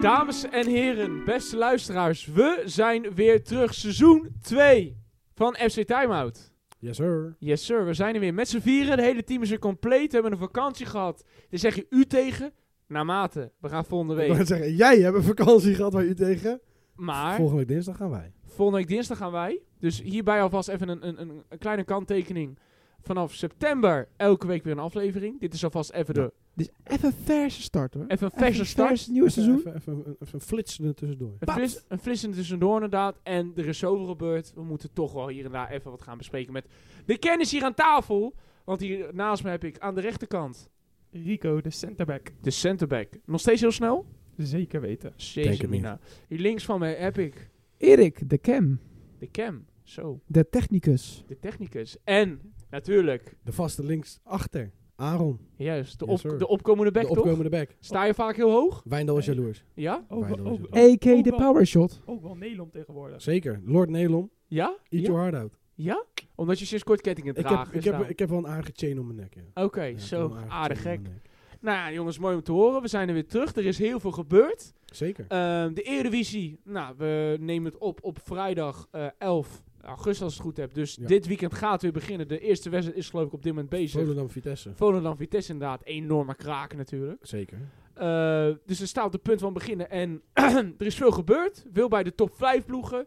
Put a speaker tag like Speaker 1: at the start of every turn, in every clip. Speaker 1: Dames en heren, beste luisteraars, we zijn weer terug. Seizoen 2 van FC Timeout.
Speaker 2: Yes, sir.
Speaker 1: Yes sir, we zijn er weer met z'n vieren. Het hele team is er compleet. We hebben een vakantie gehad. Daar zeg je u tegen. Naarmate, we gaan volgende
Speaker 2: Ik wou
Speaker 1: week.
Speaker 2: net zeggen, jij hebt een vakantie gehad waar u tegen.
Speaker 1: Maar
Speaker 2: Volgende week dinsdag gaan wij.
Speaker 1: volgende week dinsdag gaan wij. Dus hierbij alvast even een, een, een, een kleine kanttekening. Vanaf september elke week weer een aflevering. Dit is alvast even, de,
Speaker 3: Dus even een verse start hoor.
Speaker 1: even een verse
Speaker 3: een
Speaker 1: start.
Speaker 3: verse nieuwe
Speaker 2: Even-
Speaker 3: seizoen.
Speaker 2: Even, even, even, even flitsen er tussendoor.
Speaker 1: Een, fris, een flissende tussendoor inderdaad. En er is zoveel gebeurd. We moeten toch wel hier en daar even wat gaan bespreken met de kennis hier aan tafel. Want hier naast me heb ik aan de rechterkant
Speaker 3: Rico, de centerback.
Speaker 1: de centerback. Nog steeds heel snel.
Speaker 3: Zeker weten.
Speaker 2: Denk
Speaker 1: Jezus,
Speaker 2: het
Speaker 1: Mina. Hier links van mij heb ik
Speaker 3: Erik, de cam.
Speaker 1: de cam. Zo,
Speaker 3: De technicus.
Speaker 1: de technicus. En natuurlijk,
Speaker 2: De vaste links achter. Aaron,
Speaker 1: juist, de,
Speaker 2: Yes,
Speaker 1: op,
Speaker 2: sir.
Speaker 1: de opkomende back
Speaker 2: de
Speaker 1: toch?
Speaker 2: opkomende back.
Speaker 1: Sta je vaak heel hoog?
Speaker 2: Wijndal is jaloers.
Speaker 1: Ja?
Speaker 4: Ook,
Speaker 2: Bijna
Speaker 4: wel- ook,
Speaker 2: is het.
Speaker 4: ook-
Speaker 3: EK, de
Speaker 4: wel-
Speaker 3: powershot.
Speaker 4: ook wel Nederland tegenwoordig.
Speaker 2: Zeker. Lord Nelom,
Speaker 1: Ja?
Speaker 2: eat
Speaker 1: Ja?
Speaker 2: your heart out.
Speaker 1: Ja? Omdat je sinds kort kettingen
Speaker 2: Ik
Speaker 1: draagt.
Speaker 2: heb, ik, heb, ik heb wel een aardige chain om mijn nek. Ja.
Speaker 1: nou- Oké,
Speaker 2: Ja, ik heb
Speaker 1: zo
Speaker 2: wel een
Speaker 1: aardig
Speaker 2: chain
Speaker 1: gek.
Speaker 2: om mijn nek.
Speaker 1: Nou ja, jongens, mooi om te horen. We zijn er weer terug. Er is heel veel gebeurd.
Speaker 2: Zeker.
Speaker 1: Ehm, de Eredivisie, nou, we nemen het op op vrijdag eh, 11 augustus als ik het goed heb. Dus
Speaker 2: Ja.
Speaker 1: dit weekend gaat weer beginnen. De eerste wedstrijd is geloof ik op dit moment bezig.
Speaker 2: Volendam Vitesse.
Speaker 1: Volendam-Vitesse inderdaad, enorme kraken natuurlijk.
Speaker 2: Zeker.
Speaker 1: Eh, dus er staat op het punt van beginnen. En er is veel gebeurd. Veel bij de top 5 ploegen.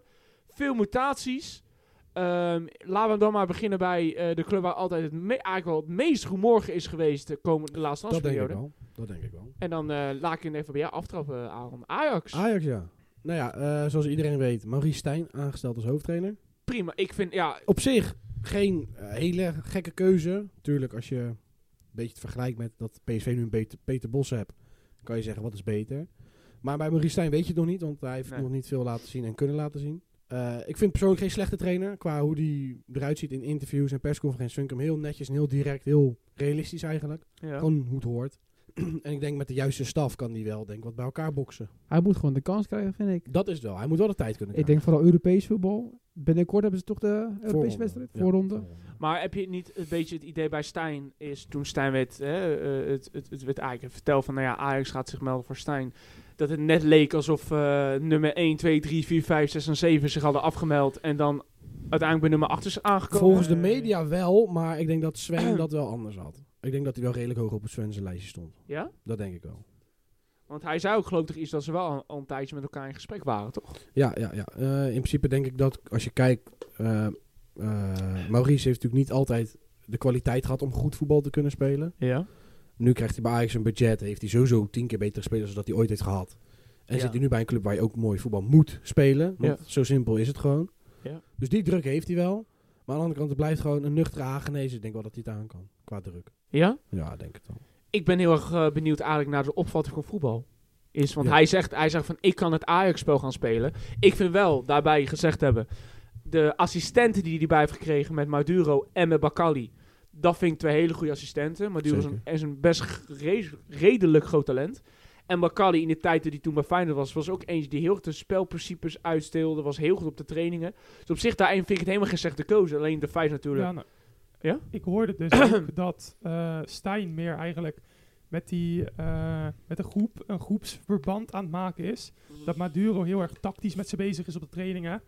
Speaker 1: Veel mutaties. Ehm, laten we dan maar beginnen bij eh, de club waar altijd het, me- eigenlijk wel het meest rumoerige is geweest de, komende, de laatste
Speaker 2: Dat denk ik
Speaker 1: transperiode.
Speaker 2: wel. Dat denk ik wel.
Speaker 1: En dan eh, laat ik het even bij jou aftrappen, eh, Aaron. Ajax.
Speaker 2: Ajax, ja. Nou ja, eh, zoals iedereen weet, Maurice Stijn aangesteld als hoofdtrainer.
Speaker 1: Prima. Ik vind, ja,
Speaker 2: op zich geen eh, hele gekke keuze. Tuurlijk, als je een beetje het vergelijkt met dat PSV nu een beter, Peter Bos hebt, kan je zeggen wat is beter. Maar bij Maurice Stijn weet je het nog niet, want hij heeft
Speaker 1: Nee.
Speaker 2: nog niet veel laten zien en kunnen laten zien. Eh, ik vind persoonlijk geen slechte trainer qua hoe die eruit ziet in interviews en persconferenties. Vind ik hem heel netjes en heel direct, heel realistisch eigenlijk.
Speaker 1: ja.
Speaker 2: Gewoon hoe het hoort. en ik denk met de juiste staf kan die wel denk ik, wat bij elkaar boksen.
Speaker 3: Hij moet gewoon de kans krijgen, vind ik.
Speaker 2: Dat is het wel. Hij moet wel de tijd kunnen
Speaker 3: Ik denk vooral Europees voetbal. Binnenkort hebben ze toch de Europese
Speaker 2: Voorronde.
Speaker 3: wedstrijd?
Speaker 2: Ja,
Speaker 3: Voorronde.
Speaker 1: Maar heb je niet een beetje het idee bij Stijn is toen Stijn werd, hè, eh, het, het, het werd eigenlijk verteld van, nou ja, Ajax gaat zich melden voor Stijn. Dat het net leek alsof eh, nummer 1, 2, 3, 4, 5, 6 en 7 zich hadden afgemeld en dan uiteindelijk bij nummer 8 is aangekomen.
Speaker 2: Volgens de media wel, maar ik denk dat Sven dat wel anders had. Ik denk dat hij wel redelijk hoog op Sven zijn lijstje stond.
Speaker 1: Ja?
Speaker 2: Dat denk ik wel.
Speaker 1: Want hij zei ook geloof ik toch iets dat ze wel al, al een tijdje met elkaar in gesprek waren, toch?
Speaker 2: Ja, ja, ja. Eh, in principe denk ik dat als je kijkt... eh, eh, Maurice heeft natuurlijk niet altijd de kwaliteit gehad om goed voetbal te kunnen spelen.
Speaker 1: Ja.
Speaker 2: Nu krijgt hij bij Ajax een budget. Heeft hij sowieso tien keer betere spelers dan dat hij ooit heeft gehad. En
Speaker 1: Ja.
Speaker 2: zit hij nu bij een club waar je ook mooi voetbal moet spelen. Want
Speaker 1: Ja.
Speaker 2: zo simpel is het gewoon.
Speaker 1: Ja.
Speaker 2: Dus die druk heeft hij wel. Maar aan de andere kant, het blijft gewoon een nuchtere aangenezen. Ik denk wel dat hij het aan kan, qua druk.
Speaker 1: Ja?
Speaker 2: Ja, ik denk het wel.
Speaker 1: Ik ben heel erg eh, benieuwd eigenlijk naar de opvatting van voetbal. Is, want
Speaker 2: Ja.
Speaker 1: hij, zegt, hij zegt van ik kan het Ajax-spel gaan spelen. Ik vind wel, daarbij gezegd hebben, de assistenten die hij erbij heeft gekregen met Maduro en met Bakali. Dat vind ik twee hele goede assistenten. Maduro is een,
Speaker 2: Zeker.
Speaker 1: is een best gere- redelijk groot talent. En Bakali in de tijd dat hij toen bij Feyenoord was, was ook eentje die heel goed de spelprincipes uitsteelde. Was heel goed op de trainingen. Dus op zich daarin vind ik het helemaal geen slechte keuze. Alleen de vijf natuurlijk.
Speaker 4: Ja, nou,
Speaker 1: Ja?
Speaker 4: Ik hoorde dus ook dat eh, Stijn meer eigenlijk met, die, eh, met een groep, een groepsverband aan het maken is. Dat Maduro heel erg tactisch met ze bezig is op de trainingen.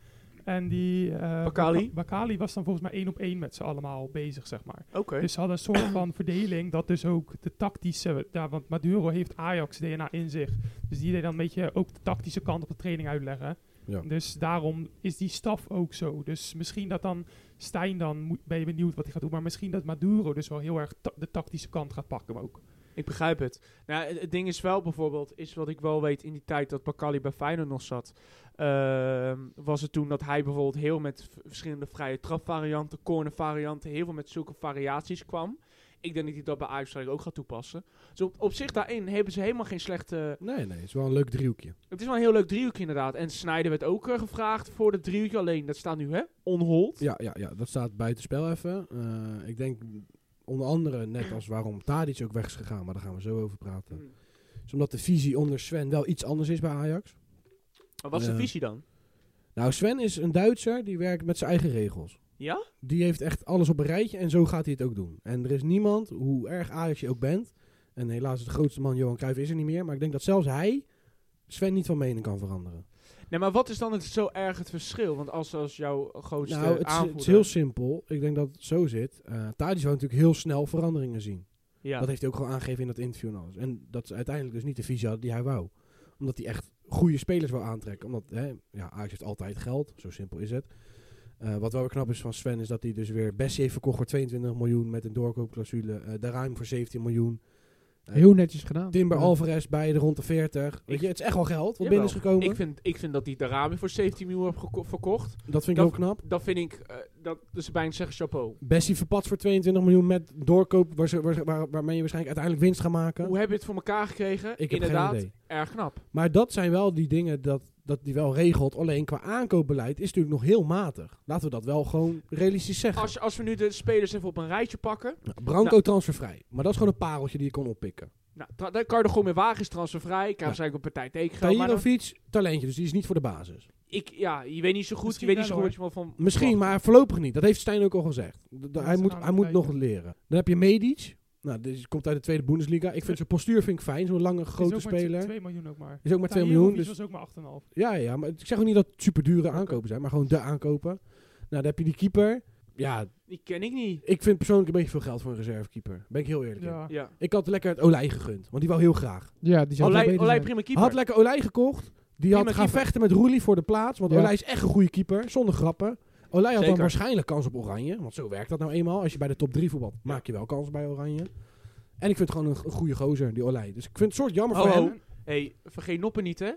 Speaker 4: En die... eh
Speaker 1: Bakali?
Speaker 4: Baka- Bakali was dan volgens mij één op één met ze allemaal bezig, zeg maar.
Speaker 1: Oké.
Speaker 4: Dus ze hadden een soort van verdeling dat dus ook de tactische... Ja, want Maduro heeft Ajax DNA in zich. Dus die deed dan een beetje ook de tactische kant op de training uitleggen.
Speaker 2: Ja.
Speaker 4: Dus daarom is die staf ook zo. Dus misschien dat dan Stijn dan, moet, ben je benieuwd wat hij gaat doen. Maar misschien dat Maduro dus wel heel erg ta- de tactische kant gaat pakken hem ook.
Speaker 1: Ik begrijp het. Nou, het, het ding is wel bijvoorbeeld, is wat ik wel weet in die tijd dat Bakali bij Feyenoord nog zat, ehm, was het toen dat hij bijvoorbeeld heel met v- verschillende vrije trapvarianten, cornervarianten, heel veel met zulke variaties kwam. Ik denk dat hij dat bij Ajax eigenlijk ook gaat toepassen. Dus op, op zich daarin hebben ze helemaal geen slechte...
Speaker 2: Nee, nee. Het is wel een leuk driehoekje.
Speaker 1: Het is wel een heel leuk driehoekje inderdaad. En Snyder werd ook eh, gevraagd voor dat driehoekje, alleen dat staat nu hè, onhold.
Speaker 2: Ja, ja, ja dat staat buitenspel even. Eh, ik denk onder andere net als waarom Tadic ook weg is gegaan, maar daar gaan we zo over
Speaker 1: Mm.
Speaker 2: praten.
Speaker 1: Hmm.
Speaker 2: Is omdat de visie onder Sven wel iets anders is bij Ajax.
Speaker 1: Maar wat is de
Speaker 2: Ja.
Speaker 1: visie dan?
Speaker 2: Nou, Sven is een Duitser die werkt met zijn eigen regels.
Speaker 1: Ja?
Speaker 2: Die heeft echt alles op een rijtje en zo gaat hij het ook doen. En er is niemand, hoe erg Ajax je ook bent, en helaas de grootste man Johan Cruijff is er niet meer, maar ik denk dat zelfs hij Sven niet van mening kan veranderen.
Speaker 1: Nee, maar wat is dan het, zo erg het verschil? Want als, als jouw grootste
Speaker 2: Nou, het is, het is
Speaker 1: aanvoerder-
Speaker 2: heel simpel. Ik denk dat het zo zit. Eh Tadic wil natuurlijk heel snel veranderingen zien.
Speaker 1: Ja.
Speaker 2: Dat heeft hij ook gewoon aangegeven in dat interview. En, alles. en dat is uiteindelijk dus niet de visie had die hij wou. Omdat hij echt goede spelers wil aantrekken. Omdat hè, ja, Ajax heeft altijd geld. Zo simpel is het. Eh, wat wel weer knap is van Sven is dat hij dus weer Bessie heeft verkocht voor 22 miljoen met een doorkoopclausule. Eh de ruim voor 17 miljoen. Eh,
Speaker 3: Heel netjes gedaan.
Speaker 2: Timber
Speaker 3: Ja.
Speaker 2: Alvarez bij de rond de 40. Weet je, het is echt wel geld wat
Speaker 1: Jawel.
Speaker 2: binnen is gekomen.
Speaker 1: ik, vind, ik vind dat die Darami voor 17 miljoen heeft geko- verkocht.
Speaker 2: dat vind ik
Speaker 1: dat-
Speaker 2: ook knap.
Speaker 1: Dat vind ik, eh, dat is bijna zeggen chapeau.
Speaker 2: Bessie verpatst voor 22 miljoen met doorkoop waar ze, waar, ze- waar, waarmee je waarschijnlijk uiteindelijk winst gaat maken.
Speaker 1: Hoe heb je het voor elkaar gekregen?
Speaker 2: Ik heb geen
Speaker 1: Inderdaad,
Speaker 2: idee.
Speaker 1: erg knap.
Speaker 2: Maar dat zijn wel die dingen dat, dat die wel regelt. Alleen qua aankoopbeleid is natuurlijk nog heel matig. Laten we dat wel gewoon realistisch zeggen.
Speaker 1: Als, als we nu de spelers even op een rijtje pakken.
Speaker 2: Nou, Branco transfervrij. Maar dat is gewoon een pareltje die je kon oppikken.
Speaker 1: Nou, tra- dan kan je er gewoon mee wagen, is transfervrij. Krijgen ze eigenlijk een partij tekengeld. Maar dan-
Speaker 2: Tahirovic, talentje. Dus die is niet voor de basis.
Speaker 1: ik, ja, je weet niet zo goed,
Speaker 4: Misschien
Speaker 1: je weet niet
Speaker 4: wel,
Speaker 1: zo goed wat je wel van...
Speaker 2: Misschien,
Speaker 1: verwacht.
Speaker 2: maar voorlopig niet. Dat heeft Stijn ook al gezegd. D- d-
Speaker 4: Dat
Speaker 2: hij
Speaker 4: is
Speaker 2: moet,
Speaker 4: aan
Speaker 2: hij
Speaker 4: het
Speaker 2: moet nog
Speaker 4: kijken.
Speaker 2: leren. Dan heb je Medic. Nou, die komt uit de tweede Bundesliga. Ik vind zijn postuur vind ik fijn. Zo'n lange, grote speler.
Speaker 4: 2 miljoen ook maar.
Speaker 2: Is ook maar 2
Speaker 4: Tahirovic
Speaker 2: miljoen. Dus
Speaker 4: was ook maar 8,5.
Speaker 2: Ja, ja, maar ik zeg ook niet dat het super dure aankopen zijn, maar gewoon de aankopen. Nou, dan heb je die keeper. Ja,
Speaker 1: Die ken ik niet.
Speaker 2: ik vind persoonlijk een beetje veel geld voor een reservekeeper. Ben ik heel eerlijk. in.
Speaker 4: Ja.
Speaker 1: Ja.
Speaker 2: Ik had lekker het Olij gegund, want die wou heel graag.
Speaker 3: Ja, die zou wel
Speaker 1: Olij,
Speaker 3: beter
Speaker 1: Olij
Speaker 3: zijn.
Speaker 1: prima keeper.
Speaker 2: Had lekker Olij gekocht. Die had
Speaker 1: Prima
Speaker 2: gaan
Speaker 1: keeper.
Speaker 2: vechten met Roelie voor de plaats, want
Speaker 3: Ja.
Speaker 2: Olij is echt een goede keeper, zonder grappen. Olij had dan
Speaker 1: Zeker.
Speaker 2: waarschijnlijk kans op Oranje, want zo werkt dat nou eenmaal. Als je bij de top 3 voetbalt, maak je wel kans bij Oranje. En ik vind het gewoon een, een goede gozer, die Olij. Dus ik vind het soort jammer
Speaker 1: Ho,
Speaker 2: voor
Speaker 1: ho.
Speaker 2: hem.
Speaker 1: Oh, hey, vergeet Noppen niet, hè?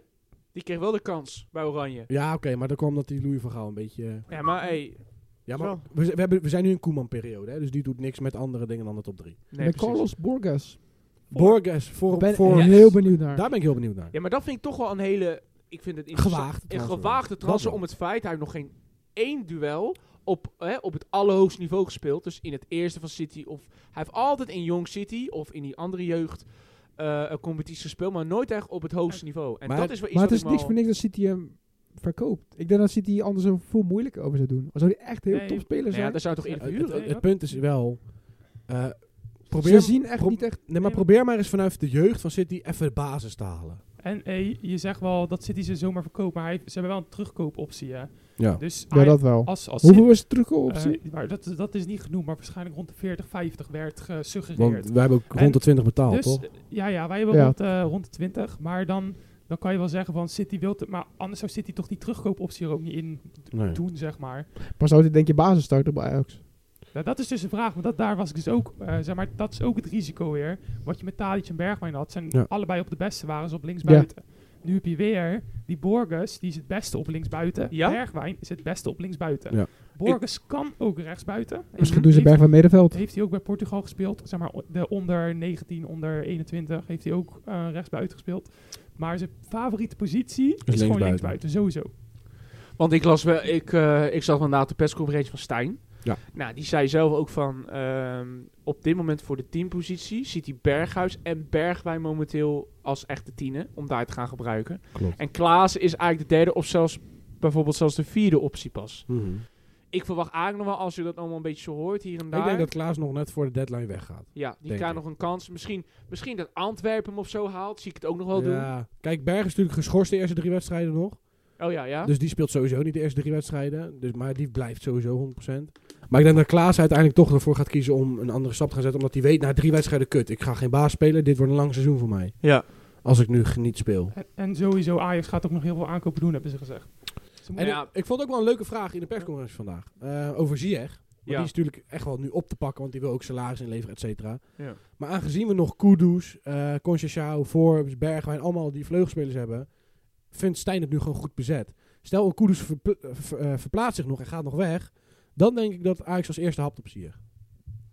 Speaker 1: Die kreeg wel de kans bij Oranje.
Speaker 2: Ja, oké, maar dan kwam dat die Louis van Gaal een beetje... eh,
Speaker 1: Ja, maar hey,
Speaker 2: Ja, maar
Speaker 1: Zo.
Speaker 2: we, zijn- we, hebben, we zijn nu in Koeman-periode, hè, dus die doet niks met andere dingen dan de top 3.
Speaker 1: nee,
Speaker 3: Met
Speaker 1: precies.
Speaker 3: Carlos Borges.
Speaker 2: Borges, voor,
Speaker 3: Ik ben
Speaker 2: voor
Speaker 3: heel benieuwd naar.
Speaker 2: daar ben ik heel benieuwd naar.
Speaker 1: Ja, maar dat vind ik toch wel een hele... Ik vind het interessant.
Speaker 2: Gewaagd.
Speaker 1: Een gewaagde transfer om het feit... Hij heeft nog geen één duel op, hè, op het allerhoogste niveau gespeeld. Dus in het eerste van City. Of, hij heeft altijd in Young City of in die andere jeugd eh een competitie gespeeld. Maar nooit echt op het hoogste niveau. En
Speaker 2: Maar-
Speaker 1: dat is wel iets
Speaker 3: Maar
Speaker 1: wat
Speaker 3: het
Speaker 1: ik
Speaker 3: is
Speaker 1: me
Speaker 3: niks
Speaker 1: al-
Speaker 3: voor niks dat City hem verkoopt. Ik denk dat City anders er veel moeilijker over zou doen. Zou hij echt heel
Speaker 4: Nee.
Speaker 3: top speler
Speaker 1: Nou ja,
Speaker 3: zijn?
Speaker 1: daar zou je toch in
Speaker 2: het,
Speaker 1: verhuren?
Speaker 2: het- het punt is wel... eh,
Speaker 3: Ze
Speaker 2: probeer,
Speaker 3: zien echt
Speaker 2: pro-
Speaker 3: niet echt...
Speaker 2: nee, maar probeer maar eens vanuit de jeugd van City even de basis te halen.
Speaker 4: En hey, je zegt wel dat City ze zomaar verkoopt, maar hij, ze hebben wel een terugkoopoptie. Hè?
Speaker 2: Ja.
Speaker 4: Dus
Speaker 3: Ja,
Speaker 4: hij-
Speaker 3: dat wel.
Speaker 4: als, als
Speaker 3: Hoeveel was het terugkomen?
Speaker 4: City- eh, maar dat, dat is niet genoemd, maar waarschijnlijk rond de 40, 50 werd
Speaker 2: Want
Speaker 4: gesuggereerd.
Speaker 2: wij hebben ook
Speaker 4: En
Speaker 2: rond de 20 betaald,
Speaker 4: Dus
Speaker 2: toch?
Speaker 4: eh, ja, ja, wij hebben
Speaker 3: Ja.
Speaker 4: Rond, eh, rond de 20, maar dan, dan kan je wel zeggen van City wil het, maar anders zou City toch die terugkoopoptie er ook niet in
Speaker 2: Nee.
Speaker 4: doen, zeg maar.
Speaker 3: Maar zou dit denk je basis starten bij Ajax?
Speaker 4: Nou, dat is dus de vraag, want dat, daar was ik dus ook, eh, zeg maar, dat is ook het risico weer. Wat je met Tadic en Bergwijn had, zijn
Speaker 2: Ja.
Speaker 4: allebei op de beste, waren ze op linksbuiten. Nu heb je weer die Borges, die is het beste op linksbuiten.
Speaker 1: Ja?
Speaker 4: Bergwijn is het beste op linksbuiten.
Speaker 2: Ja.
Speaker 4: Borges kan ook rechtsbuiten.
Speaker 3: Misschien
Speaker 1: Mhm.
Speaker 3: doen ze
Speaker 4: Heeft-
Speaker 3: Bergwijn middenveld.
Speaker 4: Heeft hij ook bij Portugal gespeeld. Zeg maar, o- de onder 19, onder 21 heeft hij ook eh, rechtsbuiten gespeeld. Maar zijn favoriete positie is, gewoon
Speaker 2: linksbuiten.
Speaker 4: linksbuiten, sowieso.
Speaker 1: Want ik las wel, ik, eh, ik zag vandaag de persconferentie van Stijn.
Speaker 2: Ja.
Speaker 1: Nou, die zei zelf ook van, ehm, op dit moment voor de teampositie ziet hij Berghuis en Bergwijn momenteel als echte tienen, om daar te gaan gebruiken.
Speaker 2: Klopt.
Speaker 1: En Klaassen is eigenlijk de derde of zelfs bijvoorbeeld zelfs de vierde optie pas.
Speaker 2: Mhm.
Speaker 1: Ik verwacht eigenlijk nog wel, als je dat allemaal een beetje zo hoort hier en daar.
Speaker 2: Ik denk dat Klaas nog net voor de deadline weggaat.
Speaker 1: ja, die
Speaker 2: denk
Speaker 1: krijgt
Speaker 2: ik.
Speaker 1: nog een kans. Misschien, misschien dat Antwerpen hem of zo haalt, zie ik het ook nog wel doen.
Speaker 2: Ja. Kijk, Berg is natuurlijk geschorst de eerste drie wedstrijden nog.
Speaker 1: Oh ja, ja.
Speaker 2: Dus die speelt sowieso niet de eerste drie wedstrijden. Dus, maar die blijft sowieso 100%. Maar ik denk dat Klaas uiteindelijk toch ervoor gaat kiezen om een andere stap te gaan zetten. Omdat hij weet, na drie wedstrijden, kut, ik ga geen baas spelen. Dit wordt een lang seizoen voor mij.
Speaker 1: ja.
Speaker 2: Als ik nu g- niet speel.
Speaker 4: En, en sowieso, Ajax gaat ook nog heel veel aankopen doen, hebben ze gezegd. Ze
Speaker 2: En
Speaker 4: moeten-
Speaker 1: Ja.
Speaker 2: ik, ik vond ook wel een leuke vraag in de persconferentie vandaag. eh, over Ziyech. Want
Speaker 1: Ja.
Speaker 2: die is natuurlijk echt wel nu op te pakken. Want die wil ook salaris inleveren, et cetera.
Speaker 1: Ja.
Speaker 2: Maar aangezien we nog Kudus, eh Conchechao, Forbes, Bergwijn, allemaal die vleugelspelers hebben. Vindt Stijn het nu gewoon goed bezet. Stel, een Kudus verpla- eh, ver- eh, verplaatst zich nog en gaat nog weg. Dan denk ik dat Ajax als eerste hapt op Ziyech.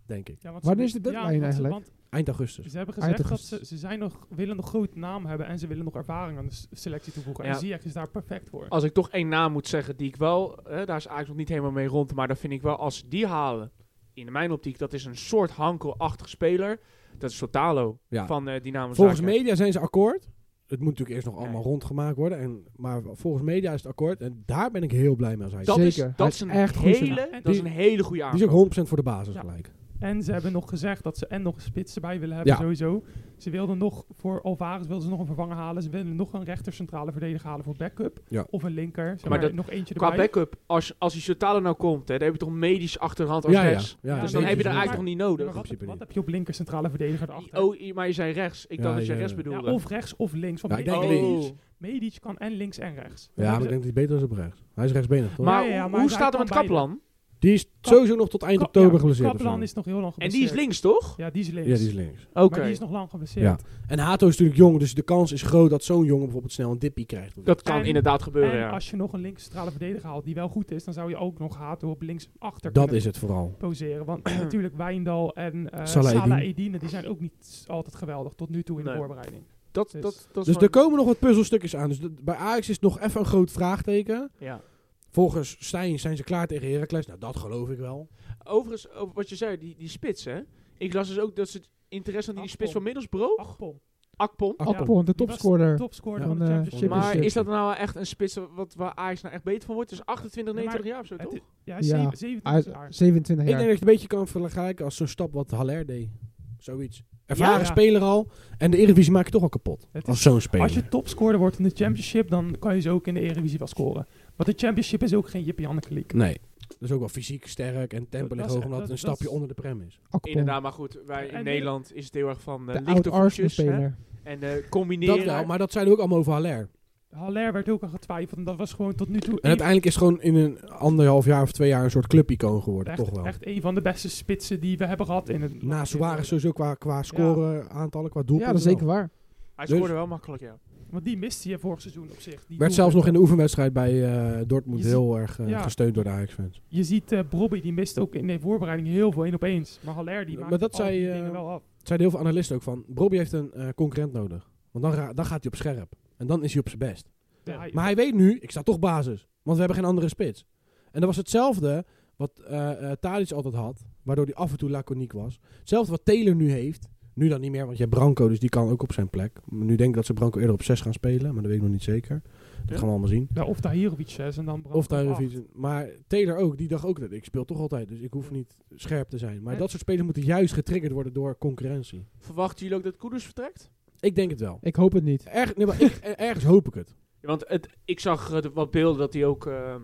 Speaker 2: Denk ik.
Speaker 4: Ja, want
Speaker 3: Wanneer
Speaker 4: ze-
Speaker 3: is de deadline
Speaker 4: want ze-
Speaker 3: eigenlijk?
Speaker 4: want
Speaker 2: Eind augustus.
Speaker 4: ze hebben
Speaker 3: Eind
Speaker 4: gezegd dat
Speaker 3: augustus.
Speaker 4: ze, ze zijn nog, willen nog groot naam hebben en ze willen nog ervaring aan de s- selectie toevoegen.
Speaker 1: Ja.
Speaker 4: En Ziyech is daar perfect voor.
Speaker 1: Als ik toch één naam moet zeggen die ik wel, eh, daar is eigenlijk nog niet helemaal mee rond, maar dat vind ik wel als ze die halen, in mijn optiek, dat is een soort hankelachtig speler. Dat is Sotalo
Speaker 2: Ja.
Speaker 1: van eh Dynamo
Speaker 2: Volgens
Speaker 1: Zagreb.
Speaker 2: media zijn ze akkoord. Het moet natuurlijk eerst nog allemaal
Speaker 1: Nee.
Speaker 2: rondgemaakt worden. En, maar volgens media is het akkoord. En daar ben ik heel blij mee als hij.
Speaker 1: dat
Speaker 3: Zeker.
Speaker 1: Is,
Speaker 3: Hij
Speaker 1: dat
Speaker 3: is
Speaker 1: is een
Speaker 3: echt goed
Speaker 1: hele,
Speaker 3: gedaan.
Speaker 1: dat is een hele goede
Speaker 2: Die is
Speaker 1: aankoop.
Speaker 2: ook 100% voor de basis
Speaker 4: Ja.
Speaker 2: gelijk.
Speaker 4: En ze hebben nog gezegd dat ze en nog een spits erbij willen hebben
Speaker 2: Ja.
Speaker 4: sowieso. Ze wilden nog voor Alvarez wilden ze nog een vervanger halen. Ze wilden nog een rechter centrale verdediger halen voor backup.
Speaker 2: Ja.
Speaker 4: Of een linker. Zeg
Speaker 1: Maar
Speaker 4: maar
Speaker 1: dat-
Speaker 4: nog eentje
Speaker 1: Qua
Speaker 4: erbij.
Speaker 1: backup, als, als die Shotalo nou komt, hè, dan heb je toch medisch achterhand als
Speaker 2: Ja, ja.
Speaker 1: rechts.
Speaker 2: Ja,
Speaker 1: dus dan
Speaker 2: zeker,
Speaker 1: heb je er
Speaker 2: zeker.
Speaker 1: eigenlijk nog niet
Speaker 4: Ja, maar
Speaker 1: nodig.
Speaker 2: in
Speaker 4: wat,
Speaker 2: principe
Speaker 4: wat
Speaker 2: niet.
Speaker 4: heb je op linker centrale verdediger erachter?
Speaker 1: Oh, i- maar je zei rechts. Ik
Speaker 2: Ja,
Speaker 1: dacht dat je
Speaker 2: ja,
Speaker 1: rechts
Speaker 2: ja.
Speaker 1: bedoelde.
Speaker 4: ja, of rechts of links. Want
Speaker 2: Ja, ik
Speaker 4: Medic-
Speaker 2: denk links.
Speaker 1: Oh.
Speaker 4: Medic kan en links en rechts.
Speaker 2: Ja, maar ik denk dat hij beter is op rechts. Hij is rechtsbenig, toch?
Speaker 1: Maar,
Speaker 4: Ja, ja,
Speaker 1: hoe-
Speaker 4: maar
Speaker 1: hoe
Speaker 4: hij
Speaker 1: staat het
Speaker 4: kan
Speaker 1: met Kaplan?
Speaker 2: die is sowieso nog tot eind
Speaker 4: Ka-
Speaker 2: oktober
Speaker 4: ja,
Speaker 2: geblesseerd. of
Speaker 4: Kaplan
Speaker 2: zo.
Speaker 4: is nog heel lang
Speaker 1: En
Speaker 4: geblesseerd.
Speaker 1: die is links, toch?
Speaker 4: Ja, die is links.
Speaker 2: Ja, die is links.
Speaker 1: Oké.
Speaker 4: Maar die is nog lang geblesseerd.
Speaker 2: En Hato is natuurlijk jong, dus de kans is groot dat zo'n jongen bijvoorbeeld snel een dippie krijgt.
Speaker 1: Dat kan
Speaker 4: En-
Speaker 1: inderdaad gebeuren,
Speaker 4: En
Speaker 1: ja.
Speaker 4: als je nog een links centrale verdediger haalt die wel goed is, dan zou je ook nog Hato op links achter
Speaker 2: Dat is het vooral.
Speaker 4: poseren. Want natuurlijk Wijndal en eh
Speaker 2: Salah
Speaker 4: Salah
Speaker 2: Edine.
Speaker 4: Edine, die zijn ook niet altijd geweldig tot nu toe in
Speaker 1: Nee.
Speaker 4: de voorbereiding.
Speaker 1: Dat,
Speaker 4: Dus-
Speaker 1: dat, dat is
Speaker 2: Dus er
Speaker 1: wel-
Speaker 2: komen nog wat puzzelstukjes aan. Dus de- bij Ajax is nog even een groot vraagteken.
Speaker 1: Ja.
Speaker 2: Volgens Stijn zijn ze klaar tegen Heracles. Nou, dat geloof ik wel.
Speaker 1: Overigens, over wat je zei, die, die spits, hè? Ik las dus ook dat ze het interesse aan die, die spits van Middlesbrough,
Speaker 4: Akpom,
Speaker 1: Akpom.
Speaker 2: Akpom.
Speaker 3: Akpom, de
Speaker 4: Die was
Speaker 3: topscorer.
Speaker 4: topscorer
Speaker 2: Ja.
Speaker 4: van de
Speaker 3: Van, eh,
Speaker 4: Championship.
Speaker 3: Champions
Speaker 1: Maar
Speaker 3: League.
Speaker 1: is dat nou echt een spits wat, waar Ajax nou echt beter van wordt? Dus 28,
Speaker 4: Nee, maar
Speaker 1: 29 jaar of zo,
Speaker 4: het
Speaker 1: toch?
Speaker 4: is- ja,
Speaker 3: Ja.
Speaker 4: ja.
Speaker 3: Hij is
Speaker 4: 27 jaar.
Speaker 3: 27
Speaker 2: Ik denk dat
Speaker 3: jaar.
Speaker 2: je het een beetje kan vergelijken als zo'n stap wat Haller deed. Zoiets. Ervaren
Speaker 4: Ja.
Speaker 2: speler al. En de Eredivisie maakt je toch al kapot.
Speaker 4: Het
Speaker 2: Als
Speaker 4: is-
Speaker 2: zo'n speler.
Speaker 4: Als je topscorer wordt in de Championship, dan kan je ze ook in de Eredivisie wel scoren. Want de Championship is ook geen Jippie Janneke league.
Speaker 2: Nee. Dat is ook wel fysiek sterk en tempo
Speaker 4: Dat-
Speaker 2: ligt
Speaker 4: dat
Speaker 2: hoog
Speaker 4: is-
Speaker 2: omdat het
Speaker 4: dat-
Speaker 2: een
Speaker 4: dat
Speaker 2: stapje
Speaker 4: is-
Speaker 2: onder de prem is.
Speaker 3: Akpom,
Speaker 1: Inderdaad, maar goed, wij in
Speaker 4: En die-
Speaker 1: Nederland is het heel erg van eh,
Speaker 3: de
Speaker 1: lichte voetjes hè,
Speaker 3: oud-Arsenal-speler.
Speaker 1: en eh, combineren.
Speaker 2: Dat wel, maar dat zeiden we ook allemaal over Haller.
Speaker 4: Haller werd ook aan getwijfeld en dat was gewoon tot nu toe
Speaker 2: En
Speaker 4: één-
Speaker 2: uiteindelijk is het gewoon in een anderhalf jaar of twee jaar een soort clubicoon geworden.
Speaker 4: echt,
Speaker 2: toch wel.
Speaker 4: echt een van de beste spitsen die we hebben gehad in het
Speaker 2: Na Suarez sowieso qua, qua scoren, aantallen, qua
Speaker 3: Ja,
Speaker 2: doelpunten.
Speaker 3: dat is
Speaker 2: wel.
Speaker 3: zeker waar.
Speaker 1: Hij
Speaker 2: Dus-
Speaker 1: scoorde wel makkelijk, ja.
Speaker 4: Want die miste je vorig seizoen op zich. Die
Speaker 2: Werd
Speaker 4: doelpunten.
Speaker 2: zelfs nog in de oefenwedstrijd bij eh, Dortmund
Speaker 4: Je ziet-
Speaker 2: heel erg eh,
Speaker 4: ja.
Speaker 2: gesteund door de Ajax-fans.
Speaker 4: Je ziet eh Brobby, die mist ook in de voorbereiding heel veel één op eens. Maar Haller, die
Speaker 2: Maar
Speaker 4: maakt
Speaker 2: dat
Speaker 4: al die
Speaker 2: zei, eh,
Speaker 4: dingen wel af.
Speaker 2: Het zeiden heel veel analisten ook van, Brobbey heeft een eh, concurrent nodig. Want dan, ra- dan gaat hij op scherp. En dan is hij op zijn best.
Speaker 4: Ja, hij-
Speaker 2: Maar hij weet nu, ik sta toch basis. Want we hebben geen andere spits. En dat was hetzelfde wat eh eh, Tadic altijd had. Waardoor hij af en toe laconiek was. Hetzelfde wat Taylor nu heeft. Nu dan niet meer, want je hebt Branco, dus die kan ook op zijn plek. Nu denk ik dat ze Branco eerder op 6 gaan spelen. Maar dat weet ik nog niet zeker. Dat
Speaker 1: Ja.
Speaker 2: gaan we allemaal zien.
Speaker 4: ja, of Tahirovic 6 en dan Branco
Speaker 2: Of daar
Speaker 4: op
Speaker 2: of
Speaker 4: acht.
Speaker 2: iets. Maar Taylor ook, die dacht ook dat ik speel toch altijd. Dus ik hoef niet scherp te zijn. Maar
Speaker 4: En-
Speaker 2: dat soort spelers moeten juist getriggerd worden door concurrentie.
Speaker 1: Verwachten jullie ook dat Koeders vertrekt?
Speaker 2: Ik denk het wel.
Speaker 3: Ik hoop het niet.
Speaker 2: Erg, nee, maar ik- er- ergens hoop ik het.
Speaker 1: Ja, want het, ik zag eh, de- wat beelden dat hij ook ehm,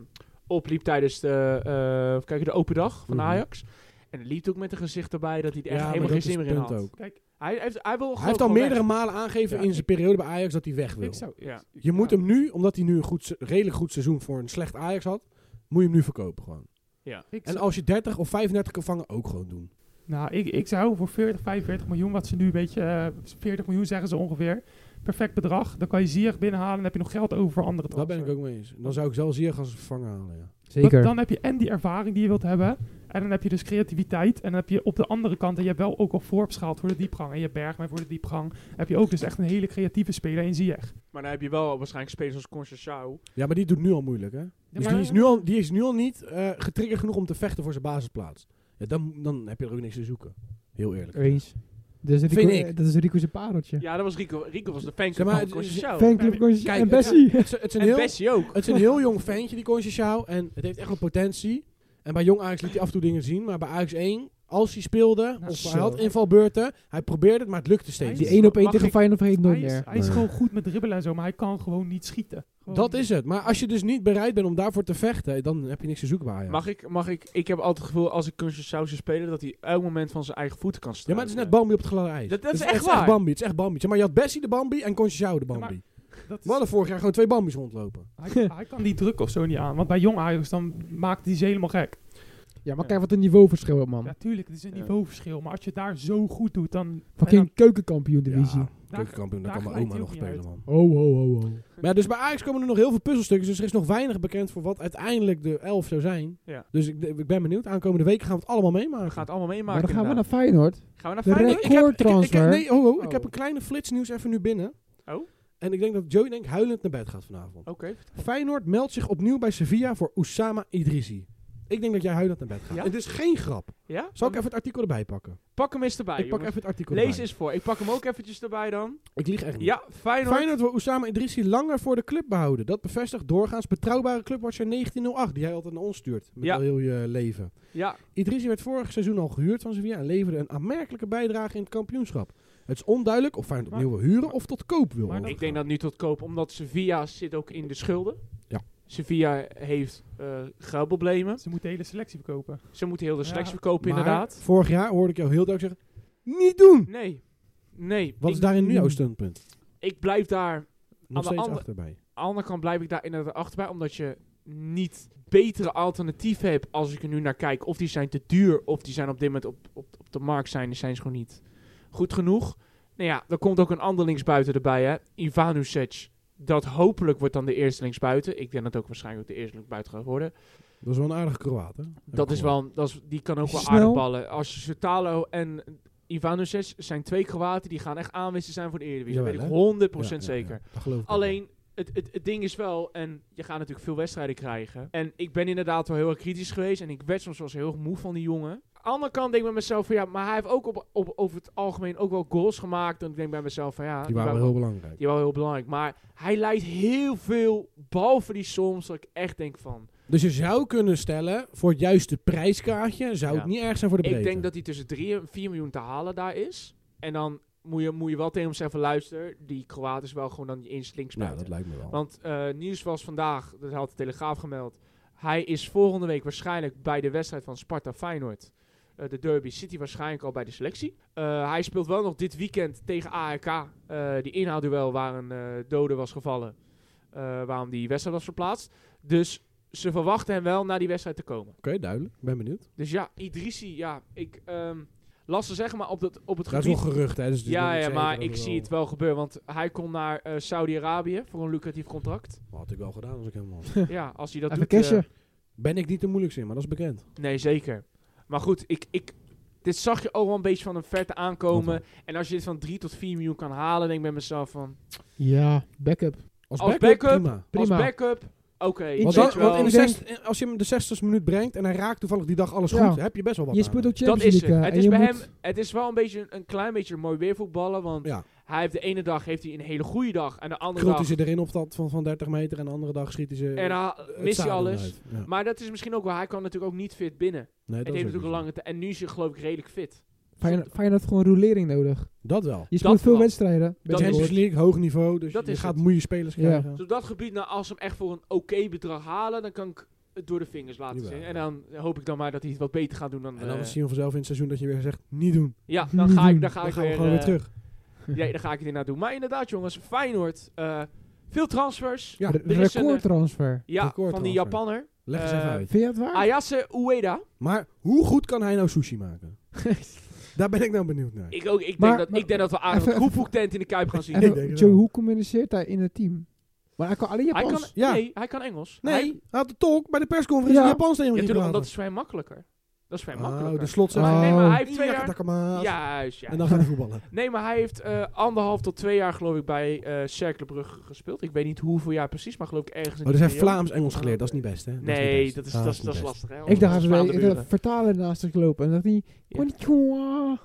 Speaker 1: opliep tijdens de, eh, kijk, de open dag van
Speaker 2: Mhm.
Speaker 1: Ajax. En liep ook met een gezicht erbij dat hij er echt
Speaker 2: maar
Speaker 1: helemaal
Speaker 2: dat
Speaker 1: geen
Speaker 2: is
Speaker 1: zin meer
Speaker 2: het
Speaker 1: in
Speaker 2: punt
Speaker 1: had.
Speaker 2: ook.
Speaker 4: Ah, Kijk,
Speaker 1: Hij heeft, hij wil
Speaker 2: Hij heeft al
Speaker 1: gewoon
Speaker 2: meerdere
Speaker 1: weg.
Speaker 2: malen aangegeven
Speaker 4: Ja,
Speaker 2: in zijn periode bij Ajax dat hij weg wil.
Speaker 4: ik zou...
Speaker 1: Ja.
Speaker 2: Je moet
Speaker 4: ja.
Speaker 2: hem nu, omdat hij nu een goed, se- redelijk goed seizoen voor een slecht Ajax had, moet je hem nu verkopen gewoon.
Speaker 4: Ik
Speaker 2: En
Speaker 4: zou-
Speaker 2: als je 30 of 35 kan vangen, ook gewoon doen.
Speaker 4: Nou, ik, ik zou voor 40, 45 miljoen, wat ze nu een beetje... eh, 40 miljoen zeggen ze ongeveer. Perfect bedrag. Dan kan je Ziyech binnenhalen en heb je nog geld over voor andere
Speaker 2: Daar ben ik
Speaker 4: transfers.
Speaker 2: ook mee eens. Dan zou ik zelfs hier gaan vervangen halen, ja.
Speaker 3: Zeker.
Speaker 4: Want dan heb je en die ervaring die je wilt hebben. En dan heb je dus creativiteit. En dan heb je op de andere kant, en je hebt wel ook al Forbes gehaald voor de diepgang. En je hebt Bergman voor de diepgang. Heb je ook dus echt een hele creatieve speler in Ziyech.
Speaker 1: Maar dan heb je wel waarschijnlijk spelers als Conceicao.
Speaker 2: Ja, maar die doet nu al moeilijk, hè? Dus die is nu al, die is nu al niet eh, getriggerd genoeg om te vechten voor zijn basisplaats. Ja, dan, dan heb je er ook niks te zoeken. Heel eerlijk.
Speaker 3: Eens. Dat is,
Speaker 2: Vind
Speaker 3: Rico,
Speaker 2: ik.
Speaker 3: eh, dat is Rico's pareltje.
Speaker 1: Ja, dat was Rico. Rico was de
Speaker 2: Zeg
Speaker 1: fanclub
Speaker 2: maar, eh,
Speaker 1: van
Speaker 2: het is-
Speaker 1: Conceicao.
Speaker 3: Fanclub Coach-
Speaker 2: Kijk,
Speaker 3: en
Speaker 2: het-
Speaker 3: Bessie.
Speaker 2: Het is, het is een
Speaker 1: En
Speaker 2: heel,
Speaker 1: Bessie ook.
Speaker 2: het is een heel jong ventje, die Conceicao. En het heeft echt wel potentie. En bij jong Ajax liet hij af en toe dingen zien. Maar bij Ajax 1, als hij speelde,
Speaker 4: Nou,
Speaker 2: of hij
Speaker 3: zo.
Speaker 2: had invalbeurten, hij probeerde het, maar het lukte steeds
Speaker 3: Die
Speaker 4: Die
Speaker 2: niet.
Speaker 4: is-
Speaker 3: 1 op 1
Speaker 1: mag
Speaker 3: tegen
Speaker 1: ik-
Speaker 3: Feyenoord vergeet
Speaker 4: Hij
Speaker 3: nooit
Speaker 4: is,
Speaker 3: meer.
Speaker 4: hij is
Speaker 2: Nee.
Speaker 4: gewoon goed met dribbelen en zo, maar hij kan gewoon niet schieten. Gewoon
Speaker 2: Dat
Speaker 4: niet.
Speaker 2: is het. Maar als je dus niet bereid bent om daarvoor te vechten, dan heb je niks te zoeken bij Ajax.
Speaker 1: Mag ik, mag ik, ik heb altijd het gevoel als ik Conceicao zou spelen, dat hij elk moment van zijn eigen voeten kan
Speaker 2: ja,
Speaker 1: staan.
Speaker 2: maar het is net Bambi op het gladde ijs.
Speaker 1: Dat- dat is
Speaker 2: Het
Speaker 1: echt
Speaker 2: Het
Speaker 1: waar.
Speaker 2: is echt Bambi. Het is echt Bambi. Zeg maar je had Bessie de Bambi en Conceicao de
Speaker 4: Ja, maar-
Speaker 2: Bambi.
Speaker 4: Dat is-
Speaker 2: We hadden vorig jaar gewoon twee Bambi's rondlopen.
Speaker 4: hij, hij kan die druk of zo niet aan. Want bij jong Ajax, dan maakt hij ze helemaal gek.
Speaker 3: Ja, maar
Speaker 1: Ja.
Speaker 3: kijk wat een niveauverschil, man.
Speaker 4: Natuurlijk, het is een
Speaker 1: Ja.
Speaker 4: niveauverschil. Maar als je het daar zo goed doet, dan... en
Speaker 3: Fucking keukenkampioen divisie.
Speaker 4: dan- daar-
Speaker 2: keukenkampioen, daar
Speaker 4: daar
Speaker 2: kan mijn
Speaker 4: glijdt
Speaker 2: oma
Speaker 4: hij
Speaker 2: nog
Speaker 4: ook niet
Speaker 2: spelen, man.
Speaker 3: Ho, ho, ho, ho.
Speaker 2: Maar ja, dus bij Ajax komen er nog heel veel puzzelstukjes. Dus er is nog weinig bekend voor wat uiteindelijk de elf zou zijn.
Speaker 1: Ja.
Speaker 2: Dus ik, ik ben benieuwd. Aankomende weken gaan we het allemaal meemaken.
Speaker 1: We gaan het allemaal
Speaker 3: Maar
Speaker 1: meemaken.
Speaker 3: dan gaan we naar
Speaker 1: inderdaad.
Speaker 3: Feyenoord.
Speaker 1: gaan we naar
Speaker 3: de
Speaker 1: Feyenoord?
Speaker 3: rek-
Speaker 2: Ik heb- ik- ik-
Speaker 3: Koortransfer.
Speaker 2: nee, ho, ho, ik
Speaker 1: Oh.
Speaker 2: heb een kleine flitsnieuws even nu binnen.
Speaker 1: Oh.
Speaker 2: En ik denk dat Joey denk ik huilend naar bed gaat vanavond.
Speaker 1: Oké.
Speaker 2: Feyenoord meldt zich opnieuw bij Sevilla voor Oussama Idrisi. Ik denk dat jij huilend naar bed gaat.
Speaker 1: Ja?
Speaker 2: Het is geen grap.
Speaker 1: Ja?
Speaker 2: Zal ik even het artikel erbij pakken?
Speaker 1: Pak hem eens erbij,
Speaker 2: ik pak
Speaker 1: jongens.
Speaker 2: even het artikel
Speaker 1: Lees
Speaker 2: erbij.
Speaker 1: eens voor. Ik pak hem ook eventjes erbij dan.
Speaker 2: Ik lieg echt niet.
Speaker 1: Ja, Feyenoord.
Speaker 2: Feyenoord wil Oussama Idrissi langer voor de club behouden. Dat bevestigt doorgaans betrouwbare clubwatcher 1908, die hij altijd naar ons stuurt. Met
Speaker 1: Ja.
Speaker 2: al heel je leven.
Speaker 1: Ja,
Speaker 2: Idrissi werd vorig seizoen al gehuurd van Sevilla en leverde een aanmerkelijke bijdrage in het kampioenschap. Het is onduidelijk of Feyenoord opnieuw wil huren of tot koop wil.
Speaker 4: Maar dat-
Speaker 1: ik
Speaker 2: overgaan.
Speaker 1: denk dat nu tot koop, omdat Sevilla zit ook in de schulden.
Speaker 2: Ja.
Speaker 1: Sevilla heeft eh geldproblemen.
Speaker 4: Ze moeten de hele selectie verkopen.
Speaker 1: Ze moeten heel de
Speaker 4: Ja.
Speaker 1: selectie verkopen,
Speaker 2: Maar
Speaker 1: inderdaad.
Speaker 2: Vorig jaar hoorde ik jou heel duidelijk zeggen: niet doen!
Speaker 1: Nee, nee.
Speaker 2: Wat is
Speaker 1: ik,
Speaker 2: daarin nu jouw standpunt?
Speaker 1: ik blijf daar
Speaker 2: Nog
Speaker 1: Aan de
Speaker 2: steeds
Speaker 1: andere-
Speaker 2: achterbij.
Speaker 1: Aan de andere kant blijf ik daar inderdaad achterbij, omdat je niet betere alternatieven hebt als ik er nu naar kijk. Of die zijn te duur, of die zijn op dit moment op, op, op de markt zijn, die zijn ze gewoon niet goed genoeg. Nou ja, er komt ook een ander linksbuiten erbij, hè. Ivanusic. Dat hopelijk wordt dan de eerste linksbuiten. Ik denk dat ook waarschijnlijk ook de eerste linksbuiten gaat worden.
Speaker 2: Dat is wel een aardige Kroaat, hè? Heb
Speaker 1: Dat
Speaker 2: ik
Speaker 1: is
Speaker 2: gehoord.
Speaker 1: wel, een- dat is, die kan ook wel
Speaker 3: Snel.
Speaker 1: aardig ballen. Als Sutalo en Ivanusic zijn twee Kroaten, die gaan echt aanwisten zijn voor de Eredivisie. Dat
Speaker 2: Jawel,
Speaker 1: weet
Speaker 2: hè?
Speaker 1: ik 100%
Speaker 2: Ja, ja, ja.
Speaker 1: zeker.
Speaker 2: Dat geloof ik ook wel.
Speaker 1: Alleen, het, het, het ding is wel, en je gaat natuurlijk veel wedstrijden krijgen. En ik ben inderdaad wel heel erg kritisch geweest. En ik werd soms wel eens heel erg moe van die jongen. Aan de andere kant denk ik bij mezelf van ja, maar hij heeft ook op, op, over het algemeen ook wel goals gemaakt. En ik denk bij mezelf van ja,
Speaker 2: Die waren wel heel belangrijk.
Speaker 1: die waren heel belangrijk. Maar hij leidt heel veel balverlies soms. Dat ik echt denk van.
Speaker 2: Dus je zou kunnen stellen, voor het juiste prijskaartje zou
Speaker 1: Ja.
Speaker 2: het niet erg zijn voor de breedte.
Speaker 1: Ik denk dat hij tussen 3 en 4 miljoen te halen daar is. En dan moet je, moet je wel tegen hem zeggen: luister, die Kroaat is wel gewoon dan die eens links
Speaker 2: Nou, dat lijkt me wel.
Speaker 1: Want eh, nieuws was vandaag, dat had de Telegraaf gemeld. Hij is volgende week waarschijnlijk bij de wedstrijd van Sparta Feyenoord. eh, de Derby City waarschijnlijk al bij de selectie. Eh, hij speelt wel nog dit weekend tegen ARK. eh, die inhoudduel waar een eh, dode was gevallen. eh, waarom die wedstrijd was verplaatst. Dus ze verwachten hem wel naar die wedstrijd te komen.
Speaker 2: Oké, duidelijk. Ik ben benieuwd.
Speaker 1: Dus ja, Idrissi, ja, ik ehm las ze zeggen maar op, dat, op het
Speaker 2: Dat is
Speaker 1: gebied
Speaker 2: wel gerucht, hè? Dus het is nog
Speaker 1: ja,
Speaker 2: niet
Speaker 1: ja
Speaker 2: zeker
Speaker 1: maar
Speaker 2: dat
Speaker 1: ik
Speaker 2: het
Speaker 1: zie
Speaker 2: wel-
Speaker 1: het wel gebeuren. Want hij kon naar eh, Saudi-Arabië voor een lucratief contract.
Speaker 2: Wat had ik wel gedaan als ik hem was.
Speaker 1: ja, als hij dat
Speaker 3: Even
Speaker 1: doet. eh,
Speaker 3: cashen.
Speaker 2: Ben ik niet de moeilijkste in, maar dat is bekend.
Speaker 1: nee, zeker. Maar goed, ik, ik, dit zag je ook wel een beetje van een verte aankomen.
Speaker 2: Dat
Speaker 1: En als je dit van 3 tot 4 miljoen kan halen, denk ik bij mezelf van...
Speaker 3: Ja, backup.
Speaker 2: Als,
Speaker 1: Als
Speaker 2: backup,
Speaker 1: backup-
Speaker 2: prima.
Speaker 3: Prima.
Speaker 1: Als backup, oké. weet
Speaker 2: Want, dan-
Speaker 1: je wel.
Speaker 2: want in de
Speaker 3: Ik denk-
Speaker 2: zest- in- als je hem de 60 minuut brengt en hij raakt toevallig die dag alles
Speaker 3: Ja.
Speaker 2: goed, heb je best wel wat
Speaker 3: Je
Speaker 2: aan
Speaker 3: speelt
Speaker 2: hem.
Speaker 3: ook
Speaker 1: dat
Speaker 3: Champions
Speaker 1: is
Speaker 3: League.
Speaker 1: het.
Speaker 3: eh,
Speaker 1: Het
Speaker 3: en
Speaker 1: is,
Speaker 3: je
Speaker 1: bij hem,
Speaker 3: moet-
Speaker 1: het is wel een beetje een, een klein beetje mooi weer voetballen. Want
Speaker 2: Ja.
Speaker 1: hij heeft de ene dag heeft hij een hele goede dag. En de andere
Speaker 2: Krult hij
Speaker 1: dag...
Speaker 2: ze erin op dat van, van 30 meter en de andere dag schiet hij ze eh,
Speaker 1: En dan
Speaker 2: het
Speaker 1: mist hij
Speaker 2: zadel
Speaker 1: alles.
Speaker 2: uit. Ja.
Speaker 1: Maar dat is misschien ook wel... Hij kan natuurlijk ook niet fit binnen.
Speaker 2: Nee,
Speaker 1: Het
Speaker 2: is
Speaker 1: heeft
Speaker 2: ook
Speaker 1: natuurlijk een
Speaker 2: zo.
Speaker 1: lange tijd. En nu is je geloof ik redelijk fit.
Speaker 3: Feyenoord Feyenoord heeft gewoon rolering nodig.
Speaker 2: Dat wel.
Speaker 3: Je speelt veel
Speaker 1: wel.
Speaker 3: wedstrijden. ben
Speaker 1: Dat
Speaker 3: je
Speaker 1: is
Speaker 2: Champions
Speaker 3: gehoord.
Speaker 2: League, hoog niveau, dus
Speaker 1: Dat
Speaker 2: je
Speaker 1: is
Speaker 2: gaat
Speaker 1: het.
Speaker 2: moeie spelers
Speaker 3: Ja.
Speaker 2: krijgen.
Speaker 1: Dus op dat gebied, nou, als ze hem echt voor een oké bedrag halen, dan kan ik het door de vingers laten
Speaker 2: Jawel,
Speaker 1: zien. En
Speaker 2: ja.
Speaker 1: dan hoop ik dan maar dat hij het wat beter gaat doen dan...
Speaker 2: En dan
Speaker 1: eh,
Speaker 2: zien we vanzelf in het seizoen dat je weer zegt, niet doen.
Speaker 1: ja, dan ga ik, dan ga
Speaker 2: Dan
Speaker 1: ik
Speaker 2: gaan we
Speaker 1: weer,
Speaker 2: gewoon weer
Speaker 1: eh,
Speaker 2: terug.
Speaker 1: Ja, dan ga ik het inderdaad doen. Maar inderdaad, jongens, Feyenoord. eh, veel transfers.
Speaker 2: Ja,
Speaker 3: Re-
Speaker 1: is een, eh,
Speaker 3: Recordtransfer.
Speaker 1: Ja,
Speaker 2: record
Speaker 1: van die
Speaker 2: transfer.
Speaker 1: Japanner.
Speaker 2: Leg eens even
Speaker 1: eh,
Speaker 2: uit.
Speaker 3: Vind je dat waar?
Speaker 1: Ayase Ueda.
Speaker 2: Maar hoe goed kan hij nou sushi maken? Daar ben ik nou benieuwd naar.
Speaker 1: Ik, ook, ik,
Speaker 3: Maar-
Speaker 1: denk, dat,
Speaker 3: maar-
Speaker 1: ik denk dat we aardig
Speaker 3: even-
Speaker 1: wat groepvoektent in de Kuip gaan zien.
Speaker 3: En
Speaker 2: ik denk het
Speaker 3: Joe,
Speaker 2: wel.
Speaker 3: hoe communiceert hij in het team? Maar hij kan alleen
Speaker 1: hij,
Speaker 3: Japans.
Speaker 1: kan,
Speaker 2: ja.
Speaker 1: nee, hij kan Engels.
Speaker 2: nee,
Speaker 1: Hij-
Speaker 2: hij had de talk bij de persconferentie
Speaker 3: Ja.
Speaker 2: in Japans Oh, dus- tegen
Speaker 1: ja,
Speaker 2: hem
Speaker 1: natuurlijk, want dat
Speaker 2: gepraat.
Speaker 1: is voor hem makkelijker. Dat is voor hem makkelijker.
Speaker 2: de slot zegt,
Speaker 3: Ah,
Speaker 1: Maar nee, maar
Speaker 3: Oh.
Speaker 1: hij heeft twee
Speaker 2: "Ja,
Speaker 1: jaar...
Speaker 2: Takamaas."
Speaker 1: Juist, ja.
Speaker 2: En dan gaat hij voetballen.
Speaker 1: Nee, maar hij heeft eh, anderhalf tot twee jaar, geloof ik, bij eh Cercle Brugge gespeeld. Ik weet niet hoeveel jaar precies, maar geloof ik ergens in
Speaker 2: Oh, dus
Speaker 1: die
Speaker 2: hij heeft
Speaker 1: periode.
Speaker 2: Vlaams-Engels geleerd, dat is niet best, hè? niet
Speaker 1: Ah, Nee,
Speaker 2: best.
Speaker 1: dat is,
Speaker 2: Ah,
Speaker 1: dat is,
Speaker 2: niet
Speaker 1: dat is
Speaker 2: best.
Speaker 1: lastig, hè?
Speaker 3: Ik dacht, als
Speaker 1: Vlaanderen
Speaker 3: we ik
Speaker 1: buren.
Speaker 3: dacht, vertalen naast zich lopen. En dacht hij, konnichiwa.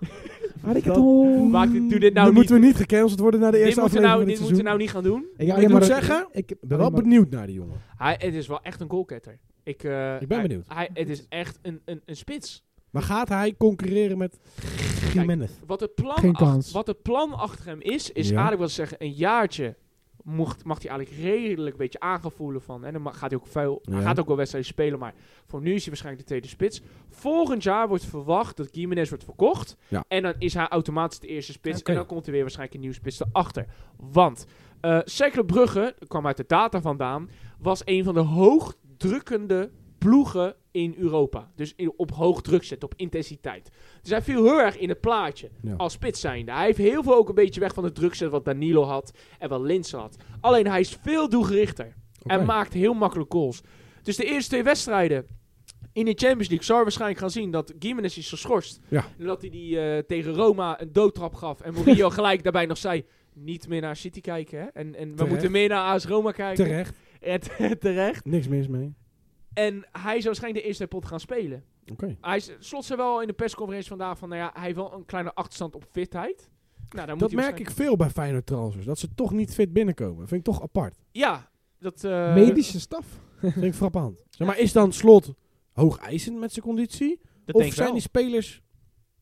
Speaker 3: Arigato.
Speaker 1: Maakt dit, doe dit nou
Speaker 2: dan
Speaker 1: niet.
Speaker 2: moeten we niet gecanceld worden na de
Speaker 1: Dit
Speaker 2: eerste
Speaker 1: moeten we nou,
Speaker 2: aflevering van
Speaker 1: dit
Speaker 2: dit
Speaker 1: moeten we
Speaker 2: seizoen.
Speaker 1: nou niet gaan doen.
Speaker 3: Ik
Speaker 2: Ik moet
Speaker 3: maar-
Speaker 2: zeggen,
Speaker 3: ik ik
Speaker 2: Ik
Speaker 3: ben
Speaker 2: ben wel
Speaker 3: maar-
Speaker 2: benieuwd naar die jongen.
Speaker 1: Hij, het is wel echt een goalketter. Ik, eh,
Speaker 2: Ik ben
Speaker 1: hij-
Speaker 2: benieuwd.
Speaker 1: Hij, het is echt een, een, een spits.
Speaker 2: Maar gaat hij concurreren met Jiménez?
Speaker 1: Wat het, plan
Speaker 3: Geen
Speaker 1: ach-
Speaker 3: kans.
Speaker 1: wat het plan achter hem is, is
Speaker 2: Ja.
Speaker 1: eigenlijk wat ze zeggen, een jaartje mocht, mag hij eigenlijk redelijk een beetje aangevoelen van. En dan ma- gaat hij ook veel, hij
Speaker 2: Ja.
Speaker 1: gaat ook wel wedstrijden spelen, maar voor nu is hij waarschijnlijk de tweede spits. Volgend jaar wordt verwacht dat Gimenez wordt verkocht.
Speaker 2: Ja.
Speaker 1: En dan is hij automatisch de eerste spits.
Speaker 2: Oké.
Speaker 1: En dan komt er weer waarschijnlijk een nieuwe spits erachter. Want eh Cercle Brugge, dat kwam uit de data vandaan, was een van de hoogdrukkende ploegen in Europa. Dus in- op hoog druk zetten, op intensiteit. Dus hij viel heel erg in het plaatje
Speaker 2: Ja.
Speaker 1: als spits zijnde. Hij heeft heel veel ook een beetje weg van het druk zetten wat Danilo had en wat Linsen had. Alleen hij is veel doelgerichter en maakt heel makkelijk goals. Dus de eerste twee wedstrijden in de Champions League zou je waarschijnlijk gaan zien dat Gimenez is geschorst.
Speaker 2: Ja.
Speaker 1: En dat hij die eh, tegen Roma een doodtrap gaf en Mourinho gelijk daarbij nog zei... Niet meer naar City kijken, hè? En, en we
Speaker 2: Terecht.
Speaker 1: moeten meer naar AS Roma kijken.
Speaker 2: Terecht,
Speaker 1: En te- terecht.
Speaker 2: niks mis mee.
Speaker 1: En hij zou waarschijnlijk de eerste pot gaan spelen.
Speaker 2: Oké.
Speaker 1: Hij is- slot zei wel in de persconferentie vandaag van, nou ja, hij heeft wel een kleine achterstand op fitheid. Nou, dan
Speaker 2: Dat
Speaker 1: moet hij
Speaker 2: merk ik veel bij Feyenoord transfers. Dat ze toch niet fit binnenkomen. Vind ik toch apart.
Speaker 1: waarschijnlijk- Ja, dat... eh,
Speaker 3: Medische staf.
Speaker 2: vind ik frappant. Zeg maar, is dan Slot hoog eisend met zijn conditie?
Speaker 1: dat
Speaker 2: of
Speaker 1: denk ik
Speaker 2: zijn
Speaker 1: wel.
Speaker 2: die spelers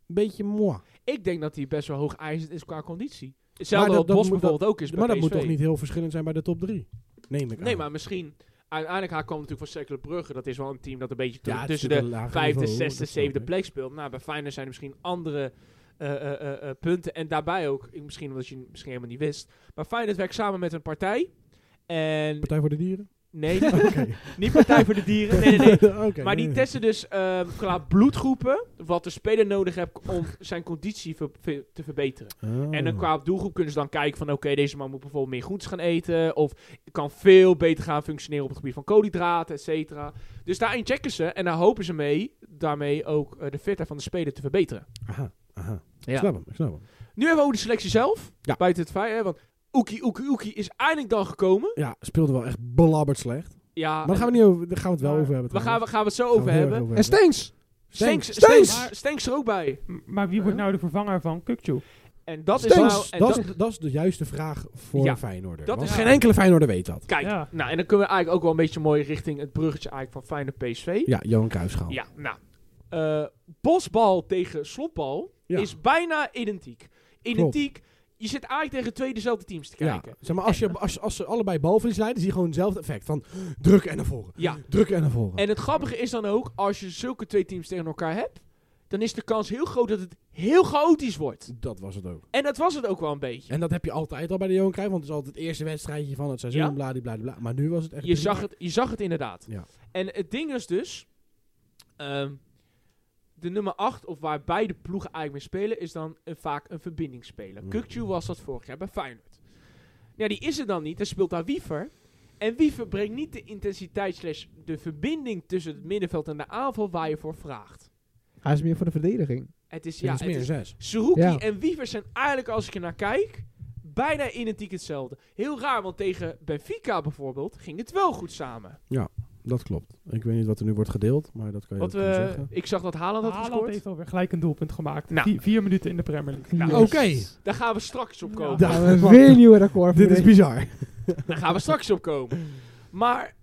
Speaker 2: een beetje moi?
Speaker 1: Ik denk dat hij best wel hoog eisend is qua conditie. Hetzelfde
Speaker 2: dat-
Speaker 1: wat
Speaker 2: dat
Speaker 1: Bos
Speaker 2: moet-
Speaker 1: bijvoorbeeld ook is bij
Speaker 2: Maar dat moet
Speaker 1: PSV.
Speaker 2: toch niet heel verschillend zijn bij de top 3? Neem ik aan.
Speaker 1: Nee, maar misschien... Uiteindelijk hij kwam natuurlijk van Cercle Brugge. Dat is wel een team dat een beetje
Speaker 2: Ja, het is
Speaker 1: tussen de
Speaker 2: natuurlijk een lager
Speaker 1: vijfde,
Speaker 2: niveau,
Speaker 1: zesde,
Speaker 2: dat snap
Speaker 1: zevende
Speaker 2: ik.
Speaker 1: plek speelt. Nou, bij Feyenoord zijn er misschien andere eh, eh, eh, eh, punten. En daarbij ook, ik- misschien omdat je het misschien helemaal niet wist. Maar Feyenoord werkt samen met een partij. En
Speaker 2: Partij voor de Dieren?
Speaker 1: nee, niet, niet Partij voor de Dieren. Nee, nee, nee.
Speaker 2: Oké.
Speaker 1: Maar die testen dus ehm, qua bloedgroepen wat de speler nodig heeft om zijn conditie ver- ver- te verbeteren.
Speaker 2: Oh.
Speaker 1: En dan qua doelgroep kunnen ze dan kijken van oké, deze man moet bijvoorbeeld meer groentes gaan eten. Of kan veel beter gaan functioneren op het gebied van koolhydraten, et cetera. Dus daarin checken ze en daar hopen ze mee daarmee ook eh, de fitheid van de speler te verbeteren.
Speaker 2: Aha, aha.
Speaker 1: Ja.
Speaker 2: Ik snap hem, ik snap hem.
Speaker 1: Nu even over de selectie zelf.
Speaker 2: Ja.
Speaker 1: Buiten het feit, hè, want Oekie Oekie Oekie is eindelijk dan gekomen.
Speaker 2: Ja, speelde wel echt belabberd slecht.
Speaker 1: Ja,
Speaker 2: Maar daar gaan we, niet over, daar gaan we het wel
Speaker 4: Maar
Speaker 2: over hebben.
Speaker 1: Ah. we gaan, we
Speaker 2: trouwens.
Speaker 1: gaan we het zo
Speaker 2: Gaan we
Speaker 1: over
Speaker 2: heel erg
Speaker 1: hebben.
Speaker 3: En Stenks.
Speaker 1: Stenks,
Speaker 2: Stenks,
Speaker 1: Stenks,
Speaker 4: Stenks!
Speaker 1: Stenks er ook bij.
Speaker 4: M- Maar wie wordt nou de vervanger van Kukcu?
Speaker 1: En dat is
Speaker 2: Stenks,
Speaker 1: nou... En
Speaker 2: dat,
Speaker 1: dat-
Speaker 2: is, dat is de juiste vraag voor
Speaker 1: Ja,
Speaker 2: een Feyenoorder.
Speaker 1: dat
Speaker 2: want
Speaker 4: is-
Speaker 2: geen enkele Feyenoorder weet dat.
Speaker 1: kijk,
Speaker 4: Ja.
Speaker 1: nou en dan kunnen we eigenlijk ook wel een beetje mooi richting het bruggetje eigenlijk van Feyenoord PSV.
Speaker 2: Ja, Johan Cruijffschaal.
Speaker 1: Ja, nou. eh, bosbal tegen slotbal
Speaker 2: Ja.
Speaker 1: is bijna identiek. Identiek. Je zit eigenlijk tegen twee dezelfde teams te
Speaker 2: Ja,
Speaker 1: kijken.
Speaker 2: zeg maar, als, je, als, als ze allebei balverlies leiden, zie je gewoon hetzelfde effect. Van druk en naar voren.
Speaker 1: Ja.
Speaker 2: Druk en naar voren.
Speaker 1: En het grappige is dan ook, als je zulke twee teams tegen elkaar hebt, dan is de kans heel groot dat het heel chaotisch wordt.
Speaker 2: dat was het ook.
Speaker 1: En dat was het ook wel een beetje.
Speaker 2: En dat heb je altijd al bij de Johan Cruijff, want het is altijd het eerste wedstrijdje van het seizoen.
Speaker 1: Ja.
Speaker 2: Ja? Maar nu was het echt...
Speaker 1: Je zag het, je zag het inderdaad.
Speaker 2: Ja.
Speaker 1: En het ding is dus, ehm, de nummer 8, of waar beide ploegen eigenlijk mee spelen, is dan een- vaak een verbindingsspeler.
Speaker 2: Mhm.
Speaker 1: Kukcu was dat vorig jaar bij Feyenoord. Ja, die is er dan niet. Dan speelt daar Wiever. En Wiever brengt niet de intensiteit slash de verbinding tussen het middenveld en de aanval waar je voor vraagt.
Speaker 3: Hij is meer voor de verdediging.
Speaker 1: Het is,
Speaker 2: Ja,
Speaker 1: ja,
Speaker 2: het is
Speaker 1: het
Speaker 2: meer
Speaker 1: is-
Speaker 2: een zes.
Speaker 1: Zerouki
Speaker 3: Ja.
Speaker 1: en Wiever zijn eigenlijk, als ik er naar kijk, bijna identiek hetzelfde. Heel raar, want tegen Benfica bijvoorbeeld ging het wel goed samen.
Speaker 2: Dat klopt. Ik weet niet wat er nu wordt gedeeld, maar dat kan je
Speaker 1: Want
Speaker 2: ook wel
Speaker 1: we,
Speaker 2: zeggen.
Speaker 1: ik zag dat Haaland had
Speaker 4: Haaland
Speaker 1: gescoord.
Speaker 4: heeft alweer gelijk een doelpunt gemaakt.
Speaker 1: Nou.
Speaker 4: Vier, vier minuten in de Premier League.
Speaker 1: Nou,
Speaker 3: Yes.
Speaker 2: oké.
Speaker 1: Daar gaan we straks op
Speaker 4: Ja.
Speaker 1: komen.
Speaker 4: Da-
Speaker 3: Gaan we weer een nieuwe record.
Speaker 2: Dit is bizar.
Speaker 1: Daar gaan we straks op komen. Maar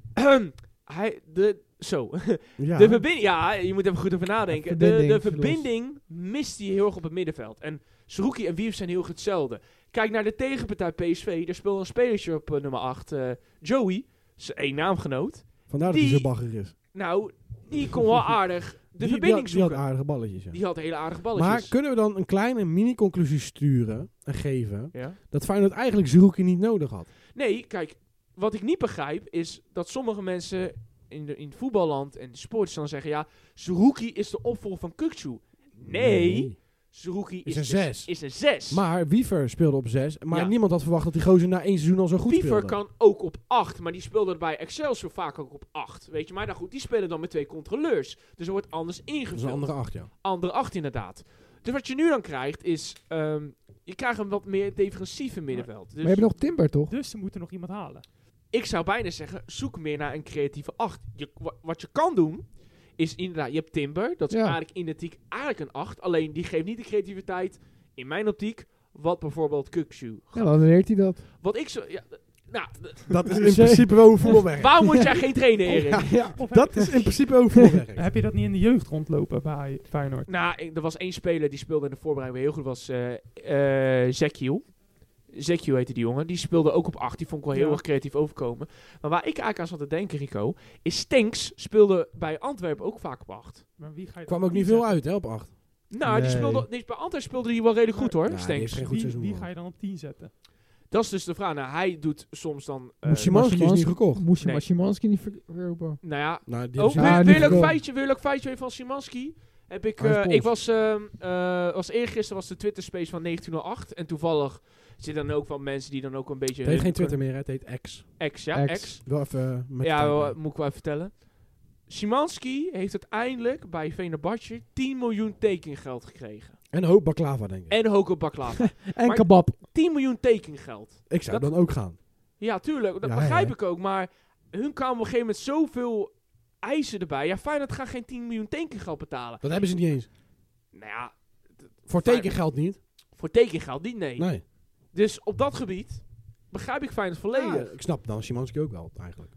Speaker 1: hij, de, zo,
Speaker 2: Ja.
Speaker 1: de verbinding, ja, je moet even goed over nadenken. De, de
Speaker 3: Verbinding,
Speaker 1: verbinding mist hij heel erg op het middenveld. En Zerouki en Wiever zijn heel erg hetzelfde. Kijk naar de tegenpartij PSV. Daar speelde een spelertje op eh, nummer 8, eh, Joey, zijn één naamgenoot.
Speaker 2: Vandaar dat hij
Speaker 1: die-
Speaker 2: zo bagger is.
Speaker 1: Nou, die kon wel aardig de
Speaker 2: Die- die,
Speaker 1: verbinding
Speaker 2: had- die
Speaker 1: zoeken.
Speaker 2: had aardige balletjes, ja.
Speaker 1: die had hele aardige
Speaker 2: Maar
Speaker 1: balletjes.
Speaker 2: kunnen we dan een kleine mini-conclusie sturen en geven
Speaker 1: ja.
Speaker 2: dat Feyenoord eigenlijk Zerouki niet nodig had?
Speaker 1: Nee, kijk, wat ik niet begrijp is dat sommige mensen in, de, in het voetballand en de sport dan zeggen: ja, Zerouki is de opvolger van Kukçu. Nee, Zerouki is,
Speaker 2: een
Speaker 1: de-
Speaker 2: zes.
Speaker 1: Is een zes.
Speaker 2: Maar Wiever speelde op 6. Maar
Speaker 1: Ja.
Speaker 2: niemand had verwacht dat die gozer na één seizoen al zo goed
Speaker 1: Wiever
Speaker 2: speelde.
Speaker 1: kan ook op 8, maar die speelde er bij Excelsior vaak ook op 8. Weet je, maar dan goed, die spelen dan met twee controleurs. Dus er wordt anders
Speaker 2: Dat is een
Speaker 1: ingevuld.
Speaker 2: andere 8, ja.
Speaker 1: Andere 8 inderdaad. Dus wat je nu dan krijgt is, ehm, je krijgt een wat meer defensieve middenveld. Dus
Speaker 3: Maar je hebt nog Timber, toch?
Speaker 4: Dus ze moeten nog iemand halen.
Speaker 1: ik zou bijna zeggen, zoek meer naar een creatieve acht. Je, wa- wat je kan doen, is inderdaad, je hebt Timber. Dat is
Speaker 3: Ja.
Speaker 1: eigenlijk identiek eigenlijk een acht. Alleen die geeft niet de creativiteit, in mijn optiek, wat bijvoorbeeld Kuksu.
Speaker 3: Ja, dan leert hij dat. Dus, eh,
Speaker 1: Wat ik zo... Ja, d- nou, d-
Speaker 2: Dat is
Speaker 3: in principe
Speaker 2: wel hoe voetbal werkt.
Speaker 1: waarom moet jij geen trainer,
Speaker 3: Oh,
Speaker 1: Erik?
Speaker 4: Of heb,
Speaker 2: Dat is in principe hoe voetbal werkt.
Speaker 4: heb je dat niet in de jeugd rondlopen bij Feyenoord?
Speaker 1: Nou, ik- er was één speler die speelde in de voorbereiding weer heel goed, was eh eh Zekiel. Zekiel heette die jongen. Die speelde ook op 8. Die vond ik wel heel
Speaker 4: Ja.
Speaker 1: erg creatief overkomen. Maar waar ik eigenlijk aan zat te denken, Rico, is Stenks speelde bij Antwerpen ook vaak op 8.
Speaker 4: Maar wie ga je
Speaker 2: kwam
Speaker 4: dan
Speaker 2: ook niet veel
Speaker 4: inzetten?
Speaker 2: uit hè, op 8.
Speaker 1: Nou, die
Speaker 3: Nee.
Speaker 1: speelde, nee, bij Antwerp speelde hij wel redelijk goed hoor,
Speaker 2: Ja, Nou, die
Speaker 1: Stenks.
Speaker 2: heeft geen goed
Speaker 4: Wie,
Speaker 2: seizoen
Speaker 4: wie
Speaker 2: gehad.
Speaker 4: ga je dan op 10 zetten?
Speaker 1: Dat is dus de vraag. Nou, hij doet soms dan... eh,
Speaker 2: Moest Szymanski is niet
Speaker 3: Szymanski-
Speaker 2: gekocht.
Speaker 3: Moest je
Speaker 1: Nee.
Speaker 3: maar Szymanski niet ver- verkopen?
Speaker 1: nou ja,
Speaker 2: Nou, die
Speaker 1: oh,
Speaker 2: hebben
Speaker 3: Ja,
Speaker 1: weer,
Speaker 3: niet
Speaker 1: weer een leuk
Speaker 3: verkopen.
Speaker 1: feitje, weer een leuk feitje van Szymanski. Heb ik,
Speaker 2: Hij is
Speaker 1: eh,
Speaker 2: Pools.
Speaker 1: ik was, ehm eh was eergisteren was de Twitter space van 1908. En toevallig zitten dan ook wel mensen die dan ook een beetje...
Speaker 2: ze- het heet
Speaker 1: hun-
Speaker 2: geen Twitter meer, hè, het heet X.
Speaker 1: Ex, ja, ex.
Speaker 3: Ex.
Speaker 2: Wel even eh, met
Speaker 1: Ja,
Speaker 2: de
Speaker 1: wel,
Speaker 2: tijd.
Speaker 1: moet ik wel even vertellen. Szymanski heeft uiteindelijk bij Venabatje 10 miljoen tekengeld gekregen.
Speaker 2: En een hoop baklava, denk ik.
Speaker 1: En Hoko Baklava.
Speaker 3: En
Speaker 1: Maar-
Speaker 3: kebab.
Speaker 1: 10 miljoen tekengeld.
Speaker 2: ik zou
Speaker 1: dat-
Speaker 2: dan ook gaan.
Speaker 1: Ja, tuurlijk. Dat
Speaker 2: Ja,
Speaker 1: begrijp
Speaker 2: hè?
Speaker 1: ik ook. Maar hun kwamen op een gegeven moment zoveel eisen erbij. Ja, Feyenoord gaat geen 10 miljoen tekengeld betalen.
Speaker 2: Dat hebben ze niet eens.
Speaker 1: Nou ja,
Speaker 2: Voor
Speaker 1: Fijn.
Speaker 2: tekengeld niet.
Speaker 1: voor tekengeld niet, nee.
Speaker 2: Nee.
Speaker 1: Dus op dat gebied begrijp ik Feyenoord volledig.
Speaker 2: Ja, ik snap dan Simanski ook wel, eigenlijk.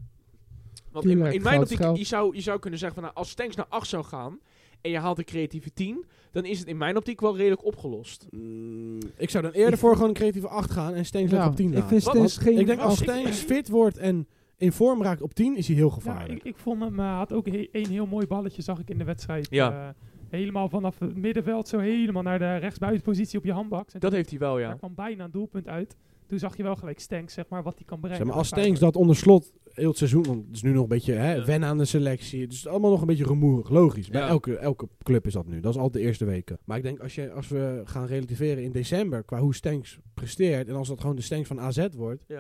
Speaker 1: Want in,
Speaker 3: Tuurlijk,
Speaker 1: in mijn
Speaker 3: geld
Speaker 1: optiek,
Speaker 3: is geld.
Speaker 1: je zou, je zou kunnen zeggen, van, nou, als Stenks naar 8 zou gaan en je haalt een creatieve 10, dan is het in mijn optiek wel redelijk opgelost. Mm,
Speaker 2: ik zou dan eerder
Speaker 3: Ik-
Speaker 2: voor gewoon een creatieve 8 gaan en Steens lekker
Speaker 3: Ja,
Speaker 2: op 10
Speaker 3: Ik
Speaker 2: laten.
Speaker 3: vind
Speaker 1: Wat?
Speaker 3: Steens geen...
Speaker 2: Ik denk als
Speaker 1: ik-
Speaker 2: Steens fit wordt en in vorm raakt op 10, is hij heel
Speaker 4: Ja,
Speaker 2: gevaarlijk.
Speaker 4: Nou, ik, ik vond hem, eh, had ook he- één heel mooi balletje, zag ik in de wedstrijd.
Speaker 1: Ja.
Speaker 4: Eh, helemaal vanaf het middenveld, zo helemaal naar de rechtsbuitenpositie op je handbak. En
Speaker 1: Dat heeft hij wel,
Speaker 4: Daar
Speaker 1: ja.
Speaker 4: kwam bijna een doelpunt uit. Toen zag je wel gelijk Stenks, zeg maar, wat hij kan brengen.
Speaker 2: zeg maar, als
Speaker 4: Feyenoord.
Speaker 2: Steens dat onder slot heel het seizoen, want het is nu nog een beetje hè,
Speaker 1: Ja.
Speaker 2: wennen aan de selectie. Dus het is allemaal nog een beetje rumoerig, logisch. Bij
Speaker 1: Ja.
Speaker 2: elke, elke club is dat nu. Dat is altijd de eerste weken. Maar ik denk als, je, als we gaan relativeren in december qua hoe Stenks presteert en als dat gewoon de Stenks van AZ wordt,
Speaker 1: Dan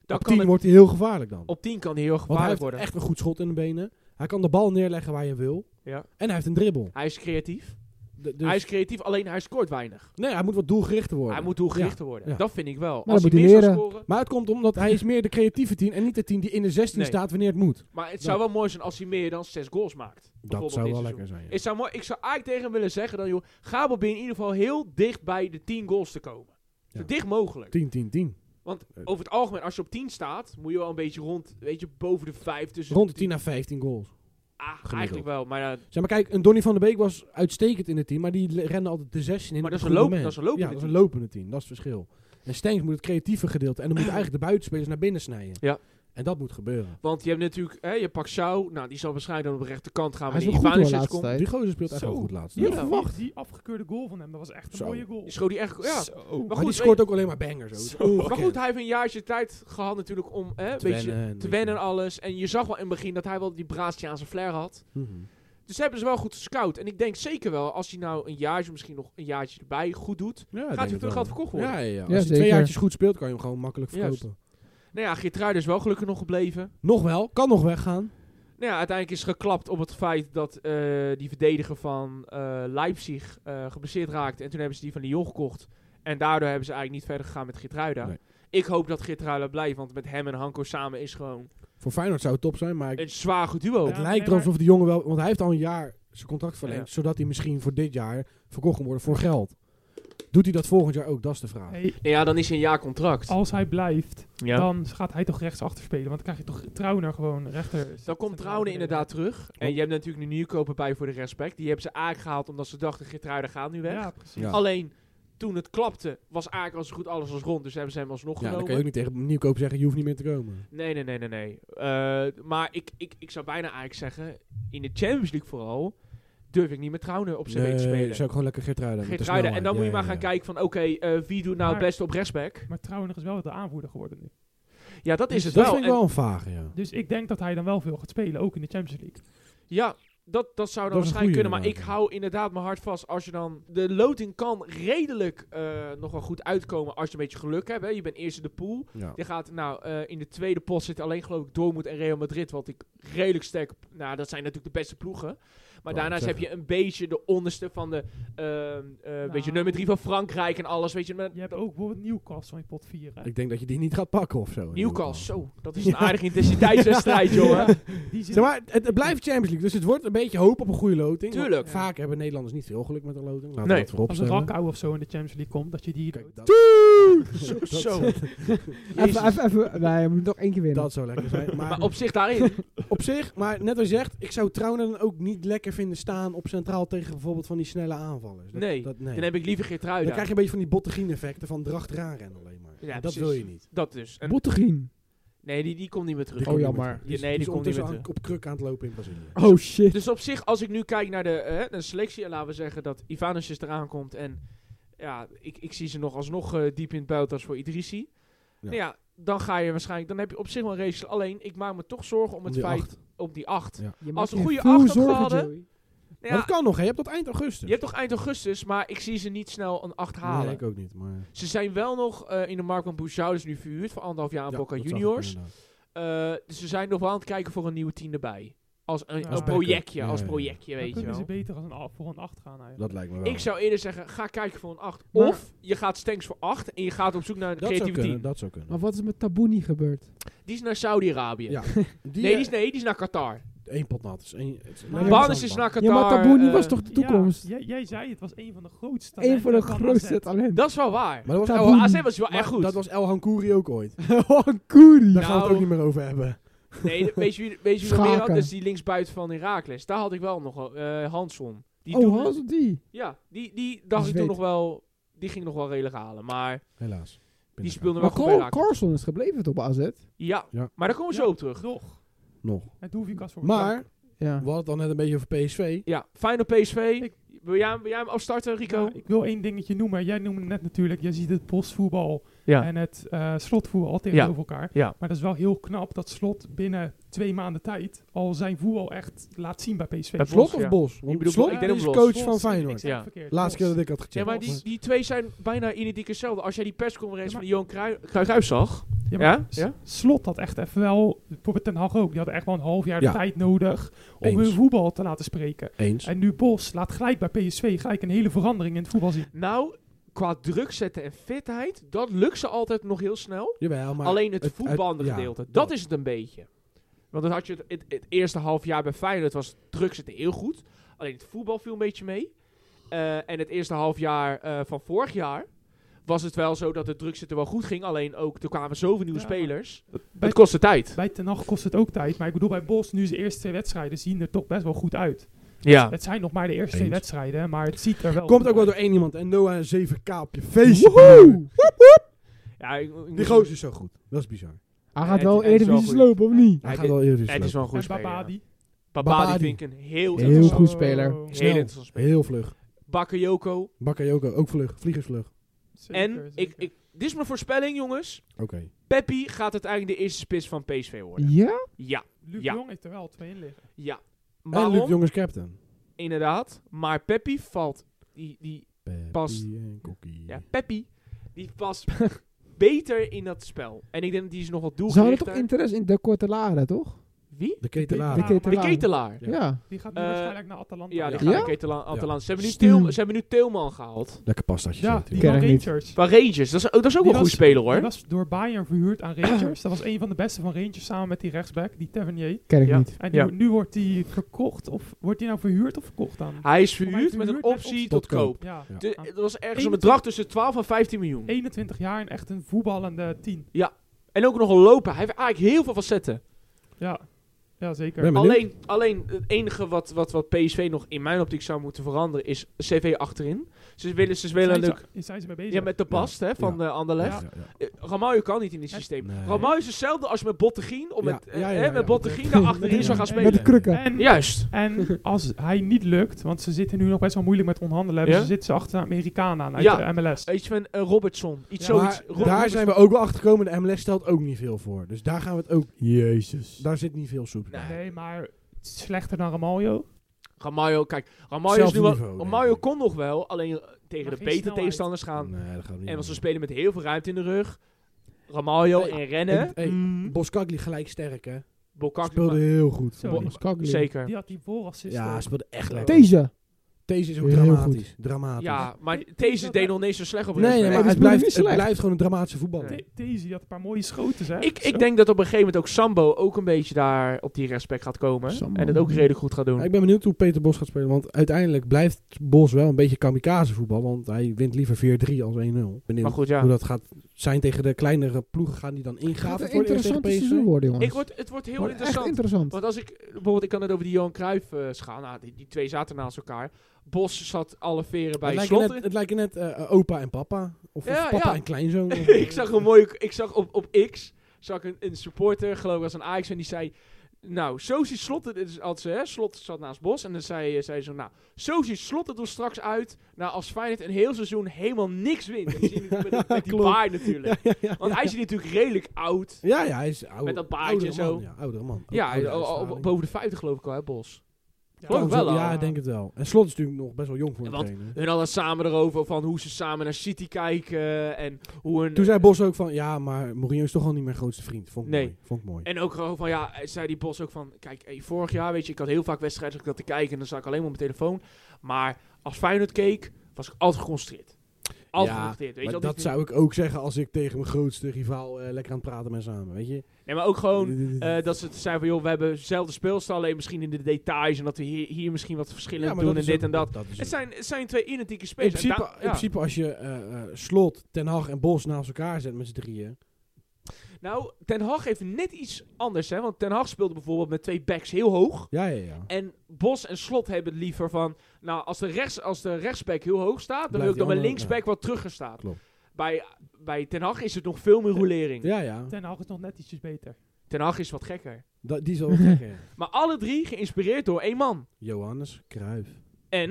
Speaker 2: op
Speaker 1: kan
Speaker 2: 10
Speaker 1: het,
Speaker 2: wordt hij heel gevaarlijk dan.
Speaker 1: op 10 kan hij heel
Speaker 2: Want hij
Speaker 1: gevaarlijk
Speaker 2: heeft
Speaker 1: worden.
Speaker 2: echt een goed schot in de benen. Hij kan de bal neerleggen waar je wil.
Speaker 1: Ja.
Speaker 2: En hij heeft een dribbel.
Speaker 1: Hij is creatief.
Speaker 2: D- dus-
Speaker 1: Hij is creatief, alleen hij scoort weinig.
Speaker 2: nee, hij moet wat doelgerichter worden.
Speaker 1: Hij moet doelgerichter worden.
Speaker 2: ja.
Speaker 1: Dat vind ik wel.
Speaker 3: dan
Speaker 1: Als hij
Speaker 3: moet
Speaker 1: meer
Speaker 3: hij
Speaker 1: zou
Speaker 3: leren.
Speaker 1: scoren.
Speaker 2: Maar het komt omdat hij is meer de creatieve tien en niet de tien die in de 16
Speaker 1: Nee.
Speaker 2: staat wanneer het moet.
Speaker 1: Maar het zou wel mooi zijn als hij meer dan 6 goals maakt.
Speaker 2: Dat
Speaker 1: Bijvoorbeeld
Speaker 2: zou
Speaker 1: dit
Speaker 2: wel
Speaker 1: seizoen.
Speaker 2: lekker zijn. ja.
Speaker 1: Ik zou, mooi, ik zou eigenlijk tegen hem willen zeggen dan, joh, Gabel ben in ieder geval heel dicht bij de 10 goals te komen. Zo
Speaker 2: Ja.
Speaker 1: dicht mogelijk.
Speaker 2: 10, 10, 10.
Speaker 1: Want over het algemeen, als je op 10 staat, moet je wel een beetje rond, weet je, boven de 5. Tussen
Speaker 2: Rond de 10 naar 15 goals.
Speaker 1: Ah,
Speaker 2: gemiddeld.
Speaker 1: eigenlijk wel. Maar, eh,
Speaker 2: Zeg maar kijk, een Donny van der Beek was uitstekend in het team, maar die le- rende altijd de 16 in.
Speaker 1: Maar
Speaker 2: op
Speaker 1: dat is een
Speaker 2: het goede
Speaker 1: loop-
Speaker 2: moment.
Speaker 1: dat is een lopende
Speaker 2: Ja, dat is een lopende team. Dat is het verschil. En Stengs moet het creatieve gedeelte en dan moet eigenlijk de buitenspelers naar binnen snijden.
Speaker 1: Ja.
Speaker 2: En dat moet gebeuren.
Speaker 1: want je hebt natuurlijk, hè, je pakt Sjouw. Nou, die zal waarschijnlijk dan op de rechterkant gaan.
Speaker 3: Hij is
Speaker 1: Wanneer
Speaker 3: wel goed hoor,
Speaker 1: Ivanisic
Speaker 3: laatste
Speaker 1: komt.
Speaker 3: tijd.
Speaker 2: Die gozer speelt echt
Speaker 4: Zo.
Speaker 2: wel goed laatst.
Speaker 1: Ja.
Speaker 4: Die-
Speaker 1: Ja.
Speaker 4: die, die afgekeurde goal van hem, dat was echt een
Speaker 2: Zo.
Speaker 4: mooie goal.
Speaker 1: Die schoot die echt, ja.
Speaker 4: Zo.
Speaker 1: Maar
Speaker 2: Maar
Speaker 1: goed,
Speaker 2: die scoort ook alleen maar bangers. hoor.
Speaker 1: Maar
Speaker 2: Ongekend.
Speaker 1: goed, hij heeft een jaartje tijd gehad natuurlijk om hè, een
Speaker 2: Te
Speaker 1: beetje
Speaker 2: wennen en-
Speaker 1: te wennen en alles. En je zag wel in het begin dat hij wel die Braziliaanse flair had.
Speaker 2: Mhm.
Speaker 1: Dus ze hebben ze wel goed gescout. En ik denk zeker wel, als hij nou een jaartje, misschien nog een jaartje erbij goed doet.
Speaker 2: Ja, ik
Speaker 1: hij
Speaker 2: denk
Speaker 1: voor
Speaker 2: het
Speaker 1: terug
Speaker 2: wel.
Speaker 1: geld verkocht worden?
Speaker 2: Ja, ja, ja. Als
Speaker 3: Ja,
Speaker 2: hij twee
Speaker 3: zeker.
Speaker 2: jaartjes goed speelt, kan je hem gewoon makkelijk
Speaker 1: Juist.
Speaker 2: verkopen.
Speaker 1: Nou ja, Geertruiden is wel gelukkig nog gebleven.
Speaker 2: Nog wel, kan nog weggaan.
Speaker 1: Nou ja, uiteindelijk is geklapt op het feit dat eh, die verdediger van eh, Leipzig eh, geblesseerd raakte. En toen hebben ze die van Lyon gekocht. En daardoor hebben ze eigenlijk niet verder gegaan met Geertruida.
Speaker 2: Nee.
Speaker 1: Ik hoop dat Geertruida blijft, want met hem en Hanko samen is gewoon
Speaker 2: Voor Feyenoord zou het top zijn, maar ik-
Speaker 1: een zwaar goed duo. Nou
Speaker 4: Ja.
Speaker 2: het lijkt
Speaker 4: nee,
Speaker 2: erop alsof de jongen wel... Want hij heeft al een jaar zijn contract verlengd,
Speaker 1: Ja.
Speaker 2: zodat hij misschien voor dit jaar verkocht kan worden voor geld. Doet hij dat volgend jaar ook? Dat is de vraag.
Speaker 4: Hey,
Speaker 1: Nou ja, dan is hij een jaar contract.
Speaker 4: als hij blijft,
Speaker 1: ja. dan,
Speaker 4: Oh. dan gaat hij toch rechtsachter spelen. Want dan krijg je toch Trouwner gewoon rechter.
Speaker 1: komt Trouwen inderdaad terug. En je hebt natuurlijk nu nieuwkoper bij voor de respect. Die hebben ze eigenlijk gehaald omdat ze dachten Geertruida gaat nu weg.
Speaker 4: Ja, precies.
Speaker 2: Ja.
Speaker 1: Alleen toen het klapte was eigenlijk als goed alles was rond. Dus hebben ze hem alsnog
Speaker 2: Ja, dan
Speaker 1: genomen.
Speaker 2: kan je ook niet tegen Nieuwkoop zeggen, je hoeft niet meer te komen.
Speaker 1: Nee, nee, nee, nee, nee. Eh, maar ik, ik, ik zou bijna eigenlijk zeggen, in de Champions League vooral, durf ik niet met Trouwen op zijn
Speaker 2: Nee,
Speaker 1: week te spelen.
Speaker 2: zou ik gewoon lekker Geertruiden. met de
Speaker 1: Geertruiden. En dan moet je maar
Speaker 2: snelheid.
Speaker 1: gaan
Speaker 2: Ja, ja,
Speaker 1: kijken van, oké, eh, wie doet nou het
Speaker 4: Maar-
Speaker 1: beste op rechtsback?
Speaker 4: Maar Trouwner is wel de aanvoerder geworden nu.
Speaker 1: Ja, dat is
Speaker 2: ja.
Speaker 1: het
Speaker 2: Dus Dat
Speaker 1: wel.
Speaker 2: vind ik
Speaker 1: En
Speaker 2: wel een vage, ja.
Speaker 4: Dus ik denk dat hij dan wel veel gaat spelen, ook in de Champions League.
Speaker 1: Ja, dat, dat zou dan
Speaker 2: Dat is een
Speaker 1: waarschijnlijk
Speaker 2: goeie
Speaker 1: kunnen. Maar ik
Speaker 2: inderdaad,
Speaker 1: hou inderdaad mijn hart vast als je dan... De loting kan redelijk eh, nog wel goed uitkomen als je een beetje geluk hebt. Hè. Je bent eerst in de pool.
Speaker 2: ja.
Speaker 1: Die gaat, nou, eh, in de tweede pot zitten alleen geloof ik Dortmund en Real Madrid. Wat ik redelijk sterk... Nou, dat zijn natuurlijk de beste ploegen. Maar
Speaker 2: Wou
Speaker 1: daarnaast
Speaker 2: ik
Speaker 1: heb je
Speaker 2: zeggen.
Speaker 1: een beetje de onderste van de... ehm, eh, Weet je, nummer drie van Frankrijk en alles. Weet je, maar
Speaker 4: Je hebt ook bijvoorbeeld Newcastle in pot 4. hè.
Speaker 2: Ik denk dat je die niet gaat pakken of zo.
Speaker 1: Newcastle, zo. Dat is een aardige intensiteitswedstrijd, jongen.
Speaker 4: Die zit
Speaker 2: Zeg maar, het, het blijft Champions League, dus het wordt een beetje hoop op een goede loting. Want
Speaker 1: Tuurlijk.
Speaker 2: Vaak hebben Nederlanders niet veel geluk met een loting. Laten
Speaker 1: Nee.
Speaker 2: we dat voorop
Speaker 4: als een
Speaker 2: stellen.
Speaker 4: Rakkou of zo in de Champions League komt, dat je die...
Speaker 2: Kijk, dat,
Speaker 1: Zo,
Speaker 2: Dat-
Speaker 1: zo.
Speaker 3: Even, even, even. Nee, je moet nog één keer winnen.
Speaker 2: dat zou lekker zijn. Maar,
Speaker 1: Maar
Speaker 2: op,
Speaker 1: op zich daarin...
Speaker 2: zich, maar net als je zegt, ik zou Trouwner dan ook niet lekker vinden staan op centraal tegen bijvoorbeeld van die snelle aanvallers. Dat,
Speaker 1: Nee,
Speaker 2: dat, nee.
Speaker 1: Dan heb ik liever Geertruida.
Speaker 2: Dan krijg je een beetje van die Bottegien-effecten van dracht rennen alleen maar.
Speaker 1: Ja,
Speaker 2: En dat
Speaker 1: precies.
Speaker 2: wil je niet.
Speaker 1: Dat dus. En
Speaker 3: Bottegien.
Speaker 1: nee, die, die komt niet meer terug.
Speaker 3: Oh, jammer.
Speaker 1: Ja, nee, die komt niet
Speaker 2: is
Speaker 1: meer
Speaker 2: ondertussen
Speaker 1: terug.
Speaker 2: aan- op kruk aan het lopen in Brazilië.
Speaker 3: Oh shit.
Speaker 1: Dus op zich, als ik nu kijk naar de, eh, de selectie, en laten we zeggen dat Ivanusjes eraan komt. En ja, ik, ik zie ze nog alsnog eh, diep in het buiten als voor Idrissi. Nou ja, dan ga je waarschijnlijk, dan heb je op zich wel een race. Alleen, ik maak me toch zorgen om het
Speaker 2: Die
Speaker 1: feit
Speaker 2: acht.
Speaker 1: op die 8.
Speaker 2: Ja.
Speaker 3: Je
Speaker 1: Als
Speaker 3: maakt
Speaker 1: een
Speaker 3: je
Speaker 1: goede
Speaker 3: veel
Speaker 1: acht had
Speaker 3: zorgen,
Speaker 1: gehouden-
Speaker 3: Joey.
Speaker 1: Nou
Speaker 2: Maar
Speaker 1: ja,
Speaker 2: dat kan nog, hè? je hebt tot eind augustus.
Speaker 1: je hebt toch eind augustus, maar ik zie ze niet snel een 8 halen.
Speaker 2: Nee, ik ook niet. Maar
Speaker 1: Ze zijn wel nog eh, in de markt van Bouchard, dus nu verhuurd voor anderhalf jaar aan
Speaker 2: Ja,
Speaker 1: Boca
Speaker 2: dat zag ik
Speaker 1: Juniors.
Speaker 2: inderdaad.
Speaker 1: Eh, dus ze zijn nog wel aan het kijken voor een nieuwe tien erbij. Als een,
Speaker 4: Ja.
Speaker 1: een
Speaker 4: Als
Speaker 1: projectje,
Speaker 2: backup.
Speaker 1: als
Speaker 2: Ja, ja, ja.
Speaker 1: projectje,
Speaker 4: Dan
Speaker 1: weet je
Speaker 4: kunnen ze
Speaker 1: wel.
Speaker 4: beter als een, a- voor een 8 gaan eigenlijk.
Speaker 2: Dat lijkt me wel.
Speaker 1: Ik zou eerder zeggen, ga kijken voor een 8.
Speaker 3: Maar-
Speaker 1: Of je gaat Stanks voor 8 en je gaat op zoek naar een
Speaker 2: dat zou
Speaker 1: creatieve
Speaker 2: kunnen,
Speaker 1: 10.
Speaker 2: dat zou kunnen.
Speaker 3: Maar wat is met Tabouni gebeurd?
Speaker 1: Die eh, is naar Saudi-Arabië.
Speaker 2: Ja. eh,
Speaker 1: Nee, die is, nee, die is naar Qatar.
Speaker 2: één pot nat. Dus één, het is
Speaker 4: Maar-
Speaker 2: een
Speaker 1: Barnes is
Speaker 2: zandbak.
Speaker 1: naar Qatar.
Speaker 3: Ja, maar Taboer die
Speaker 1: eh,
Speaker 3: was toch de toekomst?
Speaker 4: Ja, jij, jij zei het was een van de grootste talenten
Speaker 3: Eén van de
Speaker 4: AZ.
Speaker 3: grootste talenten.
Speaker 1: Dat is wel waar.
Speaker 2: Maar dat was,
Speaker 3: Taboer.
Speaker 2: El,
Speaker 1: Oh, AZ was wel
Speaker 2: maar
Speaker 1: echt goed.
Speaker 2: dat was El Hankouri ook ooit. Daar
Speaker 3: Hankouri.
Speaker 1: Nou,
Speaker 2: gaan we het ook niet meer over hebben.
Speaker 1: Nee, de- weet je wie, weet je wie nog meer had?
Speaker 3: Schaken.
Speaker 1: Dus die linksbuiten van Herakles. Daar had ik wel nog wel eh, Hanson. Die
Speaker 3: Oh,
Speaker 1: toen-
Speaker 3: Hans, die.
Speaker 1: Ja, die, die dacht
Speaker 3: Die
Speaker 1: ik toen
Speaker 3: zweet.
Speaker 1: nog wel... Die ging nog wel redelijk halen. Maar
Speaker 2: Helaas.
Speaker 1: die speelde wel
Speaker 3: Maar
Speaker 1: goed bij
Speaker 3: Carl,
Speaker 1: Herakles.
Speaker 3: Carlson is gebleven toch bij AZ?
Speaker 1: Ja,
Speaker 2: Ja.
Speaker 1: maar daar komen we zo
Speaker 4: Ja.
Speaker 1: op terug.
Speaker 4: Toch.
Speaker 2: Nog.
Speaker 4: Het hoef ik als voor
Speaker 2: Maar, we
Speaker 3: Ja.
Speaker 2: hadden het dan net een beetje over PSV.
Speaker 1: Ja, Feyenoid PSV.
Speaker 4: Ik-
Speaker 1: wil, jij, wil jij hem afstarten, Rico?
Speaker 4: Ja, ik wil één dingetje noemen. Jij noemde net natuurlijk, jij ziet het bosvoetbal
Speaker 1: Ja.
Speaker 4: en het eh, slotvoetbal tegenover elkaar.
Speaker 1: Ja.
Speaker 4: Maar dat is wel heel knap dat slot binnen twee maanden tijd al zijn voetbal echt laat zien bij PSV.
Speaker 1: Bij
Speaker 2: Slot
Speaker 1: Bos, ja.
Speaker 2: of Bos?
Speaker 1: Ik
Speaker 2: Want
Speaker 1: bedoel,
Speaker 2: Slot
Speaker 1: ik denk
Speaker 2: is
Speaker 1: Bos.
Speaker 2: coach
Speaker 4: Bos,
Speaker 2: van
Speaker 4: Ik
Speaker 2: Feyenoord.
Speaker 4: zei
Speaker 1: Ja.
Speaker 4: het verkeerd.
Speaker 2: Laatste keer
Speaker 4: Bos.
Speaker 2: dat ik had gecheckt.
Speaker 1: Ja, maar die,
Speaker 4: Bos.
Speaker 1: die twee zijn bijna identiek hetzelfde. Als jij die persconferentie
Speaker 4: Ja, maar-
Speaker 1: van Johan Cruij- Cruijff zag...
Speaker 4: Ja,
Speaker 1: Ja?
Speaker 4: maar S- Slot had echt even wel, bijvoorbeeld Ten Hag ook, die had echt wel een half jaar de
Speaker 2: Ja.
Speaker 4: tijd nodig om
Speaker 2: Eens.
Speaker 4: hun voetbal te laten spreken.
Speaker 2: Eens.
Speaker 4: En nu Bos laat gelijk bij PSV gelijk een hele verandering in het voetbal zien.
Speaker 1: Nou, qua druk zetten en fitheid... Dat lukt ze altijd nog heel snel.
Speaker 2: Jawel, maar...
Speaker 1: Alleen het,
Speaker 2: het-
Speaker 1: voetballende
Speaker 2: het- ja,
Speaker 1: gedeelte,
Speaker 2: dat-
Speaker 1: dat is het een beetje. Want dan had je het, het, het eerste half jaar bij Feyenoord was druk zitten heel goed. Alleen het voetbal viel een beetje mee. Eh, en het eerste half jaar eh, van vorig jaar was het wel zo dat het druk zitten wel goed ging. Alleen ook, er kwamen zoveel nieuwe
Speaker 4: Ja.
Speaker 1: spelers.
Speaker 4: Bij,
Speaker 1: het kostte tijd.
Speaker 4: bij Ten Hag kost het ook tijd, maar ik bedoel bij Bos nu zijn eerste twee wedstrijden zien er toch best wel goed uit.
Speaker 1: Ja.
Speaker 4: Het zijn nog maar de eerste twee
Speaker 2: Eens.
Speaker 4: wedstrijden, maar het ziet er wel
Speaker 2: Komt
Speaker 4: goed
Speaker 2: ook wel
Speaker 4: uit.
Speaker 2: door één iemand. En Noah 7K op je feestje. broer.
Speaker 1: ja ik- ik-
Speaker 2: Die gozer is zo goed. Dat is bizar.
Speaker 3: Hij
Speaker 1: Ja,
Speaker 3: gaat
Speaker 1: het-
Speaker 3: wel
Speaker 1: hij is
Speaker 3: eerder
Speaker 1: wel
Speaker 3: wie
Speaker 1: goed.
Speaker 3: slopen, of niet?
Speaker 2: Hij
Speaker 1: Hij
Speaker 2: gaat
Speaker 1: dit-
Speaker 2: wel eerder
Speaker 1: Het is
Speaker 2: slaan.
Speaker 1: wel een goede
Speaker 4: En
Speaker 1: speler. Babadi,
Speaker 4: Babadi.
Speaker 2: Babadi.
Speaker 1: vind ik een heel
Speaker 3: Heel
Speaker 1: interessant
Speaker 3: goed speler.
Speaker 1: Heel
Speaker 2: Snel.
Speaker 1: interessant speler.
Speaker 2: Heel vlug.
Speaker 1: Bakayoko.
Speaker 2: Bakayoko, ook vlug. Vliegersvlug.
Speaker 4: Zeker,
Speaker 1: En ik,
Speaker 4: zeker.
Speaker 1: ik, dit is mijn voorspelling, jongens.
Speaker 2: Oké.
Speaker 1: Peppi gaat uiteindelijk de eerste spits van PSV worden.
Speaker 3: Ja?
Speaker 1: Ja,
Speaker 4: Luc
Speaker 1: ja.
Speaker 4: Jong heeft er wel twee in liggen.
Speaker 1: ja.
Speaker 2: En Luc
Speaker 1: Waarom?
Speaker 2: Jongens captain.
Speaker 1: Inderdaad. Maar Peppi valt... Die, die,
Speaker 2: Peppy
Speaker 1: Past.
Speaker 2: en Kokkie.
Speaker 1: ja, Peppi, die past beter in dat spel. En ik denk dat die is nog wat
Speaker 3: Ze hadden
Speaker 1: doelgerichter.
Speaker 3: toch interesse in de Cortelare, toch?
Speaker 1: Wie?
Speaker 2: De ketelaar.
Speaker 4: De
Speaker 1: De
Speaker 4: Ketelaar.
Speaker 1: ketelaar.
Speaker 2: Ja.
Speaker 3: Ja.
Speaker 4: Die gaat nu
Speaker 1: Eh,
Speaker 4: waarschijnlijk naar Atalanta.
Speaker 1: Ja, die
Speaker 2: Ja.
Speaker 1: gaan
Speaker 3: Ja?
Speaker 1: de ketelaar. Atalanta. Ze, hebben nu
Speaker 3: Stuur.
Speaker 1: Teel- ze hebben nu Tilman gehaald.
Speaker 2: Lekker pastatjes.
Speaker 4: Ja,
Speaker 2: natuurlijk.
Speaker 4: die
Speaker 3: Ken
Speaker 4: van
Speaker 3: ik niet.
Speaker 4: Rangers.
Speaker 1: Van Rangers. Dat is, ook- dat is ook wel een
Speaker 4: was-
Speaker 1: goede speler
Speaker 4: Die
Speaker 1: hoor.
Speaker 4: was door Bayern verhuurd aan Rangers. Dat was een van de beste van Rangers samen met die rechtsback, die Tavernier.
Speaker 3: Ken ik
Speaker 1: Ja.
Speaker 3: niet.
Speaker 4: En
Speaker 1: Ja.
Speaker 4: nu, nu wordt die verkocht, of wordt die nou verhuurd of verkocht aan?
Speaker 1: Hij is
Speaker 4: Hij
Speaker 1: verhuurd
Speaker 4: is
Speaker 1: met een
Speaker 4: verhuurd met
Speaker 1: optie
Speaker 4: optie
Speaker 1: tot
Speaker 2: tot koop.
Speaker 1: koop.
Speaker 4: Ja,
Speaker 2: Ja.
Speaker 1: Ah. De-
Speaker 4: Aan
Speaker 1: Het was ergens een bedrag tussen 12 en 15 miljoen.
Speaker 4: 21 jaar en echt een voetballende tien.
Speaker 1: En ook nog een loper. Hij heeft eigenlijk heel veel facetten.
Speaker 4: Ja, ja zeker.
Speaker 2: Ben benieuwd.
Speaker 1: Alleen, alleen het enige wat, wat, wat PSV nog in mijn optiek zou moeten veranderen is CV achterin. Ze willen, ze willen
Speaker 4: zijn,
Speaker 1: natuurlijk.
Speaker 4: ze, zijn ze mee bezig?
Speaker 1: Ja, met de past hè, van eh Anderlecht.
Speaker 2: Ja, ja.
Speaker 1: Eh, Ramaljo kan niet in dit systeem.
Speaker 2: Nee.
Speaker 1: Ramaljo is hetzelfde als met Bottegien. Om
Speaker 2: Ja,
Speaker 1: met, eh,
Speaker 2: ja, ja,
Speaker 1: hè,
Speaker 2: ja,
Speaker 1: met
Speaker 2: ja.
Speaker 1: Bottegien daar achterin
Speaker 4: Ja.
Speaker 1: zou gaan
Speaker 4: Ja.
Speaker 1: spelen.
Speaker 3: Met de krukken.
Speaker 4: En,
Speaker 1: Juist.
Speaker 4: en als hij niet lukt, want ze zitten nu nog best wel moeilijk met onderhandelen, hebben
Speaker 1: Ja?
Speaker 4: ze zitten ze achter de Amerikanen aan uit
Speaker 1: Ja.
Speaker 4: de MLS.
Speaker 1: Iets van eh, Robertson. Iets
Speaker 4: Ja.
Speaker 1: zoiets.
Speaker 2: Maar
Speaker 1: Ro-
Speaker 2: daar zijn we ook wel achter gekomen. De MLS stelt ook niet veel voor. Dus daar gaan we het ook.
Speaker 3: Jezus.
Speaker 2: Daar zit niet veel soep.
Speaker 1: Nee.
Speaker 4: Nee, maar slechter dan Ramaljo.
Speaker 1: Ramaljo, kijk. Ramaljo, is
Speaker 2: Hetzelfde
Speaker 1: nu wel,
Speaker 2: niveau, denk
Speaker 1: Ramaljo
Speaker 2: ik.
Speaker 1: kon nog wel. Alleen eh, tegen
Speaker 4: Maar
Speaker 1: de
Speaker 4: geen
Speaker 1: betere
Speaker 4: snelheid.
Speaker 1: tegenstanders gaan.
Speaker 2: Nee, dat gaan we niet.
Speaker 1: En want
Speaker 2: doen.
Speaker 1: ze spelen met heel veel ruimte in de rug. Ramaljo
Speaker 2: Hey,
Speaker 1: en rennen.
Speaker 2: ik- hey,
Speaker 1: Mm.
Speaker 2: Boskagli gelijk sterk, hè?
Speaker 1: Bokak-
Speaker 2: Speelde heel goed.
Speaker 4: Zo.
Speaker 1: Bo- Zeker.
Speaker 4: Die had die voorassist.
Speaker 2: Ja, hij
Speaker 4: ook.
Speaker 2: speelde echt lekker.
Speaker 3: Deze.
Speaker 2: Deze is ook
Speaker 3: Heel
Speaker 2: dramatisch. Dramatisch.
Speaker 1: Ja, maar
Speaker 4: Ik-
Speaker 1: deze
Speaker 4: ik-
Speaker 1: deed nog niet zo slecht op
Speaker 2: Nee, nee,
Speaker 1: ons.
Speaker 2: maar
Speaker 3: die
Speaker 2: het
Speaker 3: speelde
Speaker 2: blijft,
Speaker 3: niet
Speaker 2: het
Speaker 3: slecht.
Speaker 2: blijft gewoon een dramatische voetballer.
Speaker 1: Nee.
Speaker 4: Te- Daisy had een paar mooie schoten, zeg.
Speaker 1: Ik,
Speaker 4: Zo.
Speaker 1: ik denk dat op een gegeven moment ook Sambo ook een beetje daar op die respect gaat komen.
Speaker 3: Sambo.
Speaker 1: En het ook redelijk goed gaat doen.
Speaker 2: Ja, ik ben benieuwd hoe Peter Bos gaat spelen. Want uiteindelijk blijft Bos wel een beetje kamikaze voetbal. Want hij wint liever 4-3 als 1-0. Benieuwd
Speaker 1: maar goed,
Speaker 2: hoe
Speaker 1: ja.
Speaker 2: dat gaat zijn tegen de kleinere ploegen. Gaan die dan
Speaker 3: Het gaat
Speaker 2: ingraven
Speaker 3: een
Speaker 2: voor het eerst tegen
Speaker 3: interessant
Speaker 2: PSV?
Speaker 3: seizoen worden, jongens.
Speaker 1: Ik word, het wordt heel
Speaker 3: Wordt
Speaker 1: interessant.
Speaker 3: Echt interessant.
Speaker 1: Want als ik, bijvoorbeeld, ik kan het over die Johan Cruijff eh schaal. Nou, die, die twee zaten naast elkaar. Bos zat alle veren bij
Speaker 2: het, lijken
Speaker 1: slot.
Speaker 2: net, het lijken net eh, eh, opa en papa. Of, of
Speaker 1: Ja,
Speaker 2: papa
Speaker 1: ja.
Speaker 2: en kleinzoon. Of-
Speaker 1: ik zag een mooie, ik zag op, op X, zag ik een, een supporter, geloof ik was een Ajax, en die zei, nou, zo ziet Slot, het dit is altijd ze, hè, Slot zat naast Bos, en dan zei, eh, zei ze, nou, zo ziet Slot het er straks uit, nou, als Feyenoord een heel seizoen helemaal niks wint. En dan zie je natuurlijk met, met die
Speaker 2: Klopt.
Speaker 1: baard natuurlijk.
Speaker 2: ja, ja,
Speaker 1: Want hij is natuurlijk redelijk oud.
Speaker 2: ja, ja, hij is oude,
Speaker 1: Met dat baardje
Speaker 2: oudere
Speaker 1: en zo.
Speaker 2: Man, ja, oudere man. Ook
Speaker 1: Ja, oh,
Speaker 2: oudere
Speaker 1: al- al-
Speaker 2: uitstraling.
Speaker 1: boven de 50 geloof ik al, hè, Bos.
Speaker 4: Ja,
Speaker 1: Geloof ik wel,
Speaker 2: Ja,
Speaker 1: al.
Speaker 2: ik denk het wel. En Slot is natuurlijk nog best wel jong voor een
Speaker 1: Want-
Speaker 2: trainer.
Speaker 1: Hun hadden het samen erover van hoe ze samen naar City kijken en hoe hun...
Speaker 2: Toen zei Bos ook van, ja, maar Mourinho is toch al niet mijn grootste vriend. Vond ik
Speaker 1: Nee.
Speaker 2: mooi. Vond ik mooi.
Speaker 1: En ook gewoon van, ja, zei die Bos ook van... Kijk, hey, vorig jaar, weet je, ik had heel vaak wedstrijden dat ik dat te kijken... en dan zat ik alleen maar op mijn telefoon. Maar als Feyenoord keek, was ik altijd geconcentreerd. Al
Speaker 2: Ja,
Speaker 1: gereflecteerd, weet je
Speaker 2: Maar
Speaker 1: wel.
Speaker 2: dat
Speaker 1: Niet-
Speaker 2: zou ik ook zeggen als ik tegen mijn grootste rivaal eh, lekker aan het praten ben samen, weet je?
Speaker 1: Nee, maar ook gewoon
Speaker 2: Ja,
Speaker 1: eh, dat ze zeiden van, joh, we hebben dezelfde speelstijl, alleen misschien in de details. En dat we hier, hier misschien wat verschillend
Speaker 2: maar
Speaker 1: doen en
Speaker 2: is
Speaker 1: dit
Speaker 2: ook-
Speaker 1: en dat.
Speaker 2: is ook-
Speaker 1: Het zijn, het zijn twee identieke
Speaker 2: in
Speaker 1: spelers. En
Speaker 2: principe,
Speaker 1: daar-
Speaker 2: in
Speaker 1: ja.
Speaker 2: principe als je eh, eh, Slot, Ten Hag en Bos naast elkaar zet met z'n drieën.
Speaker 1: Nou, Ten Hag heeft net iets anders, hè. Want Ten Hag speelde bijvoorbeeld met twee backs heel hoog.
Speaker 2: Ja, ja, ja.
Speaker 1: En Bos en Slot hebben het liever van... Nou, als de, rechts, als de rechtsback heel hoog staat... dan
Speaker 2: Blijft
Speaker 1: wil ik
Speaker 2: die
Speaker 1: dat mijn
Speaker 2: andere-
Speaker 1: linksback wat terugger staat.
Speaker 2: Klopt.
Speaker 1: Bij, bij Ten Hag is het nog veel meer rolering.
Speaker 2: Ja, ja.
Speaker 4: Ten Hag is nog net ietsjes beter.
Speaker 1: Ten Hag is wat gekker.
Speaker 2: Da- die zal wel zeggen.
Speaker 1: Maar alle drie geïnspireerd door één man.
Speaker 2: Johannes Cruijff.
Speaker 1: En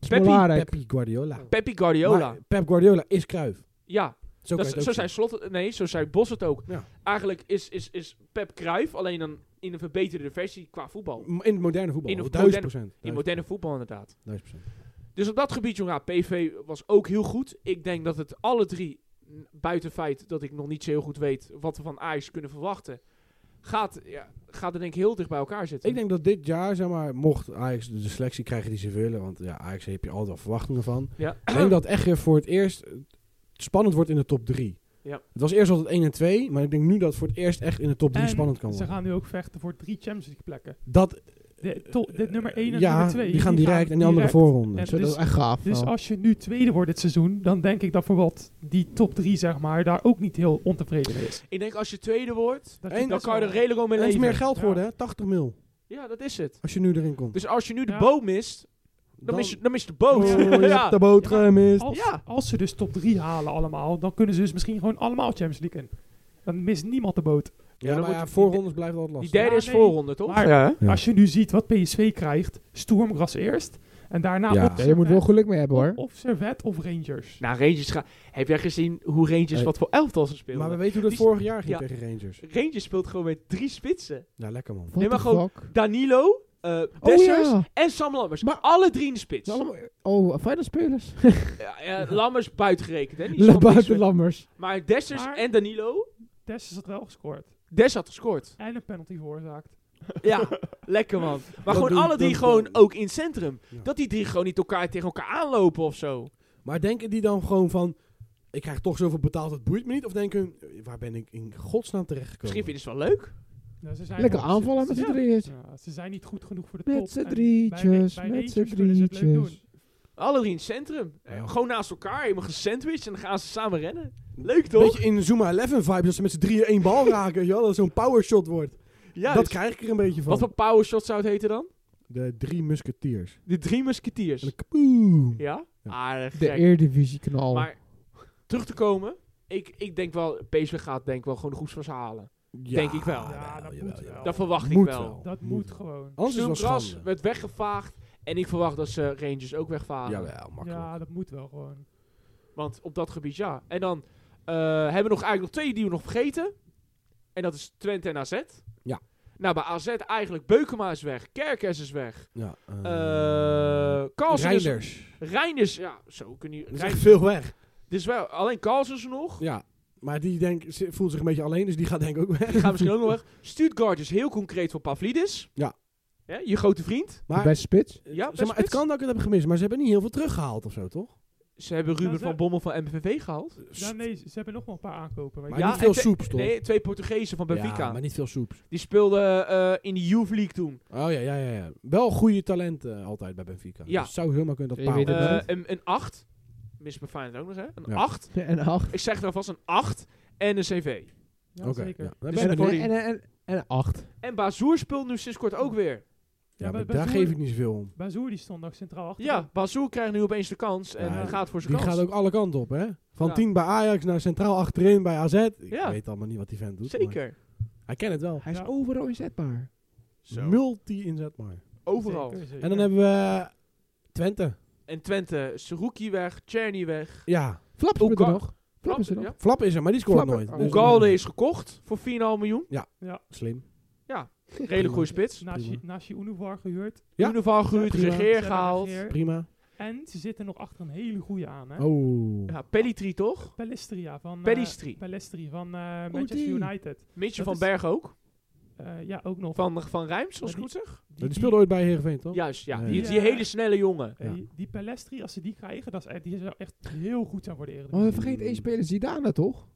Speaker 3: is
Speaker 1: Peppi,
Speaker 3: belangrijk.
Speaker 2: Pep Guardiola.
Speaker 1: Peppi Guardiola.
Speaker 2: Maar Pep Guardiola is Cruijff.
Speaker 1: ja,
Speaker 2: Zo, kan
Speaker 1: dat
Speaker 2: je
Speaker 1: is-
Speaker 2: het ook
Speaker 1: zo
Speaker 2: zien.
Speaker 1: zijn slot... Nee, zo zei Bos het ook.
Speaker 2: Ja.
Speaker 1: Eigenlijk is, is, is Pep Cruijff alleen dan in een verbeterde versie qua voetbal.
Speaker 2: M- In het moderne voetbal.
Speaker 1: In het
Speaker 2: duizend
Speaker 1: moderne-
Speaker 2: procent.
Speaker 1: In moderne voetbal inderdaad.
Speaker 2: Duizend procent.
Speaker 1: Dus op dat gebied, jongen, ja, PV was ook heel goed. Ik denk dat het alle drie, n- buiten het feit dat ik nog niet zo heel goed weet wat we van Ajax kunnen verwachten, gaat, ja, gaat er denk ik heel dicht bij elkaar zitten.
Speaker 2: Ik denk dat dit jaar, zeg maar, mocht Ajax de de selectie krijgen die ze willen, want ja, Ajax heb je altijd wel verwachtingen van.
Speaker 1: Ja.
Speaker 2: Ik denk dat het echt weer voor het eerst eh, spannend wordt in de top 3.
Speaker 1: Ja.
Speaker 2: Het was eerst altijd 1 en 2, maar ik denk nu dat het voor het eerst echt in de top 3
Speaker 4: En
Speaker 2: spannend kan
Speaker 4: Ze
Speaker 2: worden.
Speaker 4: gaan nu ook vechten voor drie Champions League plekken.
Speaker 2: Dat,
Speaker 4: De- to- dit nummer 1 en
Speaker 2: ja,
Speaker 4: nummer 2.
Speaker 2: die gaan direct en die andere voorronde.
Speaker 4: en-
Speaker 3: Zo, dat is
Speaker 4: dus-
Speaker 3: echt gaaf.
Speaker 4: Dus
Speaker 3: wel.
Speaker 4: als je nu tweede wordt dit seizoen, dan denk ik dat bijvoorbeeld die top 3, zeg maar, daar ook niet heel ontevreden mee is.
Speaker 1: Ik denk als je tweede wordt,
Speaker 4: Dat
Speaker 2: En-
Speaker 1: dan
Speaker 4: best
Speaker 1: kan je
Speaker 4: wel-
Speaker 1: er redelijk wel mee
Speaker 2: Het is
Speaker 1: leven.
Speaker 2: meer geld
Speaker 4: Ja.
Speaker 2: geworden, hè? 80 mil.
Speaker 1: Ja, dat is het.
Speaker 2: Als je nu erin komt.
Speaker 1: Dus als je nu de
Speaker 4: Ja.
Speaker 1: boot mist, dan,
Speaker 2: Dan-
Speaker 1: mis, je, dan mis je de boot.
Speaker 2: Oh, je hebt
Speaker 1: ja.
Speaker 2: de boot gemist.
Speaker 4: Als,
Speaker 1: Ja.
Speaker 4: als ze dus top 3 halen allemaal, dan kunnen ze dus misschien gewoon allemaal Champions League in. Dan mist niemand de boot.
Speaker 2: Ja,
Speaker 1: dan
Speaker 2: maar
Speaker 1: moet
Speaker 2: ja,
Speaker 1: je-
Speaker 2: voorrondes blijft altijd
Speaker 1: Die
Speaker 2: lastig.
Speaker 1: derde
Speaker 4: Ja,
Speaker 1: is
Speaker 4: nee.
Speaker 1: voorronde, toch?
Speaker 4: Maar
Speaker 3: ja,
Speaker 2: Ja.
Speaker 4: als je nu ziet wat PSV krijgt, Stormgras eerst en daarna
Speaker 2: Ja.
Speaker 4: of,
Speaker 3: Ja, je moet wel
Speaker 4: Servet,
Speaker 3: geluk mee hebben hoor.
Speaker 4: of Servet of Rangers.
Speaker 1: Nou, Rangers gaat... Heb jij gezien hoe Rangers
Speaker 2: Hey.
Speaker 1: wat voor elftal ze speelden?
Speaker 2: Maar we weten hoe dat
Speaker 1: Die-
Speaker 2: vorig jaar ging
Speaker 1: Ja.
Speaker 2: tegen Rangers.
Speaker 1: Rangers speelt gewoon met drie spitsen.
Speaker 2: Nou, lekker man.
Speaker 1: Nee,
Speaker 3: What
Speaker 1: maar
Speaker 3: the
Speaker 1: gewoon-
Speaker 3: fuck?
Speaker 1: Danilo, eh
Speaker 3: Oh
Speaker 1: Dessers
Speaker 3: ja.
Speaker 1: en Sam Lammers.
Speaker 3: Maar-
Speaker 1: alle drie in de spits.
Speaker 3: Dat is allemaal- Oh, fijne spelers.
Speaker 1: Ja, ja, Lammers buitengerekend, hè? Die is van PSV.
Speaker 3: Buitenlammers.
Speaker 1: Maar Dessers
Speaker 4: Maar-
Speaker 1: en Danilo,
Speaker 4: Tess is dat wel gescoord.
Speaker 1: Dess had gescoord.
Speaker 4: En een penalty veroorzaakt.
Speaker 1: Ja, lekker man. Maar
Speaker 2: Dat
Speaker 1: gewoon
Speaker 2: doe-
Speaker 1: alle drie
Speaker 2: dat-
Speaker 1: gewoon
Speaker 2: dat-
Speaker 1: ook in het centrum.
Speaker 2: Ja.
Speaker 1: Dat die drie gewoon niet elkaar tegen elkaar aanlopen of zo.
Speaker 2: Maar denken die dan gewoon van, ik krijg toch zoveel betaald, dat boeit me niet? Of denken hun, eh, waar ben ik in godsnaam terechtgekomen?
Speaker 1: Misschien vinden ze het wel leuk.
Speaker 4: Nou, ze zijn
Speaker 3: Lekker
Speaker 4: gewoon- ze-
Speaker 3: aanvallen met
Speaker 4: ze-
Speaker 3: z'n drieën.
Speaker 4: Ja, ze zijn niet goed genoeg voor de top.
Speaker 3: Met z'n
Speaker 4: En bij-
Speaker 3: drietjes,
Speaker 4: bij
Speaker 3: met
Speaker 4: Rangers
Speaker 3: z'n
Speaker 4: kunnen ze het leuk doen.
Speaker 3: drietjes.
Speaker 1: Alle drie in het centrum. Eh,
Speaker 2: Ja.
Speaker 1: Gewoon naast elkaar, helemaal gesandwiched en dan gaan ze samen rennen. Leuk toch?
Speaker 2: Beetje in Zuma 11 vibe, dat ze met z'n drieën één bal raken. weet je wel, dat het zo'n powershot wordt.
Speaker 1: Juist.
Speaker 2: Dat krijg ik er een beetje van.
Speaker 1: dus Wat voor powershot zou het heten dan?
Speaker 2: De drie musketeers.
Speaker 1: De drie musketiers.
Speaker 2: En dan kaboom.
Speaker 1: Ja?
Speaker 2: Ja.
Speaker 1: Ah, gek.
Speaker 3: De Eredivisie knal.
Speaker 1: Maar terug te komen, ik, ik denk wel, PSV gaat denk ik wel gewoon de goeds van ze halen.
Speaker 2: Ja,
Speaker 1: Denk ik wel.
Speaker 4: Ja, dat moet wel.
Speaker 1: Dat verwacht
Speaker 2: Moet
Speaker 1: ik wel.
Speaker 2: wel.
Speaker 4: Dat
Speaker 2: Moet
Speaker 4: moet
Speaker 2: wel.
Speaker 4: gewoon.
Speaker 2: Anders is het wel
Speaker 1: Stoomgras
Speaker 2: schande.
Speaker 1: werd weggevaagd en ik verwacht dat ze Rangers ook wegvaren.
Speaker 2: Jawel, makkelijk.
Speaker 4: Ja, dat moet wel gewoon.
Speaker 1: Want op dat gebied ja. En dan eh, hebben we nog eigenlijk nog twee die we nog vergeten. En dat is Twente en AZ.
Speaker 2: Ja.
Speaker 1: Nou, bij AZ eigenlijk Beukema is weg, Kerkers is weg,
Speaker 2: Ja, eh,
Speaker 1: Eh Carlsen is...
Speaker 2: Reinders.
Speaker 1: Reinders, ja, zo kun je...
Speaker 2: Er is
Speaker 1: Rein-
Speaker 2: echt veel weg.
Speaker 1: dus wel, alleen Carlsen is er nog.
Speaker 2: Ja, maar die denk, ze- voelt zich een beetje alleen, dus die gaat denk ik ook weg.
Speaker 1: Die gaan misschien ook nog weg. Stuttgart is heel concreet voor Pavlidis.
Speaker 2: Ja.
Speaker 1: Hè, je grote vriend.
Speaker 3: De
Speaker 2: Maar,
Speaker 3: beste spits.
Speaker 1: Ja,
Speaker 2: Eh, zeg maar het kan dat ik het heb gemist, maar ze hebben niet heel veel teruggehaald of zo, toch?
Speaker 1: Ze hebben Ruben
Speaker 4: Ja, ze-
Speaker 1: van Bommel van MVV gehaald.
Speaker 4: Ja, nee, ze ze hebben nog wel een paar aankopen. Maar
Speaker 2: Maar
Speaker 1: Ja,
Speaker 2: niet veel
Speaker 1: en te-
Speaker 2: soeps, toch?
Speaker 1: Nee, twee Portugezen van Benfica.
Speaker 2: Ja, maar niet veel soeps.
Speaker 1: Die speelden eh, in de Youth League toen.
Speaker 2: Oh ja, ja, ja. ja. Wel goede talenten eh, altijd bij Benfica.
Speaker 1: Ja.
Speaker 2: Dus het zou helemaal kunnen dat
Speaker 3: Je
Speaker 2: Pauw-
Speaker 3: weet het
Speaker 1: Eh,
Speaker 3: niet.
Speaker 1: een, een 8. Mis bij Feyenoord ook nog, hè? Een
Speaker 2: Ja.
Speaker 1: 8.
Speaker 3: En acht.
Speaker 1: Ik zeg er alvast een 8 en een CV.
Speaker 4: ja,
Speaker 2: Oké,
Speaker 4: zeker.
Speaker 2: ja.
Speaker 4: Ja,
Speaker 2: Dan ben
Speaker 1: Dus
Speaker 2: ik
Speaker 1: dat
Speaker 2: benieuwd.
Speaker 1: wordt-
Speaker 3: En, en, en, en acht.
Speaker 1: En Bazoer speelt nu sinds kort ook weer.
Speaker 2: Ja, maar
Speaker 4: bij- bij
Speaker 2: daar
Speaker 4: Zoer-
Speaker 2: geef ik niet zoveel om.
Speaker 4: Bazoer die stond nog centraal achter.
Speaker 1: Ja, Bazoer krijgt nu opeens de kans en
Speaker 2: Ja,
Speaker 1: eh, gaat voor zijn
Speaker 2: Die
Speaker 1: kans.
Speaker 2: gaat ook alle kanten op, hè? Van
Speaker 1: Ja.
Speaker 2: 10 bij Ajax naar centraal achterin bij AZ. Ik
Speaker 1: Ja.
Speaker 2: weet allemaal niet wat die vent doet. maar
Speaker 1: Zeker.
Speaker 2: Hij kent het wel.
Speaker 3: Hij is
Speaker 4: Ja.
Speaker 3: overal inzetbaar.
Speaker 2: Multi-inzet maar.
Speaker 1: Overal.
Speaker 4: Zeker, zeker.
Speaker 2: En dan hebben we Twente.
Speaker 1: En Twente, Seruki weg, Czerny weg.
Speaker 2: Ja.
Speaker 3: Flap is er
Speaker 1: Oeka-
Speaker 3: nog. Flap is er nog.
Speaker 1: Ja.
Speaker 2: Flap is er, maar die scoort
Speaker 3: Flap-
Speaker 2: nooit. Dus
Speaker 3: Oh.
Speaker 1: Ugalde is gekocht voor 4,5 miljoen.
Speaker 2: Slim.
Speaker 1: Redelijk goede spits.
Speaker 4: Nashi,
Speaker 2: prima.
Speaker 4: Nashi Unuvar gehuurd.
Speaker 2: Ja.
Speaker 1: Unival gehuurd,
Speaker 2: Prima.
Speaker 1: Regeer
Speaker 4: Ze hebben
Speaker 1: gehaald.
Speaker 4: Regeer.
Speaker 2: Prima.
Speaker 4: En ze zitten nog achter een hele goede aan. Hè?
Speaker 2: Oh.
Speaker 1: Ja, Pellitri toch?
Speaker 4: Palestria van... eh,
Speaker 1: Pellistri.
Speaker 4: Palestri van eh,
Speaker 3: Oh,
Speaker 4: Manchester
Speaker 3: die.
Speaker 4: United.
Speaker 1: Mitchell
Speaker 4: Dat
Speaker 1: van
Speaker 4: is-
Speaker 1: Berg ook.
Speaker 4: Eh, eh, ja, ook nog.
Speaker 1: Van, van Rijms, als ik
Speaker 4: Maar
Speaker 1: goed zeg?
Speaker 2: Die, speelde ooit bij Heerenveen, toch?
Speaker 1: Juist, ja.
Speaker 2: Ja.
Speaker 1: Die, die hele snelle jongen.
Speaker 4: eh, die, die Pelestri, als ze die krijgen, dat is, echt- die zou echt heel goed zijn voor de Eredivisie.
Speaker 2: Oh.
Speaker 3: Maar Oh, we vergeten één speler, Zidane toch?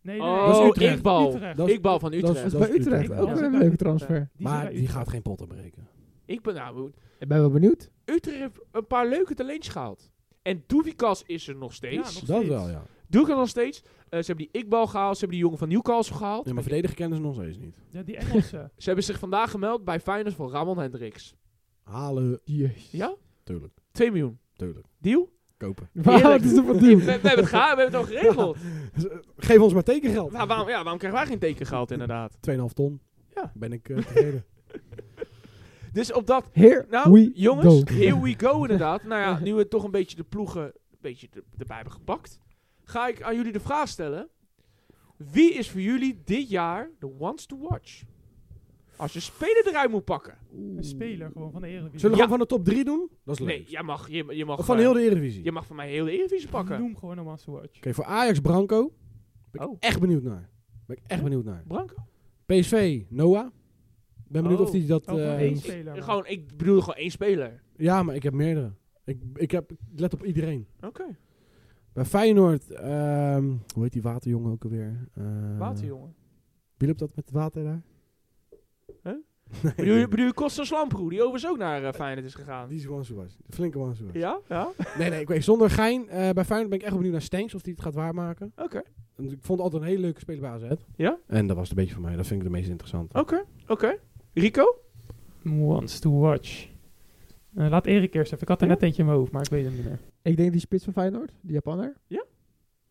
Speaker 4: Nee,
Speaker 1: Oh,
Speaker 4: nee,
Speaker 2: Utrecht.
Speaker 1: Iqbal.
Speaker 4: Utrecht.
Speaker 2: Dat is-
Speaker 1: Ik bal van
Speaker 2: dat is-
Speaker 1: Utrecht.
Speaker 3: Dat is bij Utrecht,
Speaker 2: Utrecht,
Speaker 3: ook
Speaker 1: ja.
Speaker 3: weer
Speaker 4: Ja.
Speaker 3: een leuke transfer.
Speaker 4: Die zijn
Speaker 2: Maar
Speaker 4: bij
Speaker 2: die
Speaker 4: Utrecht.
Speaker 2: gaat geen potten breken.
Speaker 1: Ik ben nou...
Speaker 3: Ik ben wel benieuwd.
Speaker 1: Utrecht heeft een paar leuke talents gehaald. En Doevikas is er nog
Speaker 4: Ja,
Speaker 1: steeds.
Speaker 4: nog
Speaker 2: Dat
Speaker 4: steeds.
Speaker 2: wel, ja.
Speaker 1: Doe ik er nog steeds. Eh, ze hebben die Ikbal gehaald. Ze hebben die jongen van Newcastle gehaald.
Speaker 2: ja maar verdedigen kennen ze nog steeds niet.
Speaker 4: Ja, die Engelse.
Speaker 1: Ze hebben zich vandaag gemeld bij Feyenoord voor Ramon Hendricks.
Speaker 2: Halen,
Speaker 3: Jezus.
Speaker 1: Ja?
Speaker 2: tuurlijk,
Speaker 1: 2 miljoen.
Speaker 2: tuurlijk.
Speaker 1: Deal?
Speaker 2: Kopen.
Speaker 3: Wauw,
Speaker 1: Heerlijk.
Speaker 3: dat is een wat
Speaker 1: We,
Speaker 3: nieuw.
Speaker 1: we hebben het gehaald. We hebben het al geregeld.
Speaker 2: Dus, eh, Geef ons maar tekengeld. 2,5
Speaker 1: Nou, waarom, ja, waarom krijgen wij geen tekengeld inderdaad?
Speaker 2: ton.
Speaker 1: Ja.
Speaker 2: Ben ik eh, tevreden.
Speaker 1: Dus op dat...
Speaker 3: Here
Speaker 1: Nou,
Speaker 3: we
Speaker 1: jongens,
Speaker 3: go.
Speaker 1: here we go inderdaad. Nou ja, nu we toch een beetje de ploegen een beetje er- erbij hebben gepakt, ga ik aan jullie de vraag stellen. Wie is voor jullie dit jaar de ones to watch? Als je speler eruit moet pakken.
Speaker 4: Een speler gewoon van de Eredivisie.
Speaker 2: Zullen we
Speaker 1: Ja.
Speaker 2: gewoon van de top 3 doen? Dat is leuk.
Speaker 1: Nee, jij mag, je, je mag,
Speaker 2: Of van
Speaker 1: eh,
Speaker 2: heel de Eredivisie.
Speaker 1: je mag van mij heel de Eredivisie pakken.
Speaker 4: Noem gewoon een Master Watch.
Speaker 2: Oké, voor Ajax Branco. Ben ik
Speaker 1: Oh.
Speaker 2: echt benieuwd naar. Ben ik echt benieuwd naar.
Speaker 1: Branco?
Speaker 2: PSV, Noah. Ben benieuwd
Speaker 1: Oh,
Speaker 2: of die dat...
Speaker 4: Ook wel
Speaker 2: eh,
Speaker 4: één speler. maar.
Speaker 1: Gewoon, ik bedoel gewoon één speler.
Speaker 2: ja, maar ik heb meerdere. Ik, ik heb, ik let op iedereen.
Speaker 1: Oké.
Speaker 2: Bij Feyenoord, ehm, hoe heet die waterjongen ook alweer? Eh,
Speaker 1: Waterjongen.
Speaker 2: Wie loopt dat met het water daar?
Speaker 1: Huh?
Speaker 2: Nee,
Speaker 1: Bedoel je, bedoel je Kostas Lamproe, die overigens ook naar eh, Feyenoord is gegaan?
Speaker 2: die is Wansu was. De flinke Wansu was.
Speaker 1: Ja? Ja? Oké.
Speaker 2: Nee, nee, ik weet zonder gein. eh, bij Feyenoord ben ik echt wel benieuwd naar Stenks of die het gaat waarmaken. Want ik vond altijd een hele leuke speler bij AZ.
Speaker 1: Ja? Oh,
Speaker 2: En dat was het een beetje voor mij. Dat vind ik de meest interessante.
Speaker 1: Oké. Oké. Rico?
Speaker 4: Wants to watch. Eh, laat Erik eerst even. Ik had er
Speaker 1: Ja.
Speaker 4: net eentje in mijn hoofd, maar ik weet het niet meer.
Speaker 3: Ik denk die spits van Feyenoord, die Japanner.
Speaker 1: Ja.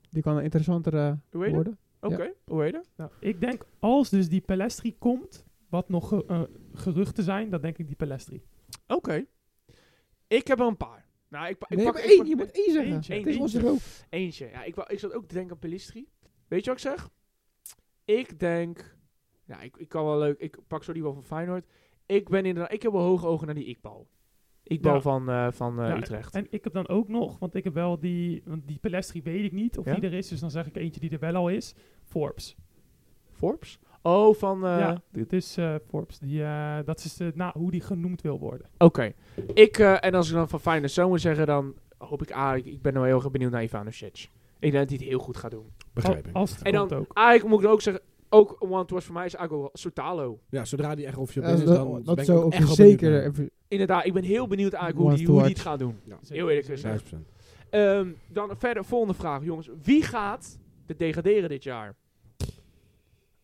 Speaker 3: Die kan een interessanter eh,
Speaker 1: Hoe heet het?
Speaker 3: worden.
Speaker 1: Oké. Hoe heet het?
Speaker 4: Nou, ik denk als dus die Pelestri komt, wat nog ge- eh, geruchten zijn, dan denk ik die Pelestri.
Speaker 1: Oké. Ik heb er een paar. Nou, ik, pa- ik
Speaker 3: nee,
Speaker 1: pak
Speaker 3: maar
Speaker 1: ik
Speaker 3: één,
Speaker 1: pak-
Speaker 3: je moet één zeggen.
Speaker 4: eentje,
Speaker 3: het is onze
Speaker 1: eentje.
Speaker 3: rook.
Speaker 1: Eentje. Ja, ik, wou- ik zat ook te denken aan Pelistri. Weet je wat ik zeg? Ik denk... Ja, ik, ik kan wel leuk... Ik pak zo die wel van Feyenoord. Ik ben inderdaad... Ik heb wel hoge ogen naar die Iqbal. Iqbal
Speaker 4: Ja.
Speaker 1: van, eh, van eh,
Speaker 4: Ja,
Speaker 1: Utrecht.
Speaker 4: En ik heb dan ook nog, want ik heb wel die, want die Pelestri weet ik niet of
Speaker 1: Ja?
Speaker 4: die er is, dus dan zeg ik eentje die er wel al is. Forbes.
Speaker 1: Forbes? Oh, van... eh,
Speaker 4: ja, het is eh, Forbes. Die, eh, dat is eh, nou, hoe die genoemd wil worden.
Speaker 1: Oké. Ik... eh, en als ik dan van Feyenoord zo moet zeggen, dan hoop ik... Ah, ik, ik ben nou heel erg benieuwd naar Ivanovic. Ik denk dat hij het heel goed gaat doen.
Speaker 2: Begrijp ik.
Speaker 4: Al- Als het
Speaker 1: En
Speaker 4: komt
Speaker 1: dan-
Speaker 4: ook.
Speaker 1: Ah, ik moet ook zeggen... Ook one to watch voor mij is Ago Sotalo.
Speaker 2: Ja, zodra die echt officieel
Speaker 3: Ja,
Speaker 2: is, dan
Speaker 3: Eh, dat
Speaker 2: ben
Speaker 3: dat
Speaker 2: ik
Speaker 3: zou
Speaker 2: ook
Speaker 3: ook
Speaker 2: echt wel benieuwd
Speaker 3: zeker...
Speaker 2: naar.
Speaker 3: even-
Speaker 1: Inderdaad, ik ben heel benieuwd eigenlijk hoe
Speaker 3: Ones
Speaker 1: die,
Speaker 3: to
Speaker 1: hoe die het
Speaker 3: watch.
Speaker 1: gaat doen.
Speaker 4: Zeker,
Speaker 1: heel eerlijk dus, eh,
Speaker 4: zeker.
Speaker 1: gezegd.
Speaker 2: 50%.
Speaker 1: Ehm, dan verder, volgende vraag, jongens. Wie gaat de degraderen dit jaar?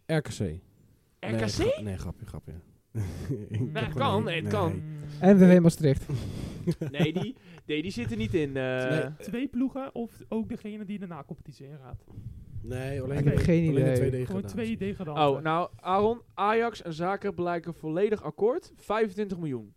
Speaker 2: RKC. Nee,
Speaker 1: RKC?
Speaker 2: gra- Nee, grapje, grapje. Ik heb
Speaker 4: het
Speaker 2: er
Speaker 1: kan,
Speaker 2: een-
Speaker 1: nee, het kan.
Speaker 2: nee.
Speaker 3: MVV Maastricht.
Speaker 1: Oh, Nee, die, nee, die zitten niet in. eh,
Speaker 2: Nee.
Speaker 4: Twee ploegen of ook degene die de na-competitie ingaat.
Speaker 2: Nee, alleen
Speaker 3: Ik
Speaker 2: de-
Speaker 3: heb geen
Speaker 2: alleen de
Speaker 3: idee.
Speaker 2: tweede
Speaker 4: Gewoon
Speaker 2: degradatie.
Speaker 4: twee degradanten.
Speaker 1: Oh, nou, Aaron, Ajax en Zaken blijken volledig akkoord. 25 miljoen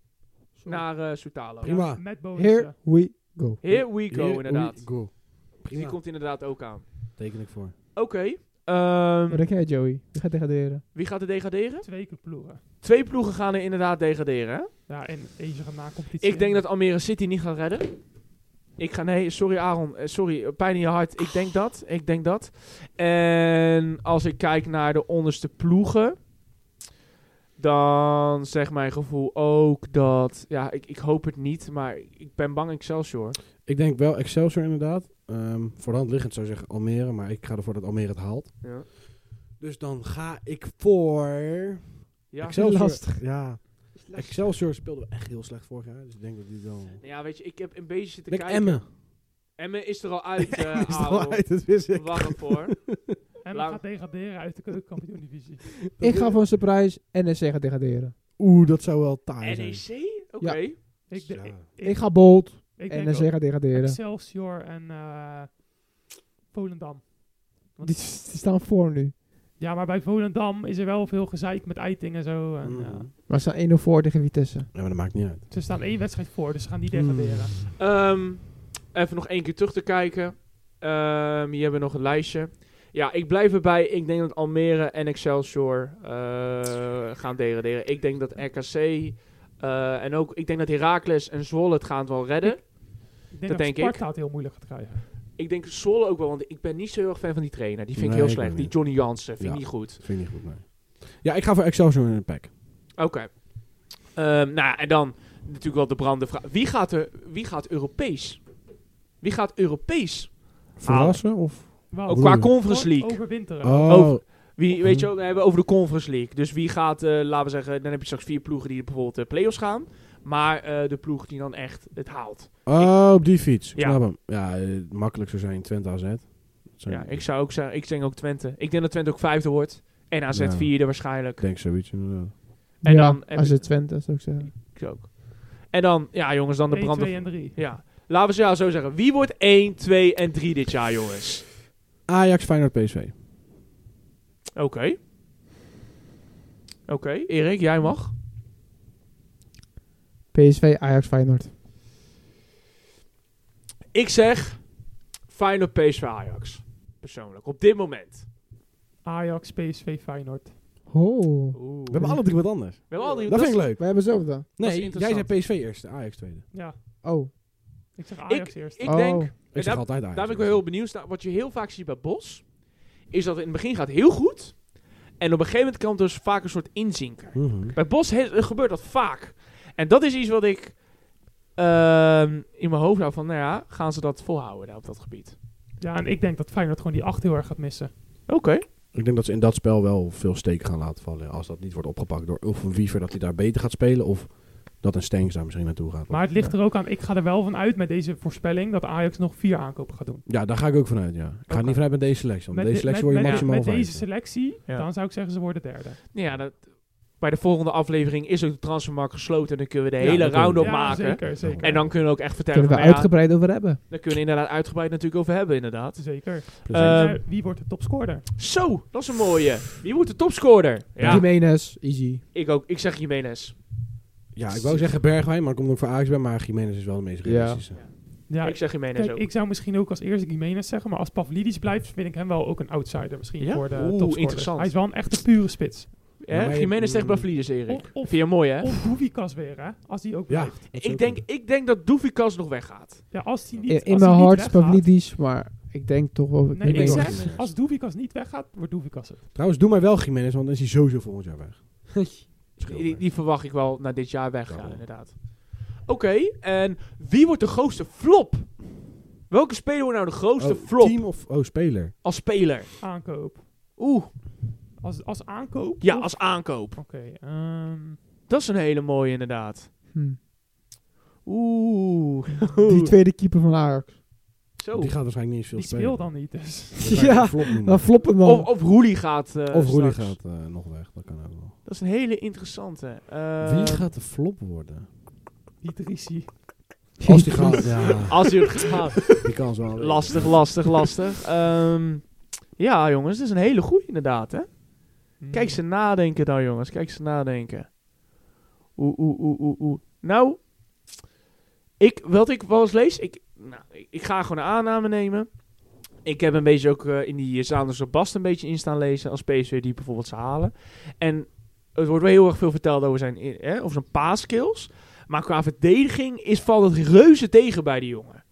Speaker 4: Zo.
Speaker 1: naar eh Soutalo.
Speaker 2: Prima.
Speaker 4: Met bonus.
Speaker 3: Here we go.
Speaker 1: Here we go,
Speaker 2: Hier-
Speaker 1: inderdaad.
Speaker 2: oei, Go.
Speaker 1: Die
Speaker 2: Prima.
Speaker 1: komt inderdaad ook aan.
Speaker 2: Teken ik voor.
Speaker 1: Oké, ehm,
Speaker 3: Wat denk jij, Joey? Je gaat degraderen.
Speaker 1: wie gaat er degraderen?
Speaker 4: Twee ploegen.
Speaker 1: Twee ploegen gaan er inderdaad degraderen. hè?
Speaker 4: Ja, en eentje gaat na-competitie.
Speaker 1: Ik denk dat Almere City niet gaat redden. Ik ga, nee, sorry Aaron, eh, sorry, eh, pijn in je hart. Ik denk dat, ik denk dat. En als ik kijk naar de onderste ploegen, dan zegt mijn gevoel ook dat, ja, ik, ik hoop het niet, maar ik ben bang Excelsior.
Speaker 2: Ik denk wel Excelsior inderdaad. Ehm voor de hand liggend zou ik zeggen Almere, maar ik ga ervoor dat Almere het haalt.
Speaker 1: Ja.
Speaker 2: Dus dan ga ik voor...
Speaker 1: Ja,
Speaker 2: Excelsior.
Speaker 3: lastig.
Speaker 2: Ja. Excelsior speelde echt heel slecht vorig jaar, dus ik denk dat die dan... Ik
Speaker 1: ja weet je, ik heb een beetje zitten
Speaker 2: denk
Speaker 1: kijken.
Speaker 2: Emmen.
Speaker 1: Emmen is er al uit, eh
Speaker 2: Is er
Speaker 1: Aaron.
Speaker 2: al uit, dat wist ik.
Speaker 1: Warm voor.
Speaker 4: En we
Speaker 1: Laat-
Speaker 4: gaat degraderen uit de keukenkampioen-divisie.
Speaker 3: Ik ga voor een surprise NSC gaat degraderen.
Speaker 2: Oeh, dat zou wel taai zijn.
Speaker 1: NEC? E Oké.
Speaker 4: ik, de-
Speaker 2: Ja.
Speaker 4: ik,
Speaker 3: Ik ga bold.
Speaker 4: ik denk
Speaker 3: NSC
Speaker 4: ook
Speaker 3: gaat degraderen.
Speaker 4: Excelsior en eh, Volendam.
Speaker 3: Die, die staan voor nu.
Speaker 4: Ja, maar bij Volendam is er wel veel gezeik met Eiting en zo. En,
Speaker 2: Mhm.
Speaker 4: ja.
Speaker 3: Maar ze staan 1-0 voor tegen Vitesse.
Speaker 2: Ja, maar dat maakt niet uit.
Speaker 4: ze staan één wedstrijd voor, dus ze gaan die
Speaker 2: Mm.
Speaker 4: degraderen.
Speaker 1: Ehm, even nog één keer terug te kijken. Ehm, hier hebben we nog een lijstje. Ja, ik blijf erbij. Ik denk dat Almere en Excelsior eh, gaan degraderen. Ik denk dat RKC eh, en ook ik denk dat Heracles en Zwolle het gaan wel redden.
Speaker 4: Ik denk dat,
Speaker 1: denk ik.
Speaker 4: Sparta het heel moeilijk gaat krijgen.
Speaker 1: Ik denk Zwolle ook wel, want ik ben niet zo heel erg fan van die trainer. Die vind ik
Speaker 2: Nee,
Speaker 1: heel
Speaker 2: ik ook
Speaker 1: slecht. Die
Speaker 2: niet.
Speaker 1: Johnny Jansen vind ik
Speaker 2: Ja.
Speaker 1: niet goed.
Speaker 2: Dat vind ik niet goed, nee. Ja, ik ga voor Excelsior in een pack.
Speaker 1: Oké. Ehm, nou, en dan natuurlijk wel de brandende vraag. Wie gaat, er, wie gaat Europees? Wie gaat Europees?
Speaker 2: Verrassen of?
Speaker 4: Wel,
Speaker 1: Ook
Speaker 2: bedoel
Speaker 1: qua
Speaker 2: je?
Speaker 1: Conference
Speaker 4: kort
Speaker 1: League.
Speaker 4: Overwinteren.
Speaker 2: Oh,
Speaker 1: Wie, weet je, wel, we hebben over de Conference League. Dus wie gaat, eh, laten we zeggen, dan heb je straks vier ploegen die bijvoorbeeld de play-offs gaan. Maar eh, de ploeg die dan echt het haalt.
Speaker 2: oh, op die fiets. Ik
Speaker 1: Ja.
Speaker 2: snap hem. Ja, eh, makkelijk zou zijn Twente AZ. Dat zijn-
Speaker 1: Ja, ik zou ook zeggen, ik denk ook Twente. Ik denk dat Twente ook vijfde wordt. En AZ
Speaker 2: Ja.
Speaker 1: vierde waarschijnlijk.
Speaker 2: ik denk zoiets inderdaad.
Speaker 1: En
Speaker 3: En
Speaker 1: dan
Speaker 3: dan
Speaker 1: heb
Speaker 3: als
Speaker 1: je-
Speaker 3: het Twente, zou ik zeggen.
Speaker 1: Ik ook. En dan, ja jongens, dan de
Speaker 4: 1,
Speaker 1: branden.
Speaker 4: 2 en 3.
Speaker 1: Ja. Laten we ze jou zo zeggen. Wie wordt 1, 2 en 3 dit jaar, jongens?
Speaker 2: Ajax, Feyenoord, PSV.
Speaker 1: Oké. Oké, Erik, jij mag.
Speaker 3: PSV, Ajax, Feyenoord.
Speaker 1: Ik zeg Feyenoord PSV Ajax. Persoonlijk, op dit moment.
Speaker 4: Ajax, PSV, Feyenoord.
Speaker 3: Oh.
Speaker 1: Oeh.
Speaker 2: We hebben alle drie wat anders.
Speaker 1: We hebben al die-
Speaker 2: Dat vind ik
Speaker 1: is-
Speaker 2: leuk.
Speaker 3: Wij hebben zelf dan.
Speaker 1: dat is
Speaker 2: Nee, jij zei
Speaker 1: interessant.
Speaker 2: PSV eerste, Ajax tweede.
Speaker 4: Ja,
Speaker 3: Oh.
Speaker 4: ik zeg Ajax eerst.
Speaker 1: Ik
Speaker 3: Oh.
Speaker 1: denk,
Speaker 2: Ik
Speaker 1: daar-
Speaker 2: zeg altijd Ajax.
Speaker 1: daar ben ik wel heel benieuwd naar. Wat je heel vaak ziet bij Bos, is dat het in het begin gaat heel goed. En op een gegeven moment kan het dus vaak een soort inzinken.
Speaker 2: Mhm.
Speaker 1: Bij Bos he- gebeurt dat vaak. En dat is iets wat ik ehm, in mijn hoofd hou van, nou ja, gaan ze dat volhouden daar op dat gebied?
Speaker 4: Ja, en ik denk dat Feyenoord gewoon die 8 heel erg gaat missen.
Speaker 1: Oké.
Speaker 2: Ik denk dat ze in dat spel wel veel steken gaan laten vallen. Als dat niet wordt opgepakt door of een wiever dat hij daar beter gaat spelen. Of dat een Stengs daar misschien naartoe gaat.
Speaker 4: Maar het ligt er ook aan, ik ga er wel van uit met deze voorspelling dat Ajax nog vier aankopen gaat doen.
Speaker 2: Ja, daar ga ik ook vanuit, ja. Ik ga
Speaker 1: Oké.
Speaker 2: er niet vanuit met deze selectie. Want
Speaker 4: Met
Speaker 2: deze
Speaker 4: de-
Speaker 2: selectie
Speaker 4: met-
Speaker 2: word je
Speaker 4: met-
Speaker 2: maximaal
Speaker 4: Met deze
Speaker 2: vijfde.
Speaker 4: selectie,
Speaker 1: Ja.
Speaker 4: dan zou ik zeggen ze worden derde.
Speaker 1: Nou ja, dat, bij de volgende aflevering is ook de transfermarkt gesloten. En dan kunnen we de
Speaker 2: Ja,
Speaker 1: hele
Speaker 2: dat doen we.
Speaker 1: round op
Speaker 4: Ja,
Speaker 1: maken.
Speaker 4: zeker, zeker.
Speaker 1: En dan kunnen we ook echt vertellen.
Speaker 3: Kunnen we
Speaker 1: van, nou ja,
Speaker 3: uitgebreid over hebben.
Speaker 1: daar kunnen we inderdaad uitgebreid natuurlijk over hebben, inderdaad.
Speaker 4: Zeker.
Speaker 2: Plezier.
Speaker 1: Ehm,
Speaker 4: Eh, wie wordt de topscorer?
Speaker 1: Zo, dat is een mooie. Wie wordt de topscorer? Ja,
Speaker 3: Jimenez, easy.
Speaker 1: ik ook. Ik zeg Jiménez.
Speaker 2: ja, ik wou zeggen Bergwijn, maar ik kom ook voor Ajax bij. Maar Jiménez is wel de meest
Speaker 3: Ja.
Speaker 2: realistische.
Speaker 4: Ja,
Speaker 1: ik zeg Jiménez
Speaker 4: kijk,
Speaker 1: ook.
Speaker 4: ik zou misschien ook als eerste Gimenez zeggen, maar als Pavlidis blijft, vind ik hem wel ook een outsider misschien
Speaker 1: Ja?
Speaker 4: voor de
Speaker 1: Oeh,
Speaker 4: topscorer.
Speaker 1: interessant.
Speaker 4: Hij is wel een echte pure spits.
Speaker 1: Hè?
Speaker 2: Maar-
Speaker 1: Jiménez tegen Bavlidis, Erik.
Speaker 4: Of, of,
Speaker 1: Vind je mooi, hè?
Speaker 4: of Doevikas weer, hè? Als die ook
Speaker 2: Ja,
Speaker 4: blijft.
Speaker 2: dat is
Speaker 1: Ik
Speaker 2: ook
Speaker 1: denk,
Speaker 2: een-
Speaker 1: ik denk dat Doevikas nog weggaat.
Speaker 4: Ja, als die niet,
Speaker 3: In, in
Speaker 4: als
Speaker 3: mijn
Speaker 4: die niet
Speaker 3: hart
Speaker 4: weggaat-
Speaker 3: Spavlidis, maar ik denk toch wel
Speaker 4: Nee, ik
Speaker 3: Jimenez.
Speaker 2: denk-
Speaker 4: zeg, als Doevikas niet weggaat, wordt Doevikas het.
Speaker 2: Trouwens, doe maar wel Jiménez, want dan is hij sowieso volgend jaar weg. Scheelt
Speaker 1: Die,
Speaker 2: mij.
Speaker 1: die verwacht ik wel na dit jaar
Speaker 2: Ja,
Speaker 1: weggaan,
Speaker 2: wel.
Speaker 1: inderdaad. Oké, en wie wordt de grootste flop? Welke speler wordt nou de grootste
Speaker 2: Oh,
Speaker 1: flop
Speaker 2: Team of oh, speler?
Speaker 1: als speler?
Speaker 4: Aankoop.
Speaker 1: Oeh,
Speaker 4: Als, als aankoop?
Speaker 1: ja,
Speaker 4: Of-
Speaker 1: als aankoop.
Speaker 4: Oké, ehm,
Speaker 1: Dat is een hele mooie, inderdaad.
Speaker 3: Hm.
Speaker 1: Oeh.
Speaker 3: Die tweede keeper van Ajax.
Speaker 1: Zo.
Speaker 2: Die gaat waarschijnlijk niet eens veel
Speaker 4: die
Speaker 2: spelen.
Speaker 4: speelt dan niet, dus...
Speaker 2: Dat ga ik
Speaker 3: Ja,
Speaker 2: een flop noemen.
Speaker 3: Dan floppen dan.
Speaker 1: Of, of Roelie gaat. eh,
Speaker 2: of Roelie
Speaker 1: straks.
Speaker 2: gaat eh, nog weg, dat kan ook wel.
Speaker 1: Dat is een hele interessante. Eh,
Speaker 2: Wie gaat de flop worden?
Speaker 4: Die Drissi.
Speaker 2: Als die gaat, ja,
Speaker 1: Als hij het gaat.
Speaker 2: die kans wel.
Speaker 1: lastig, lastig, lastig. Ehm, ja, jongens, het is een hele goeie inderdaad. Hè? Mm. Kijk ze nadenken dan, jongens. Kijk ze nadenken. Oeh, oeh, oeh, oeh, oeh. Nou, ik, wat ik wel eens lees, ik, nou, ik, ik ga gewoon een aanname nemen. Ik heb een beetje ook eh, in die Zaanders op Bast een beetje in staan lezen als PSV die bijvoorbeeld ze halen. En het wordt wel heel erg veel verteld over zijn, eh, hè, over zijn paaskills. Maar qua verdediging is, valt het reuze tegen bij die jongen.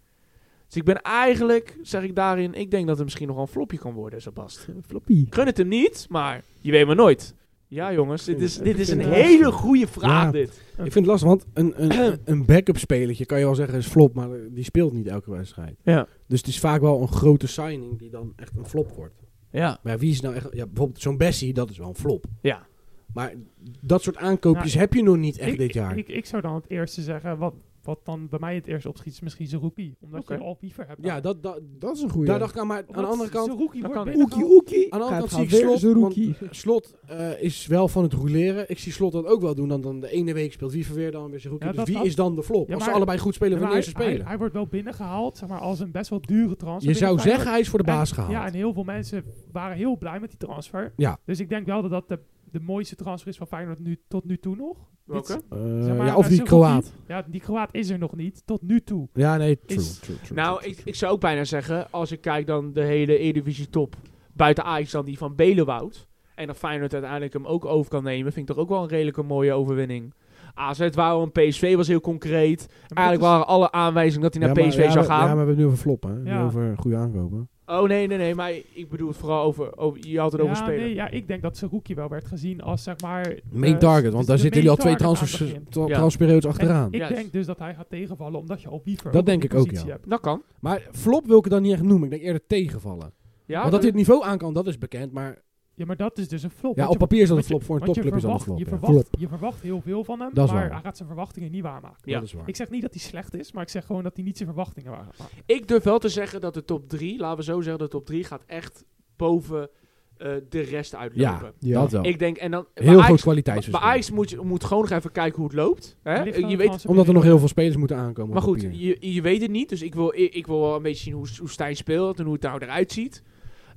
Speaker 1: Dus ik ben eigenlijk, zeg ik daarin, ik denk dat het misschien nog wel een flopje kan worden, zo Bast.
Speaker 3: Floppy.
Speaker 1: Ik gun het hem niet, maar je weet maar nooit. Ja, jongens, dit is, dit is een hele goede vraag,
Speaker 2: Ja.
Speaker 1: dit.
Speaker 2: Ik vind het lastig, want een, een, een backup spelertje kan je wel zeggen is flop, maar eh, die speelt niet elke wedstrijd.
Speaker 1: Ja.
Speaker 2: Dus het is vaak wel een grote signing die dan echt een flop wordt.
Speaker 1: Ja.
Speaker 2: Maar wie is nou echt... Ja, bijvoorbeeld zo'n Bessie, dat is wel een flop.
Speaker 1: Ja.
Speaker 2: Maar dat soort aankoopjes
Speaker 4: Nou,
Speaker 2: heb je nog niet echt
Speaker 4: ik,
Speaker 2: dit jaar.
Speaker 4: Ik, ik zou dan het eerste zeggen, wat, wat dan bij mij het eerst opschiet, is misschien Zerouki. Omdat
Speaker 1: Oké.
Speaker 4: je al Wiever hebt.
Speaker 2: ja, dat, dat,
Speaker 3: Dat is een goede.
Speaker 2: daar dacht ik aan. Maar aan de andere kant...
Speaker 4: Zerouki
Speaker 1: dat
Speaker 4: wordt
Speaker 1: kan
Speaker 4: binnengehaald.
Speaker 3: oekie.
Speaker 2: Aan de andere
Speaker 3: Gaat
Speaker 2: kant zie ik
Speaker 3: gaan weer
Speaker 2: Slot, want
Speaker 3: Zerouki.
Speaker 2: eh, Slot eh, is wel van het rouleren. Ik zie Slot dat ook wel doen. Dan, dan de ene week speelt wie weer, dan weer Zerouki.
Speaker 4: Ja,
Speaker 2: dus
Speaker 4: dat-
Speaker 2: wie
Speaker 4: dat-
Speaker 2: is dan de flop?
Speaker 4: Ja,
Speaker 2: Als ze
Speaker 4: maar-
Speaker 2: allebei goed spelen,
Speaker 4: Ja, maar
Speaker 2: wanneer ze
Speaker 4: hij, hij,
Speaker 2: spelen.
Speaker 4: hij wordt wel binnengehaald, zeg maar, als een best wel dure transfer.
Speaker 2: je zou
Speaker 4: binnen Feyenoord.
Speaker 2: zeggen, hij is voor de baas
Speaker 4: En-
Speaker 2: gehaald. Eh,
Speaker 4: Ja, en heel veel mensen waren heel blij met die transfer.
Speaker 2: Ja.
Speaker 4: Dus ik denk wel dat dat de, de mooiste transfer is van Feyenoord nu, tot nu toe nog.
Speaker 1: Welke?
Speaker 2: Eh,
Speaker 4: Zeg maar,
Speaker 2: ja, of
Speaker 4: eh,
Speaker 2: die
Speaker 4: Zerouki-
Speaker 2: Kroaat.
Speaker 4: Ja, die Kroaat is er nog niet, tot nu toe.
Speaker 2: Ja, nee, true.
Speaker 4: Is-
Speaker 2: true, true,
Speaker 1: Nou,
Speaker 2: true,
Speaker 1: ik,
Speaker 2: true.
Speaker 1: ik zou ook bijna zeggen, als ik kijk dan de hele Eredivisie top, buiten Ajax dan die van Belenwoud, en dat Feyenoord uiteindelijk hem ook over kan nemen, vind ik toch ook wel een redelijke mooie overwinning. AZ waren een PSV was heel concreet.
Speaker 4: Maar dat
Speaker 1: Eigenlijk
Speaker 4: is-
Speaker 1: waren alle aanwijzingen dat hij naar
Speaker 2: Ja, maar-
Speaker 1: PSV
Speaker 2: ja,
Speaker 1: zou
Speaker 2: maar- Ja,
Speaker 1: gaan.
Speaker 2: maar we hebben het nu over flop, hè.
Speaker 4: Ja.
Speaker 2: Niet over goede aankopen.
Speaker 1: Oh nee, nee, nee, maar ik bedoel het vooral over, over je had het over
Speaker 4: ja,
Speaker 1: spelen.
Speaker 4: nee, ja, ik denk dat Saruki wel werd gezien als zeg maar...
Speaker 2: Main
Speaker 4: eh,
Speaker 2: target,
Speaker 4: dus
Speaker 2: want daar
Speaker 4: de
Speaker 2: zitten
Speaker 4: main
Speaker 2: jullie al twee
Speaker 4: target aan het
Speaker 2: transfers,
Speaker 4: begin.
Speaker 2: tra-
Speaker 1: Ja.
Speaker 2: transperiodes
Speaker 4: En
Speaker 2: achteraan.
Speaker 4: Ik
Speaker 1: Juist.
Speaker 4: denk dus dat hij gaat tegenvallen, omdat je al Weaver
Speaker 2: Dat
Speaker 4: op die
Speaker 2: denk ik ook,
Speaker 4: positie
Speaker 2: ja.
Speaker 4: hebt.
Speaker 1: Dat kan.
Speaker 2: Maar flop wil ik het dan niet echt noemen. Ik denk eerder tegenvallen.
Speaker 1: Ja,
Speaker 2: want dat
Speaker 1: maar-
Speaker 2: dit niveau aan kan, dat is bekend. Maar
Speaker 4: Ja, maar dat is dus een flop.
Speaker 2: ja,
Speaker 4: want
Speaker 2: op
Speaker 4: je-
Speaker 2: papier is dat een
Speaker 4: want
Speaker 2: flop.
Speaker 4: je-
Speaker 2: Voor een
Speaker 4: want je
Speaker 2: topclub is dat een flop.
Speaker 4: verwacht- Je
Speaker 2: ja.
Speaker 4: verwacht,
Speaker 2: Flop,
Speaker 4: je verwacht heel veel van hem,
Speaker 2: Dat is
Speaker 4: maar
Speaker 2: waar.
Speaker 4: hij gaat zijn verwachtingen niet waarmaken.
Speaker 1: Ja.
Speaker 2: Dat is waar.
Speaker 4: Ik zeg niet dat hij slecht is, maar ik zeg gewoon dat hij niet zijn verwachtingen waarmaakt.
Speaker 1: Ik durf wel te zeggen dat de top 3, laten we zo zeggen, de top 3 gaat echt boven eh, de rest uitlopen.
Speaker 3: Ja.
Speaker 2: Dat wel.
Speaker 1: Ik denk, en dan... bij
Speaker 2: Heel dus groot
Speaker 1: Ajax-
Speaker 2: kwaliteitsverschil.
Speaker 1: Bij Ajax moet je moet gewoon nog even kijken hoe het loopt. Hè?
Speaker 4: Hij ligt aan
Speaker 1: Je
Speaker 4: de
Speaker 1: weet,
Speaker 4: Franse
Speaker 2: Omdat er nog
Speaker 4: periode.
Speaker 2: heel veel spelers moeten aankomen.
Speaker 1: maar
Speaker 2: op
Speaker 1: goed,
Speaker 2: papier.
Speaker 1: je, je weet het niet. Dus ik wil, ik, ik wil wel een beetje zien hoe, hoe Stijn speelt en hoe het nou eruit ziet.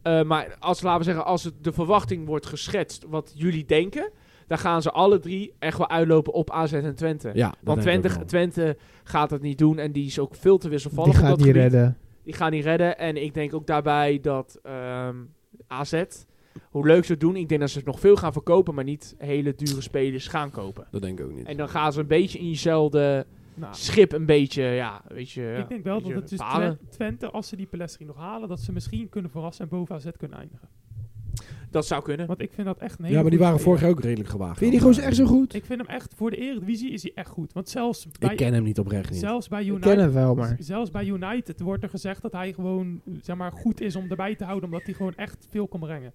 Speaker 1: Eh, maar als, laten we zeggen, als het de verwachting wordt geschetst wat jullie denken... dan gaan ze alle drie echt wel uitlopen op AZ en Twente.
Speaker 2: Ja, dat
Speaker 1: Want
Speaker 2: denk ik ook
Speaker 1: Twente,
Speaker 2: wel.
Speaker 1: Twente gaat het niet doen en die is ook veel te
Speaker 3: Die
Speaker 1: wisselvallig. op
Speaker 3: gaat
Speaker 1: dat
Speaker 3: niet
Speaker 1: gebied.
Speaker 3: redden.
Speaker 1: Die gaan niet redden. En ik denk ook daarbij dat ehm, AZ, hoe leuk ze het doen, ik denk dat ze nog veel gaan verkopen, maar niet hele dure spelers gaan kopen.
Speaker 2: Dat denk ik ook niet.
Speaker 1: En dan gaan ze een beetje in jezelfde
Speaker 4: Nou,
Speaker 1: schip, een beetje, ja, weet je. ja,
Speaker 4: ik denk wel
Speaker 1: een
Speaker 4: dat
Speaker 1: beetje
Speaker 4: het dus
Speaker 1: balen.
Speaker 4: Twen- Twente, als ze die Pelestri nog halen, dat ze misschien kunnen verrassen en boven AZ kunnen eindigen.
Speaker 1: Dat zou kunnen.
Speaker 4: Want ik vind dat echt een hele
Speaker 2: Ja, maar die
Speaker 4: goede
Speaker 2: waren
Speaker 4: speler.
Speaker 2: vorig jaar ook redelijk gewaagd.
Speaker 3: Vind je die gozer echt zo goed?
Speaker 4: Ik vind hem echt, voor de Eredivisie is hij echt goed. Want zelfs
Speaker 2: Ik
Speaker 4: bij,
Speaker 2: ken hem niet oprecht niet.
Speaker 4: zelfs bij
Speaker 3: Ik
Speaker 4: United...
Speaker 3: ken hem wel, maar...
Speaker 4: Z- Zelfs bij United wordt er gezegd dat hij gewoon zeg maar, goed is om erbij te houden, omdat hij gewoon echt veel kan brengen.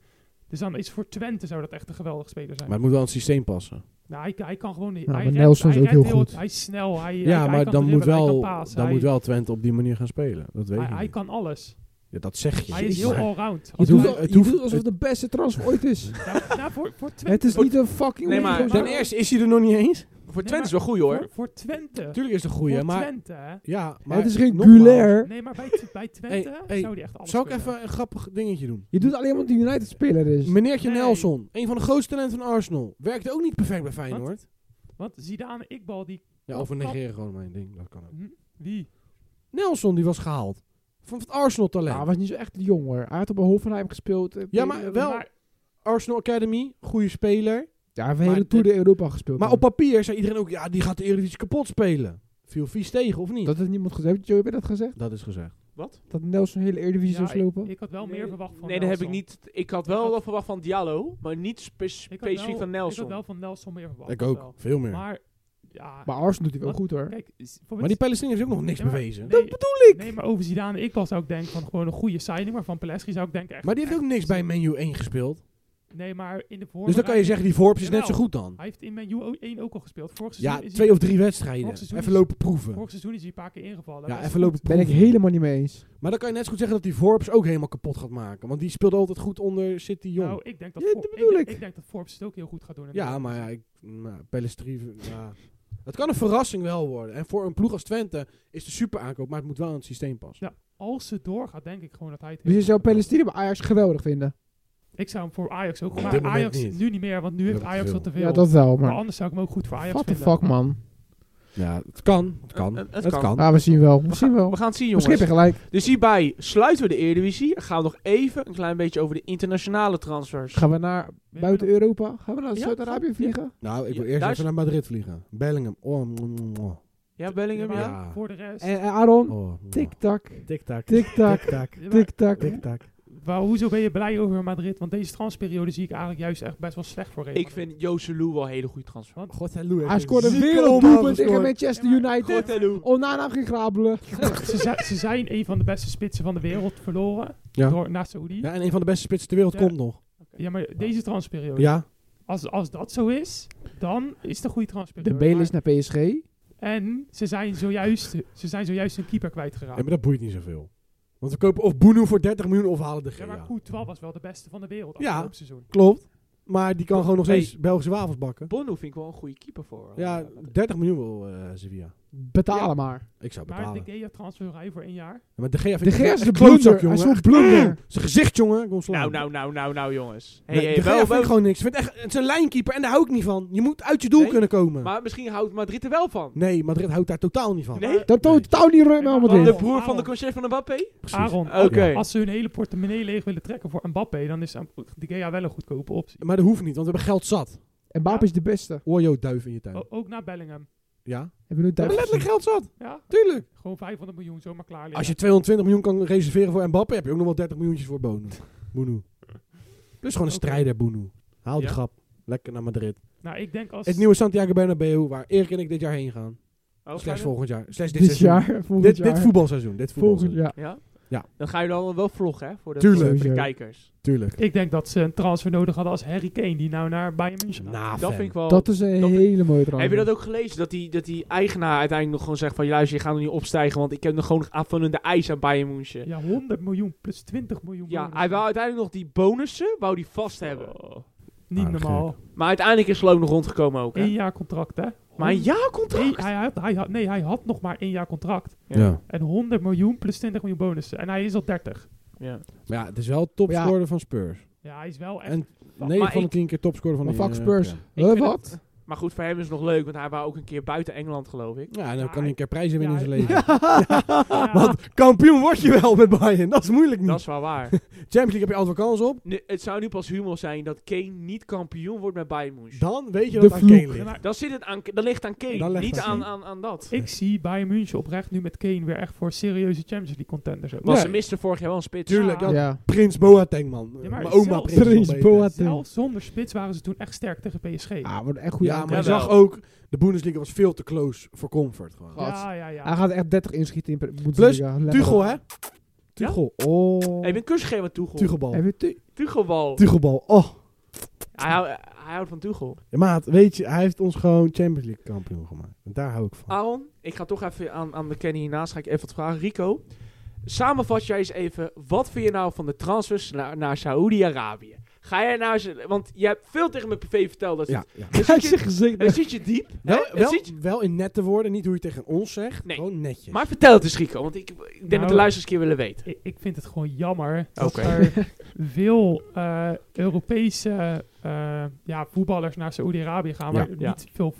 Speaker 4: Dus dan is voor Twente zou dat echt een geweldig speler zijn.
Speaker 2: Maar het moet wel in het systeem passen.
Speaker 4: nou, hij, hij kan gewoon niet.
Speaker 3: Nou,
Speaker 4: hij
Speaker 3: maar
Speaker 4: redt-
Speaker 3: Nelson is
Speaker 4: hij
Speaker 3: ook
Speaker 4: redt
Speaker 3: heel goed.
Speaker 4: Hij is snel. Hij, hij-
Speaker 2: Ja,
Speaker 4: hij
Speaker 2: maar
Speaker 4: kan
Speaker 2: dan, moet wel,
Speaker 4: dribbelen, Hij kan pasen,
Speaker 2: dan
Speaker 4: hij,
Speaker 2: moet wel Twente op die manier gaan spelen. Dat weet
Speaker 4: Hij,
Speaker 2: ik
Speaker 4: hij
Speaker 2: niet.
Speaker 4: kan alles.
Speaker 2: Ja, dat zeg je.
Speaker 4: Hij is heel
Speaker 2: Maar
Speaker 4: allround.
Speaker 3: Je
Speaker 4: Als
Speaker 3: doet,
Speaker 4: hij-
Speaker 2: het
Speaker 3: je
Speaker 2: hoeft-
Speaker 3: doet alsof het de beste transfer ooit is.
Speaker 4: nou, nou, voor, voor Twente.
Speaker 3: Het is niet een fucking...
Speaker 1: Nee, maar-
Speaker 3: Weghorst.
Speaker 2: Ten eerste is hij er nog niet eens.
Speaker 1: Voor Twente
Speaker 4: maar-
Speaker 1: is wel goed hoor.
Speaker 4: Voor, voor Twente.
Speaker 2: Natuurlijk is het een goeie,
Speaker 4: voor
Speaker 2: maar...
Speaker 4: Twente, hè.
Speaker 2: Ja, maar...
Speaker 3: het is geen
Speaker 2: nogmaals,
Speaker 3: Gulair.
Speaker 4: Nee, maar bij, Tw- bij Twente
Speaker 2: Hey, hey,
Speaker 4: zou die echt alles
Speaker 2: Zou ik
Speaker 4: kunnen. Dus-
Speaker 2: even een grappig dingetje doen?
Speaker 3: Je doet alleen wat die United-speler is.
Speaker 2: Meneertje
Speaker 4: Nee.
Speaker 2: Nelson, een van de grootste talenten van Arsenal, werkte ook niet perfect bij Feyenoord.
Speaker 4: Want Zidane Ikbal, die...
Speaker 2: Ja, of we negeren gewoon mijn ding, dat kan ook.
Speaker 4: Hm, wie?
Speaker 2: Nelson, die was gehaald. Van het Arsenal-talent.
Speaker 3: Nou, hij was niet zo echt jong hoor. Hij had op Hoffenheim gespeeld. eh,
Speaker 2: Ja, maar wel
Speaker 4: maar-
Speaker 2: Arsenal Academy, goede speler.
Speaker 3: Ja, hij heeft een
Speaker 2: maar
Speaker 3: hele Tour de Europa gespeeld.
Speaker 2: Maar
Speaker 3: dan.
Speaker 2: op papier zei iedereen ook, ja, die gaat de Eredivisie kapot spelen. Viel vies tegen, of niet?
Speaker 3: Dat heeft niemand gezegd. Joe, heb je dat gezegd?
Speaker 2: dat is gezegd.
Speaker 3: Dat Nelson hele Eredivisie
Speaker 4: Ja,
Speaker 3: zou slopen?
Speaker 4: Ik, ik had wel meer verwacht van
Speaker 1: Nee, dat heb ik
Speaker 4: Nelson.
Speaker 1: niet. Ik had wel
Speaker 4: Ik had-
Speaker 1: wat verwacht van Diallo, maar niet spe-
Speaker 4: Ik had wel-
Speaker 1: specifiek van
Speaker 4: Ik had wel
Speaker 1: Nelson.
Speaker 4: van Nelson meer verwacht.
Speaker 2: Ik
Speaker 4: dat
Speaker 2: ook,
Speaker 4: wel.
Speaker 2: veel meer. Maar,
Speaker 4: Maar, ja.
Speaker 3: maar Arsenal doet hij wel
Speaker 4: Wat?
Speaker 3: goed hoor.
Speaker 4: kijk, is- voor
Speaker 2: die Palestinië heeft ook nog niks
Speaker 4: Ja, maar-
Speaker 2: bewezen.
Speaker 4: dat bedoel ik. Nee, maar over Zidane ik was zou ik denken van gewoon een goede signing. Maar van Pelestri zou ik denken echt...
Speaker 2: Maar die heeft
Speaker 4: echt-
Speaker 2: ook niks bij Menu 1 gespeeld.
Speaker 4: Nee, maar in de
Speaker 2: Dus dan kan je
Speaker 4: voorbereiding...
Speaker 2: zeggen, die Forbes is net
Speaker 4: Jawel.
Speaker 2: zo goed dan.
Speaker 4: Hij heeft in Man U 1 ook al gespeeld. Vorig
Speaker 2: Ja,
Speaker 4: seizoen is
Speaker 2: twee
Speaker 4: hij,
Speaker 2: of drie wedstrijden.
Speaker 4: Vorig seizoen
Speaker 2: Even
Speaker 4: is-
Speaker 2: lopen proeven.
Speaker 4: Vorig seizoen is hij een paar keer ingevallen.
Speaker 2: Ja,
Speaker 4: Dat is
Speaker 2: even
Speaker 4: goed.
Speaker 2: lopen
Speaker 3: Ben ik
Speaker 2: proeven.
Speaker 3: helemaal niet mee eens.
Speaker 2: Maar dan kan je net zo goed zeggen dat die Forbes ook helemaal kapot gaat maken. Want die speelde altijd goed onder City Jong.
Speaker 4: Nou, eh, ik denk dat,
Speaker 3: Ja,
Speaker 4: Fo-
Speaker 3: dat
Speaker 4: ik,
Speaker 3: bedoel
Speaker 4: denk-
Speaker 3: ik.
Speaker 4: ik denk dat Forbes het ook heel goed gaat doen. in de
Speaker 2: ja, maar ja, ik, nou, Pelestri, ja. Het kan een verrassing wel worden. En voor een ploeg als Twente is de super aankoop, maar het moet wel in het systeem passen.
Speaker 4: Als ze doorgaat, denk ik gewoon dat hij het
Speaker 3: Dus je
Speaker 4: heel
Speaker 3: zou
Speaker 4: goed gaat doen.
Speaker 3: Palestinië bij Ajax geweldig vinden.
Speaker 4: Ik zou hem voor Ajax ook...
Speaker 2: Op
Speaker 4: Maar
Speaker 2: dit moment
Speaker 4: Ajax
Speaker 2: niet.
Speaker 4: nu niet meer, want nu
Speaker 2: We
Speaker 4: heeft
Speaker 2: hebben te
Speaker 4: Ajax al te
Speaker 2: veel.
Speaker 4: veel.
Speaker 3: Ja, dat wel,
Speaker 4: maar
Speaker 3: maar...
Speaker 4: anders zou ik hem ook goed voor Ajax
Speaker 3: What the
Speaker 4: vinden.
Speaker 3: fuck man.
Speaker 2: Ja, het kan. Het kan.
Speaker 1: Het-
Speaker 2: Het,
Speaker 1: het kan.
Speaker 2: kan.
Speaker 3: Ah, we zien wel. We
Speaker 1: We
Speaker 3: zien
Speaker 1: gaan,
Speaker 3: wel.
Speaker 1: we gaan het zien
Speaker 3: We
Speaker 1: jongens.
Speaker 3: schippen gelijk.
Speaker 1: Dus hierbij sluiten we de Eredivisie. Dan gaan we nog even een klein beetje over de internationale transfers.
Speaker 3: Gaan we naar buiten Europa? Gaan we naar
Speaker 1: Ja,
Speaker 3: Zuid-Arabië vliegen?
Speaker 2: Nou, ik wil
Speaker 1: Ja,
Speaker 2: eerst
Speaker 1: daar
Speaker 2: even naar Madrid vliegen. Bellingham. Oh, mm, mm, mm.
Speaker 1: Ja, Bellingham, ja.
Speaker 2: Ja.
Speaker 4: Voor de rest...
Speaker 3: En en Aaron?
Speaker 2: oh mm.
Speaker 3: Tik-tak.
Speaker 5: Tik-tak.
Speaker 3: Tik-tak.
Speaker 5: Tik-tak.
Speaker 4: Ja, maar-
Speaker 3: Tik-tak.
Speaker 5: Tik-tak.
Speaker 4: Waar, hoezo ben je blij over Madrid? Want deze transperiode zie ik eigenlijk juist echt best wel slecht voor Real
Speaker 1: Ik
Speaker 4: Madrid.
Speaker 1: vind Joselu wel een hele goede transfer.
Speaker 5: God, hij Lou heeft
Speaker 3: Hij
Speaker 5: een
Speaker 3: scoorde
Speaker 5: zieke
Speaker 3: weer een
Speaker 5: omhaal
Speaker 3: doelpunt
Speaker 5: gescoord.
Speaker 3: tegen Manchester
Speaker 4: Ja, maar-
Speaker 3: United.
Speaker 1: Joselu.
Speaker 3: Onana ging grabelen.
Speaker 4: ze, zi- ze zijn een van de beste spitsen van de wereld verloren
Speaker 2: Ja.
Speaker 4: door, naar Saoedi. Ja.
Speaker 2: Ja, en een van de beste spitsen ter wereld
Speaker 4: Ja.
Speaker 2: komt nog.
Speaker 4: maar deze transperiode.
Speaker 2: Ja.
Speaker 4: Als, als dat zo is, dan is het een goede
Speaker 3: De
Speaker 4: transperiode.
Speaker 3: Bale is naar PSG.
Speaker 4: Maar- En ze zijn, zojuist, ze zijn zojuist een keeper kwijtgeraakt.
Speaker 2: ja, maar dat boeit niet zoveel. Want we kopen of Boenu voor 30 miljoen of halen de Gea.
Speaker 4: Ja, maar Courtois was wel de beste van de wereld
Speaker 2: Ja.
Speaker 4: afgelopen seizoen.
Speaker 2: Klopt. Maar die kan gewoon nog
Speaker 1: Hey.
Speaker 2: steeds Belgische wafels bakken.
Speaker 1: Bono vind ik wel een goede keeper voor. eh,
Speaker 2: Ja, 30 miljoen wil eh, Sevilla.
Speaker 3: Betalen maar.
Speaker 2: Ik zou
Speaker 4: Maar
Speaker 2: betalen.
Speaker 4: de Gea transfervrij voor één jaar.
Speaker 2: Maar de Gea
Speaker 3: De
Speaker 2: vind ik
Speaker 3: Gea is
Speaker 2: echt
Speaker 3: de
Speaker 2: klootzak,
Speaker 3: blunder. Hij
Speaker 2: jongen.
Speaker 3: is zo'n blunder.
Speaker 2: Zijn gezicht, jongen. Ik wil slaan.
Speaker 1: Nou, nou, nou, nou, nou, jongens. Hey,
Speaker 2: Nee,
Speaker 1: hey,
Speaker 2: de Gea
Speaker 1: wel-
Speaker 2: vind
Speaker 1: wel-
Speaker 2: ik gewoon niks. Ik Vind echt, het is een lijnkeeper en daar hou ik niet van. Je moet uit je doel
Speaker 1: Nee,
Speaker 2: kunnen komen.
Speaker 1: Maar misschien houdt Madrid er wel van.
Speaker 2: nee, Madrid houdt daar totaal niet van.
Speaker 1: Nee?
Speaker 3: Dat
Speaker 2: Nee.
Speaker 3: toont totaal niet Real
Speaker 4: Maar
Speaker 3: Madrid.
Speaker 1: De
Speaker 4: Waarom?
Speaker 1: broer van de
Speaker 4: Waarom?
Speaker 1: concert van Mbappé?
Speaker 2: Precies.
Speaker 4: Aaron,
Speaker 1: Oké.
Speaker 4: als ze hun hele portemonnee leeg willen trekken voor Mbappé, dan is de Gea wel een goedkope optie.
Speaker 2: Maar dat hoeft niet, want we hebben geld zat.
Speaker 3: En Mbappé is de beste.
Speaker 1: Oh.
Speaker 2: Ojo duif in je tuin.
Speaker 4: O- ook naar Bellingham.
Speaker 2: Ja.
Speaker 3: Heb je nu
Speaker 2: Hebben
Speaker 3: Duitsers
Speaker 2: letterlijk geld zat.
Speaker 4: Ja,
Speaker 2: Tuurlijk.
Speaker 4: gewoon 500 miljoen zomaar klaar liggen.
Speaker 2: Als je 220 miljoen kan reserveren voor Mbappé, heb je ook nog wel 30 miljoentjes voor Bono. Boenu. Plus gewoon een
Speaker 4: Oké.
Speaker 2: strijder, Boenu. Haal die
Speaker 4: Ja.
Speaker 2: grap. Lekker naar Madrid.
Speaker 4: Nou, ik denk als...
Speaker 2: Het nieuwe Santiago Bernabeu, waar Erik en ik dit jaar heen gaan.
Speaker 1: Oh,
Speaker 2: Slechts
Speaker 1: ga je
Speaker 2: volgend jaar. Slechts dit,
Speaker 3: Dit
Speaker 2: seizoen.
Speaker 3: jaar, volgend
Speaker 2: Dit,
Speaker 3: jaar.
Speaker 2: dit voetbalseizoen. Dit
Speaker 3: Volgend
Speaker 2: voetbalseizoen.
Speaker 3: jaar.
Speaker 1: dat? Ja?
Speaker 2: Ja.
Speaker 1: Dan ga je dan wel vloggen, hè? Voor de,
Speaker 2: Tuurlijk.
Speaker 1: voor de
Speaker 3: Sowieso.
Speaker 1: kijkers.
Speaker 2: Tuurlijk.
Speaker 4: Ik denk dat ze een transfer nodig hadden als Harry Kane, die nou naar Bayern München gaat.
Speaker 2: Nou,
Speaker 1: dat
Speaker 2: fam.
Speaker 1: vind ik wel...
Speaker 3: Dat is een
Speaker 1: dat-
Speaker 3: hele mooie trans.
Speaker 1: Heb je dat ook gelezen? Dat die, dat die eigenaar uiteindelijk nog gewoon zegt van... Luister, je gaat nog niet opstijgen, want ik heb nog gewoon nog aanvullende ijs aan Bayern München. Ja,
Speaker 4: Ja, 100 miljoen plus 20 miljoen. bonus.
Speaker 1: hij wou uiteindelijk nog die bonussen wou die vast hebben.
Speaker 4: Oh, niet
Speaker 2: Ah, dat
Speaker 4: normaal.
Speaker 1: Maar uiteindelijk is Sloan nog rondgekomen ook, hè?
Speaker 4: Eén jaar contract, hè?
Speaker 1: Maar een
Speaker 4: Nee,
Speaker 1: jaarcontract?
Speaker 4: hij had, hij had, nee, hij had nog maar één jaar contract.
Speaker 1: Ja.
Speaker 2: Ja.
Speaker 4: En 100 miljoen plus 20 miljoen bonussen. En hij is al 30.
Speaker 1: Ja.
Speaker 2: Maar ja, het is wel topscorer van Spurs.
Speaker 4: Ja, hij is wel echt...
Speaker 2: En
Speaker 1: Maar
Speaker 2: 9 van
Speaker 1: ik-
Speaker 2: de 10 keer topscorer van
Speaker 3: Maar
Speaker 2: de
Speaker 3: fuck
Speaker 2: eh,
Speaker 3: Spurs.
Speaker 2: ja.
Speaker 1: Ik vind
Speaker 3: wat?
Speaker 1: Maar goed, voor hem is het nog leuk, want hij wou ook een keer buiten Engeland, geloof ik.
Speaker 2: Ja, en dan nou, kan hij een keer prijzen
Speaker 4: Ja,
Speaker 2: winnen in zijn
Speaker 4: hij-
Speaker 2: leven.
Speaker 4: ja,
Speaker 2: Want kampioen word je wel met Bayern. Dat is moeilijk niet.
Speaker 1: Dat is wel waar.
Speaker 2: Champions League heb je altijd wel kans op.
Speaker 1: Nu, het zou nu pas humor zijn dat Kane niet kampioen wordt met Bayern München.
Speaker 2: Dan weet je
Speaker 3: De
Speaker 2: dat het aan Kane
Speaker 3: vloek.
Speaker 4: ja,
Speaker 2: ligt.
Speaker 4: maar
Speaker 1: Dan, zit het aan, dan ligt het aan Kane,
Speaker 2: Dan ligt
Speaker 1: niet
Speaker 2: het aan
Speaker 1: aan,
Speaker 2: Kane.
Speaker 1: aan, aan dat.
Speaker 4: ik zie Bayern München oprecht nu met Kane weer echt voor serieuze Champions League contenders. ook.
Speaker 1: Want
Speaker 2: Ja.
Speaker 1: ze misten vorig jaar wel een spits.
Speaker 2: Tuurlijk,
Speaker 4: Ja.
Speaker 2: dat
Speaker 3: Ja.
Speaker 2: Prins Boateng, man.
Speaker 4: Ja, maar
Speaker 2: maar ook maar
Speaker 4: zelfs-
Speaker 2: Prins,
Speaker 3: Prins
Speaker 2: Boateng.
Speaker 3: Boateng.
Speaker 4: Zelfs zonder spits waren ze toen echt sterk tegen PSG.
Speaker 3: Ah, wordt echt goed.
Speaker 2: Ja, maar je
Speaker 1: Jawel.
Speaker 2: zag ook, de Bundesliga was veel te close voor comfort. Gewoon.
Speaker 3: Ja.
Speaker 4: ja, ja, ja.
Speaker 3: Hij gaat echt 30 inschieten in Bundesliga.
Speaker 2: Plus,
Speaker 3: Letterlijk.
Speaker 2: Tuchel, hè? Tuchel.
Speaker 3: Oh.
Speaker 1: Hey, ik ben kusgegeven aan Tuchel.
Speaker 2: Tuchelbal.
Speaker 3: Heb je tu-
Speaker 1: Tuchelbal.
Speaker 2: Tuchelbal. Oh,
Speaker 1: Hij, hou- hij houdt van Tuchel.
Speaker 2: Ja, maat, weet je, hij heeft ons gewoon Champions League kampioen gemaakt. En daar hou ik van.
Speaker 1: Aaron, ik ga toch even aan, aan de Kenny hiernaast ga ik even wat vragen. Rico, samenvat jij eens even, wat vind je nou van de transfers naar, naar Saoedi-Arabië? Ga jij naar ze, want je hebt veel tegen mijn PV verteld. Dat
Speaker 2: Ja, ja.
Speaker 1: het,
Speaker 3: Kijk
Speaker 1: zit je,
Speaker 3: zijn gezicht.
Speaker 1: het zit je diep. hè?
Speaker 2: Wel,
Speaker 1: Het
Speaker 2: wel,
Speaker 1: zit je-
Speaker 2: wel in nette woorden, niet hoe je het tegen ons zegt.
Speaker 1: Nee.
Speaker 2: Gewoon netjes.
Speaker 1: maar vertel het eens Rico, want ik, ik denk dat
Speaker 4: Nou.
Speaker 1: de luisteraars een keer willen weten.
Speaker 4: Ik, ik vind het gewoon jammer dat
Speaker 1: Oké.
Speaker 4: er veel eh, Europese eh, ja, voetballers naar Saoedi-Arabië gaan.
Speaker 2: Ja.
Speaker 4: Waar
Speaker 1: Ja.
Speaker 4: Niet veel,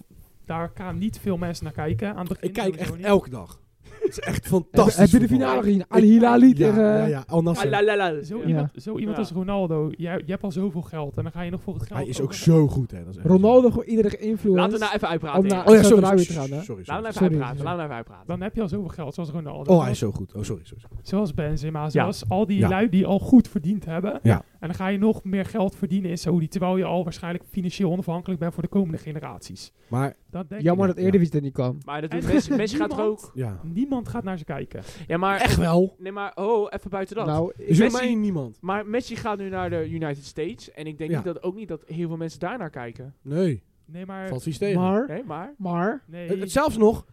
Speaker 4: daar gaan niet veel mensen naar kijken. Aan het begin
Speaker 2: ik kijk
Speaker 4: sowieso
Speaker 2: echt
Speaker 4: niet.
Speaker 2: elke dag. Het is echt
Speaker 3: Heb,
Speaker 2: fantastisch.
Speaker 3: heb je de
Speaker 2: voetbal.
Speaker 3: finale gezien? eh, Al Hilali
Speaker 2: Ja,
Speaker 3: tegen...
Speaker 2: ja, ja. Al Nasser.
Speaker 1: Ah, la, la, la.
Speaker 4: Zo
Speaker 1: Ja.
Speaker 4: iemand, zo iemand
Speaker 1: Ja.
Speaker 4: als Ronaldo, jij, je hebt al zoveel geld en dan ga je nog voor het geld.
Speaker 2: Hij is ook
Speaker 4: over-
Speaker 2: zo goed, hè. Dat is echt
Speaker 3: Ronaldo gewoon iedereen geïnfluenced.
Speaker 1: Laten we nou even uitpraten.
Speaker 3: Om na-
Speaker 1: heren.
Speaker 2: Oh ja,
Speaker 3: Zou
Speaker 2: sorry.
Speaker 3: er nou
Speaker 2: sorry,
Speaker 3: weer gaan, hè?
Speaker 2: sorry,
Speaker 1: Laten
Speaker 2: sorry,
Speaker 1: we even
Speaker 3: Sorry.
Speaker 1: uitpraten. Laten we even uitpraten.
Speaker 4: Dan heb je al zoveel geld zoals Ronaldo.
Speaker 2: Oh, hij is zo goed. Oh, sorry. sorry.
Speaker 4: Zoals Benzema, zoals al die
Speaker 2: Ja.
Speaker 4: lui die al goed verdiend hebben.
Speaker 2: Ja.
Speaker 4: En dan ga je nog meer geld verdienen in Saoedi, terwijl je al waarschijnlijk financieel onafhankelijk bent voor de komende generaties.
Speaker 2: Maar,
Speaker 4: Dat denk ik.
Speaker 3: Jammer
Speaker 2: Ja,
Speaker 3: dat Eredivisie er niet kwam.
Speaker 1: Maar dat
Speaker 4: En
Speaker 1: doet mensen, mensen gaan
Speaker 4: niemand-
Speaker 1: toch ook.
Speaker 2: ja.
Speaker 4: Niemand gaat naar ze kijken.
Speaker 1: Ja, maar.
Speaker 2: Echt wel.
Speaker 1: Nee, maar. Oh, even buiten dat.
Speaker 3: Nou,
Speaker 2: Er is
Speaker 1: Messi-
Speaker 2: maar één niemand.
Speaker 1: Maar Messi gaat nu naar de United States. En ik denk
Speaker 2: Ja.
Speaker 1: niet dat, ook niet dat heel veel mensen daarnaar kijken.
Speaker 2: Nee,
Speaker 4: Nee, maar.
Speaker 2: valt vies tegen.
Speaker 3: maar...
Speaker 1: Nee, maar.
Speaker 3: Maar...
Speaker 4: Nee,
Speaker 2: Het- het- Eh, zelfs nog,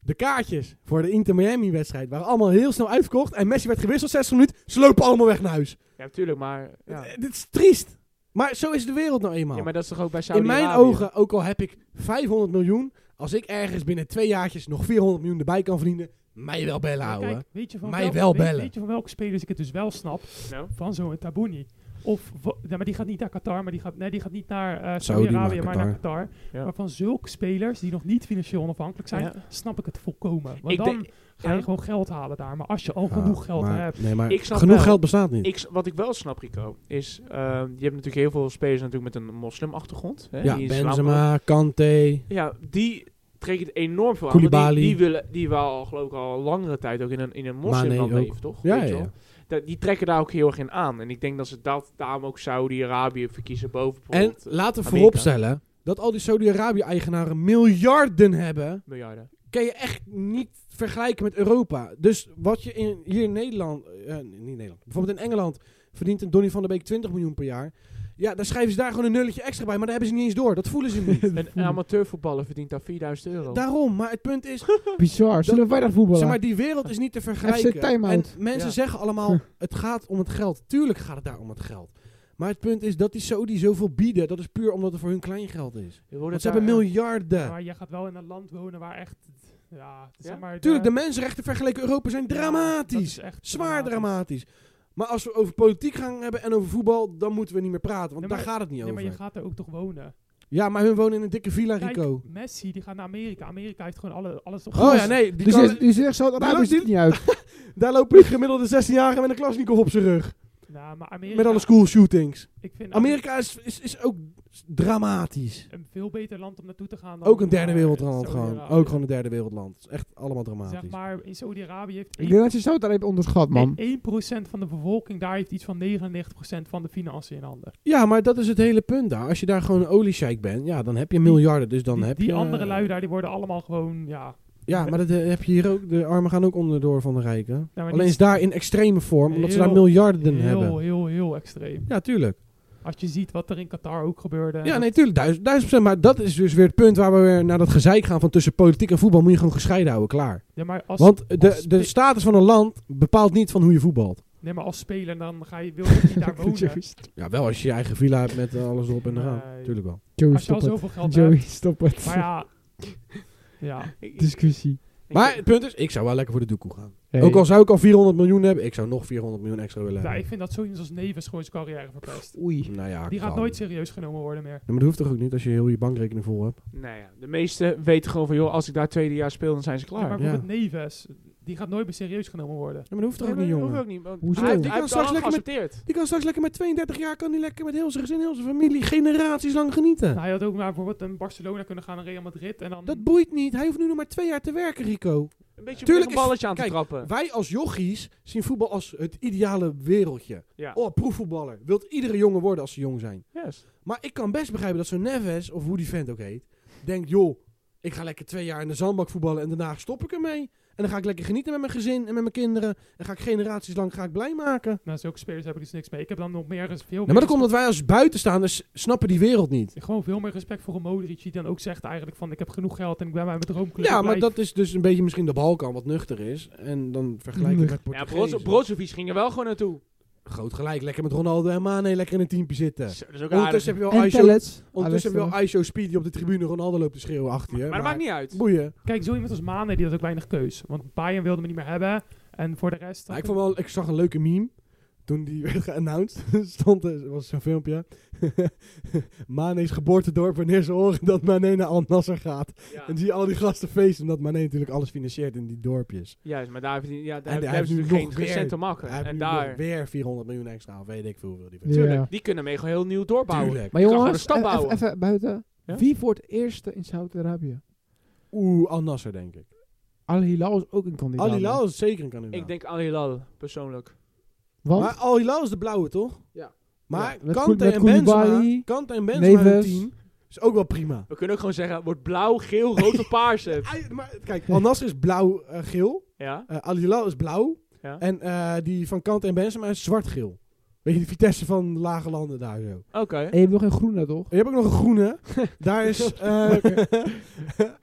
Speaker 2: de kaartjes voor de Inter Miami-wedstrijd waren allemaal heel snel uitverkocht. En Messi werd gewisseld, 60 minuten. Ze lopen allemaal weg naar huis.
Speaker 1: Ja, natuurlijk, maar. Ja.
Speaker 2: Eh, Dit is triest. Maar zo is de wereld nou eenmaal.
Speaker 1: Ja, maar dat is toch ook bij
Speaker 2: In
Speaker 1: Saudi-Arabië?
Speaker 2: mijn ogen, ook al heb ik 500 miljoen, als ik ergens binnen twee jaartjes nog 400 miljoen erbij kan verdienen, mij wel bellen
Speaker 4: maar
Speaker 2: houden.
Speaker 4: kijk, weet je van
Speaker 2: Nou, Mij
Speaker 4: welke-
Speaker 2: wel
Speaker 4: weet-
Speaker 2: bellen.
Speaker 4: Weet je van welke spelers ik het dus wel snap?
Speaker 1: Nou.
Speaker 4: Van zo'n Tabouni. Of, wa- ja, maar die gaat niet naar Qatar, maar die gaat, nee, die gaat niet naar eh
Speaker 2: maar
Speaker 4: Saudi-Arabië,
Speaker 2: Qatar.
Speaker 4: maar naar Qatar.
Speaker 1: Ja.
Speaker 4: Maar van zulke spelers die nog niet financieel onafhankelijk zijn,
Speaker 1: Ja.
Speaker 4: snap ik het volkomen. Want
Speaker 1: Ik,
Speaker 4: dan
Speaker 1: denk-
Speaker 4: ga je
Speaker 1: ja.
Speaker 4: gewoon geld halen daar. Maar als je al genoeg geld hebt,
Speaker 2: Nee, Ah, maar
Speaker 1: Ik snap
Speaker 2: genoeg
Speaker 1: wel.
Speaker 2: geld bestaat niet.
Speaker 1: ik, s- wat ik wel snap, Rico, is. ehm, je hebt natuurlijk heel veel spelers natuurlijk met een moslimachtergrond. Hè,
Speaker 2: ja,
Speaker 1: die in islam geloven.
Speaker 2: Benzema, Kante.
Speaker 1: Ja, die trekken het enorm veel aan. want Die,
Speaker 2: Koulibaly.
Speaker 1: die, willen, die wel, al, geloof ik, al langere tijd ook in een, in een moslimland
Speaker 2: Mane ook.
Speaker 1: leven, toch?
Speaker 2: Ja,
Speaker 1: Weet je
Speaker 2: ja,
Speaker 1: wel?
Speaker 2: ja.
Speaker 1: Dat- die trekken daar ook heel erg in aan. En ik denk dat ze dat daarom ook Saudi-Arabië verkiezen boven
Speaker 2: En
Speaker 1: bijvoorbeeld
Speaker 2: laten we
Speaker 1: Amerika.
Speaker 2: vooropstellen dat al die Saudi-Arabië-eigenaren miljarden hebben.
Speaker 1: miljarden.
Speaker 2: Kan je echt niet vergelijken met Europa. Dus wat je in, hier in Nederland, eh, nee, niet in Nederland, bijvoorbeeld in Engeland verdient een Donny van der Beek 20 miljoen per jaar. Ja, daar schrijven ze daar gewoon een nulletje extra bij, maar daar hebben ze niet eens door. Dat voelen ze niet.
Speaker 1: Een amateurvoetballer verdient daar 4000 euro.
Speaker 2: Daarom, maar het punt is,
Speaker 3: Bizar. Zullen wij dat voetballen?
Speaker 2: zeg maar, die wereld is niet te vergelijken.
Speaker 3: FC timeout.
Speaker 2: En mensen
Speaker 1: Ja.
Speaker 2: zeggen allemaal, het gaat om het geld. Tuurlijk gaat het daar om het geld. Maar het punt is dat die Saudi zoveel bieden, dat is puur omdat het voor hun klein geld is.
Speaker 1: Je hoort
Speaker 2: Want
Speaker 1: het
Speaker 2: ze hebben
Speaker 1: daar-
Speaker 2: miljarden.
Speaker 4: maar je gaat wel in een land wonen waar echt, ja, zeg maar...
Speaker 2: Tuurlijk, de mensenrechten vergeleken Europa zijn
Speaker 4: ja, dat
Speaker 2: dramatisch.
Speaker 4: is echt
Speaker 2: Zwaar dramatisch. Maar als we over politiek gaan hebben en over voetbal, dan moeten we niet meer praten. Want
Speaker 4: Nee,
Speaker 2: daar
Speaker 4: maar-
Speaker 2: gaat het niet
Speaker 4: Nee, maar
Speaker 2: over.
Speaker 4: je gaat er ook toch wonen.
Speaker 2: Ja, maar hun wonen in een dikke villa,
Speaker 4: Kijk,
Speaker 2: Rico.
Speaker 4: Messi, die gaat naar Amerika. Amerika heeft gewoon alle, alles op
Speaker 2: Oh ja, nee. Die
Speaker 3: Dus
Speaker 2: kan-
Speaker 3: je, je zegt zo, Arabië ziet het niet uit.
Speaker 2: daar lopen die gemiddelde 16-jarigen met een klasnikov op zijn rug.
Speaker 4: Nou, maar Amerika,
Speaker 2: Met alle school shootings.
Speaker 4: ik vind
Speaker 2: Amerika is, is, is ook S- Dramatisch.
Speaker 4: Een veel beter land om naartoe te gaan dan...
Speaker 2: Ook een derde
Speaker 4: eh,
Speaker 2: wereldland gewoon.
Speaker 4: Saudi-Arabië.
Speaker 2: Ook gewoon een derde wereldland. Het is Echt allemaal
Speaker 4: Zeg
Speaker 2: dramatisch.
Speaker 4: maar, in Saudi-Arabië heeft
Speaker 3: Ik denk dat je Saudi-Arabië onderschat, man.
Speaker 4: 1% van de bevolking daar heeft iets van 99% van de financiën in handen.
Speaker 2: Ja, maar dat is het hele punt daar. Als je daar gewoon een oliesheik bent, ja, dan heb je miljarden. Dus dan
Speaker 4: die
Speaker 2: heb
Speaker 4: die
Speaker 2: je...
Speaker 4: andere lui daar, die worden allemaal gewoon, ja... nou,
Speaker 2: Ja, maar dat eh, heb je hier ook. De armen gaan ook onderdoor van de rijken.
Speaker 4: maar
Speaker 2: Alleen
Speaker 4: die-
Speaker 2: is daar in extreme vorm, omdat ze daar
Speaker 4: Heel-
Speaker 2: miljarden
Speaker 4: heel, heel,
Speaker 2: hebben.
Speaker 4: heel, extreem.
Speaker 2: Ja, tuurlijk.
Speaker 4: Als je ziet wat er in Qatar ook gebeurde.
Speaker 2: Ja, nee, tuurlijk. Duizend, duizend procent. Maar dat is dus weer het punt waar we weer naar dat gezeik gaan van tussen politiek en voetbal moet je gewoon gescheiden houden. Klaar.
Speaker 4: Ja, maar als,
Speaker 2: Want de, dus-
Speaker 4: als
Speaker 2: de
Speaker 4: spe-
Speaker 2: status van een land bepaalt niet van hoe je voetbalt.
Speaker 4: nee, maar als speler dan ga je, wil je niet daar wonen.
Speaker 3: Joey,
Speaker 2: Ja, wel als je je eigen villa hebt met eh, alles erop en eraan.
Speaker 4: Nee.
Speaker 2: Tuurlijk wel.
Speaker 4: Als je al
Speaker 3: stop het.
Speaker 4: zoveel geld
Speaker 3: Joey,
Speaker 4: hebt.
Speaker 3: stop het.
Speaker 4: Maar ja, ja.
Speaker 3: Discussie.
Speaker 2: Maar het punt is, ik zou wel lekker voor de doekoe gaan.
Speaker 3: Hey.
Speaker 2: Ook al zou ik al 400 miljoen hebben, ik zou nog 400 miljoen extra willen
Speaker 4: ja, ik
Speaker 2: hebben.
Speaker 4: vind dat zo iemand als Neves gewoon zijn carrière verpest.
Speaker 3: Oei.
Speaker 2: Nou ja,
Speaker 4: Die gaat
Speaker 2: kan.
Speaker 4: nooit serieus genomen worden meer.
Speaker 2: Ja, maar dat hoeft toch ook niet als je heel je bankrekening vol hebt?
Speaker 1: Nou ja, de meesten weten gewoon van, joh, als ik daar tweede jaar speel, dan zijn ze klaar.
Speaker 4: Ja, maar
Speaker 2: ja.
Speaker 4: bijvoorbeeld Neves, die gaat nooit meer serieus genomen worden.
Speaker 2: Ja, maar dat hoeft toch
Speaker 1: Nee,
Speaker 2: ook niet,
Speaker 1: maar dat hoeft ook
Speaker 2: jongen?
Speaker 1: niet, want
Speaker 3: Hoezo?
Speaker 1: Hij heeft,
Speaker 2: Die
Speaker 1: hij heeft
Speaker 2: kan
Speaker 1: het al
Speaker 2: straks lekker met-
Speaker 1: geaccepteerd.
Speaker 2: Die kan straks lekker met 32 jaar, kan die lekker met heel zijn gezin, heel zijn familie, generaties lang genieten.
Speaker 4: Nou, hij had ook maar bijvoorbeeld een Barcelona kunnen gaan, een Real Madrid en dan...
Speaker 2: Dat boeit niet. Hij hoeft nu nog maar twee jaar te werken, Rico.
Speaker 1: Een beetje
Speaker 2: Tuurlijk
Speaker 1: een
Speaker 2: is-
Speaker 1: balletje aan
Speaker 2: kijk,
Speaker 1: te trappen.
Speaker 2: Wij als jochies zien voetbal als het ideale wereldje.
Speaker 1: Ja.
Speaker 2: Oh, proefvoetballer. Wilt iedere jongen worden als ze jong zijn.
Speaker 1: Yes.
Speaker 2: Maar ik kan best begrijpen dat zo'n Neves, of hoe die vent ook heet, denkt, joh, ik ga lekker twee jaar in de zandbak voetballen en daarna stop ik ermee. En dan ga ik lekker genieten met mijn gezin en met mijn kinderen. En ga ik generaties lang ga ik blij maken.
Speaker 4: Nou, zulke spelers heb ik dus niks mee. Ik heb dan nog meer, veel meer...
Speaker 2: Nou, maar dan komt dat wij als buitenstaanders s- snappen die wereld niet.
Speaker 4: Gewoon veel meer respect voor een Modric die dan ook zegt eigenlijk van ik heb genoeg geld en ik ben bij mijn droomclub.
Speaker 2: Ja,
Speaker 4: Ik
Speaker 2: maar
Speaker 4: blijf.
Speaker 2: dat is dus een beetje misschien de Balkan wat nuchter is. En dan vergelijken
Speaker 3: Nuchter.
Speaker 2: met
Speaker 1: Ja,
Speaker 2: Portugees.
Speaker 1: Brozo- Brozovic ging er wel gewoon naartoe.
Speaker 2: Groot gelijk. Lekker met Ronaldo en Mane lekker in een teampje zitten.
Speaker 1: Zo, Dat is ook aardig.
Speaker 2: Ondertussen heb je wel
Speaker 3: En
Speaker 2: ISO,
Speaker 3: pellets.
Speaker 2: ondertussen heb je
Speaker 3: Alles,
Speaker 2: wel ISO Speed die op de tribune Ronaldo loopt te schreeuwen achter je.
Speaker 1: Maar dat maakt niet uit.
Speaker 2: Boeien.
Speaker 4: Kijk, zo iemand als Mane die had ook weinig keus. Want Bayern wilde me niet meer hebben. En voor de rest...
Speaker 2: Maar ik, vond wel, ik zag een leuke meme. Toen die werd geannounced, stond er, was zo'n filmpje. Mane's geboortedorp, wanneer ze horen dat Mane naar Al Nasser gaat.
Speaker 1: Ja.
Speaker 2: En zie je al die gasten feesten, omdat Mane natuurlijk alles financiert in die dorpjes.
Speaker 1: Juist, maar daar heeft hij, ja, daar
Speaker 2: En
Speaker 1: daar hebben
Speaker 2: hij heeft
Speaker 1: ze
Speaker 2: nu
Speaker 1: natuurlijk
Speaker 2: nog
Speaker 1: geen
Speaker 2: weer-
Speaker 1: cent te maken.
Speaker 2: Hij heeft
Speaker 1: En
Speaker 2: nu
Speaker 1: daar,
Speaker 2: nog weer 400 miljoen extra, of weet ik veel. Wil die
Speaker 3: Ja.
Speaker 1: tuurlijk, die kunnen mee gewoon heel nieuw doorbouwen.
Speaker 2: Tuurlijk.
Speaker 3: Maar
Speaker 1: Je kan gewoon
Speaker 3: jongens,
Speaker 1: een stad
Speaker 3: even,
Speaker 1: bouwen.
Speaker 3: even buiten.
Speaker 1: Ja?
Speaker 3: Wie wordt eerste in Saudi-Arabië?
Speaker 2: Oeh, Al Nasser denk ik.
Speaker 3: Al-Hilal is ook een kandidaat.
Speaker 2: Al Hilal is zeker een kandidaat.
Speaker 1: Ik denk Al Hilal, persoonlijk.
Speaker 3: Want
Speaker 2: maar Al Hilal is de blauwe, toch?
Speaker 3: Ja.
Speaker 2: Maar
Speaker 3: Ja, met Koel-
Speaker 2: Kante,
Speaker 3: met
Speaker 2: en
Speaker 3: Koulibaly,
Speaker 2: Benzema, Kante en Benzema in het
Speaker 3: Neves.
Speaker 2: team is ook wel prima.
Speaker 1: We kunnen ook gewoon zeggen, wordt blauw, geel, rood of paars het.
Speaker 2: Ai, maar kijk, Al Nasser is blauw-geel.
Speaker 1: Ja?
Speaker 2: Eh, Al Hilal is blauw.
Speaker 1: Ja.
Speaker 2: En eh, die van Kante en Benzema is zwart-geel. Weet je, de Vitesse van de lage landen daar zo.
Speaker 1: Oké.
Speaker 3: en je hebt nog geen groene, toch?
Speaker 2: Je hebt ook nog een groene. daar is... eh,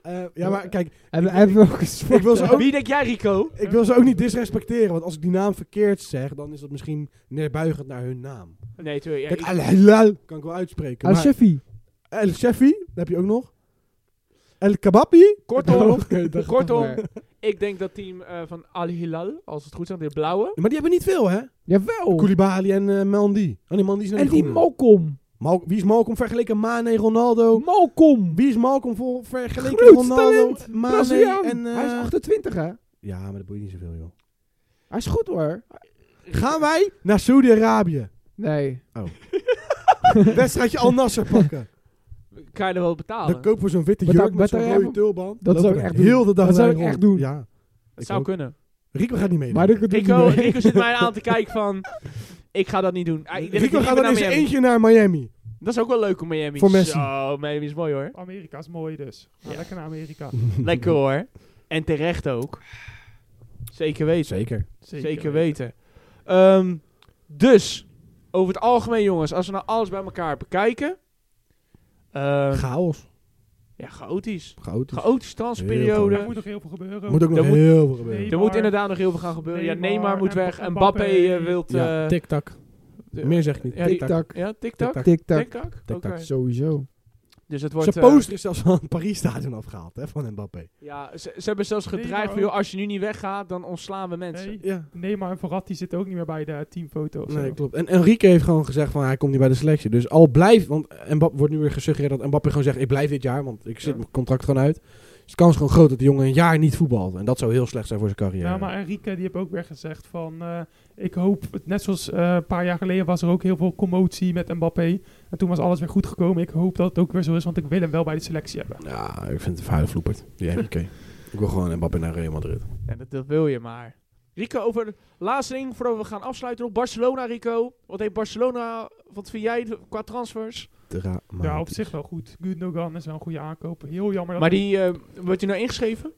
Speaker 2: eh, ja, maar kijk,
Speaker 3: En we hebben ook een
Speaker 2: ik wil
Speaker 3: zwarte.
Speaker 2: ze ook
Speaker 1: Dus Wie denk jij, Rico?
Speaker 2: Ik wil ze ook niet disrespecteren, want als ik die naam verkeerd zeg, dan is dat misschien neerbuigend naar hun naam.
Speaker 1: Nee, tuurlijk. ja,
Speaker 2: Kijk,
Speaker 1: ik-
Speaker 2: Al-Hilal kan ik wel uitspreken. maar-
Speaker 3: Al-Shafi.
Speaker 2: El Shefi, dat heb je ook nog. El Kababi.
Speaker 1: kortom,
Speaker 3: Oké, dat-
Speaker 1: kortom, ik denk dat team eh, van Al Hilal, als het goed is, de blauwe.
Speaker 2: Maar die hebben niet veel, hè?
Speaker 3: Jawel.
Speaker 2: Koulibaly en eh Mandy. Oh, die Mandy is
Speaker 3: En die
Speaker 2: Malcolm.
Speaker 3: Malcolm.
Speaker 2: Wie is Malcolm vergeleken? Mane, Ronaldo.
Speaker 3: Malcolm.
Speaker 2: Wie is Malcolm voor vergeleken?
Speaker 3: Groot
Speaker 2: Ronaldo,
Speaker 3: talent.
Speaker 2: Mane
Speaker 3: Braziliaan.
Speaker 2: en... eh,
Speaker 3: Hij is 28, hè?
Speaker 2: Ja, maar dat boeit niet zoveel, joh.
Speaker 3: Hij is goed, hoor.
Speaker 2: Gaan wij naar Saudi-Arabië.
Speaker 3: Nee.
Speaker 2: Wedstrijdje Al Nasser pakken.
Speaker 1: Kan je er wel betalen?
Speaker 2: Dan kopen we zo'n witte
Speaker 3: Maar daar-
Speaker 2: jurk met
Speaker 3: maar
Speaker 2: zo'n
Speaker 3: daar
Speaker 2: rode
Speaker 3: hebben-
Speaker 2: tulband.
Speaker 3: Dat zou ik
Speaker 2: Lopen we
Speaker 3: echt doen.
Speaker 2: Heel de dag
Speaker 3: Dat zou
Speaker 2: daar
Speaker 3: ik
Speaker 2: rond.
Speaker 3: echt doen.
Speaker 2: Ja.
Speaker 1: Het
Speaker 2: Ik
Speaker 1: zou
Speaker 2: ook.
Speaker 1: kunnen.
Speaker 2: Rico gaat niet mee.
Speaker 3: Maar
Speaker 2: doen.
Speaker 3: ik doe het
Speaker 1: Rico,
Speaker 3: niet mee.
Speaker 1: Rico zit mij aan te kijken van... Ik ga dat niet doen. Ah, ik denk
Speaker 2: Rico
Speaker 1: dat ik liever
Speaker 2: gaat dan
Speaker 1: naar
Speaker 2: eens
Speaker 1: Miami.
Speaker 2: eentje naar Miami.
Speaker 1: Dat is ook wel leuk om Miami.
Speaker 2: Voor Messi.
Speaker 1: Zo, Miami is mooi hoor.
Speaker 4: Amerika is mooi dus. Ga
Speaker 1: Ja.
Speaker 4: Lekker naar Amerika.
Speaker 1: Lekker hoor. En terecht ook. Zeker weten.
Speaker 2: Zeker.
Speaker 1: Zeker, weten. Ehm, dus, over het algemeen jongens, als we nou alles bij elkaar bekijken.
Speaker 2: Eh,
Speaker 1: ehm,
Speaker 2: Chaos.
Speaker 1: ja, chaotisch.
Speaker 2: Goud.
Speaker 3: Dus
Speaker 1: Chaotische
Speaker 4: Er
Speaker 1: transperiode.
Speaker 4: moet nog heel veel gebeuren.
Speaker 2: Moet ook nog
Speaker 1: Er moet-
Speaker 2: heel veel gebeuren.
Speaker 4: Nee,
Speaker 1: Er moet
Speaker 4: Neymar.
Speaker 1: inderdaad nog heel veel gaan gebeuren. Ja,
Speaker 4: Neymar
Speaker 1: Neymar moet
Speaker 4: en
Speaker 1: weg. En
Speaker 4: Mbappé.
Speaker 1: Mbappé eh, wilt...
Speaker 2: Ja,
Speaker 1: eh,
Speaker 2: tic-tac.
Speaker 1: de-
Speaker 2: Meer zeg ik niet.
Speaker 1: Ja, die-
Speaker 2: tic-tac.
Speaker 3: Tik-tak.
Speaker 1: Ja, tic-tac.
Speaker 3: Tik-tak.
Speaker 1: Tic-tac.
Speaker 2: Tic-tac.
Speaker 1: Oké.
Speaker 3: Sowieso.
Speaker 1: Dus het
Speaker 2: Zijn
Speaker 1: wordt... eh,
Speaker 2: poster is zelfs van het Paris-stadion afgehaald, hè, van Mbappé.
Speaker 1: ja, ze, ze hebben zelfs gedreigd
Speaker 4: Neymar
Speaker 1: van, joh,
Speaker 4: ook.
Speaker 1: als je nu niet weggaat, dan ontslaan we mensen.
Speaker 4: Nee,
Speaker 2: Ja.
Speaker 4: Neymar en Verratti zitten ook niet meer bij de teamfoto. of zo.
Speaker 2: Nee, klopt. En Enrique heeft gewoon gezegd van hij komt niet bij de selectie. Dus al blijft, want Mbappé wordt nu weer gesuggereerd dat Mbappé gewoon zegt ik blijf dit jaar, want ik zit
Speaker 1: Ja.
Speaker 2: mijn contract gewoon uit. Dus de kans is gewoon groot dat de jongen een jaar niet voetbalt. En dat zou heel slecht zijn voor zijn carrière.
Speaker 4: Ja, maar Enrique die heeft ook weer gezegd van... eh, ik hoop, net zoals eh, een paar jaar geleden was er ook heel veel commotie met Mbappé. En En toen was alles weer goed gekomen. Ik hoop dat het ook weer zo is, want ik wil hem wel bij de selectie hebben.
Speaker 2: Ja, ik vind het een vuile vloepert. Die heeft oké. Ik wil gewoon Mbappé naar Real Madrid.
Speaker 1: Ja, dat, dat wil je maar. Rico, over de laatste ding voordat we gaan afsluiten nog. Barcelona, Rico. Wat heeft Barcelona, wat vind jij qua transfers?
Speaker 2: Dramatisch.
Speaker 4: Ja, op zich wel goed. Gundogan is wel een goede aankoop. Heel jammer dat
Speaker 1: Maar die, eh, wordt hij nou ingeschreven?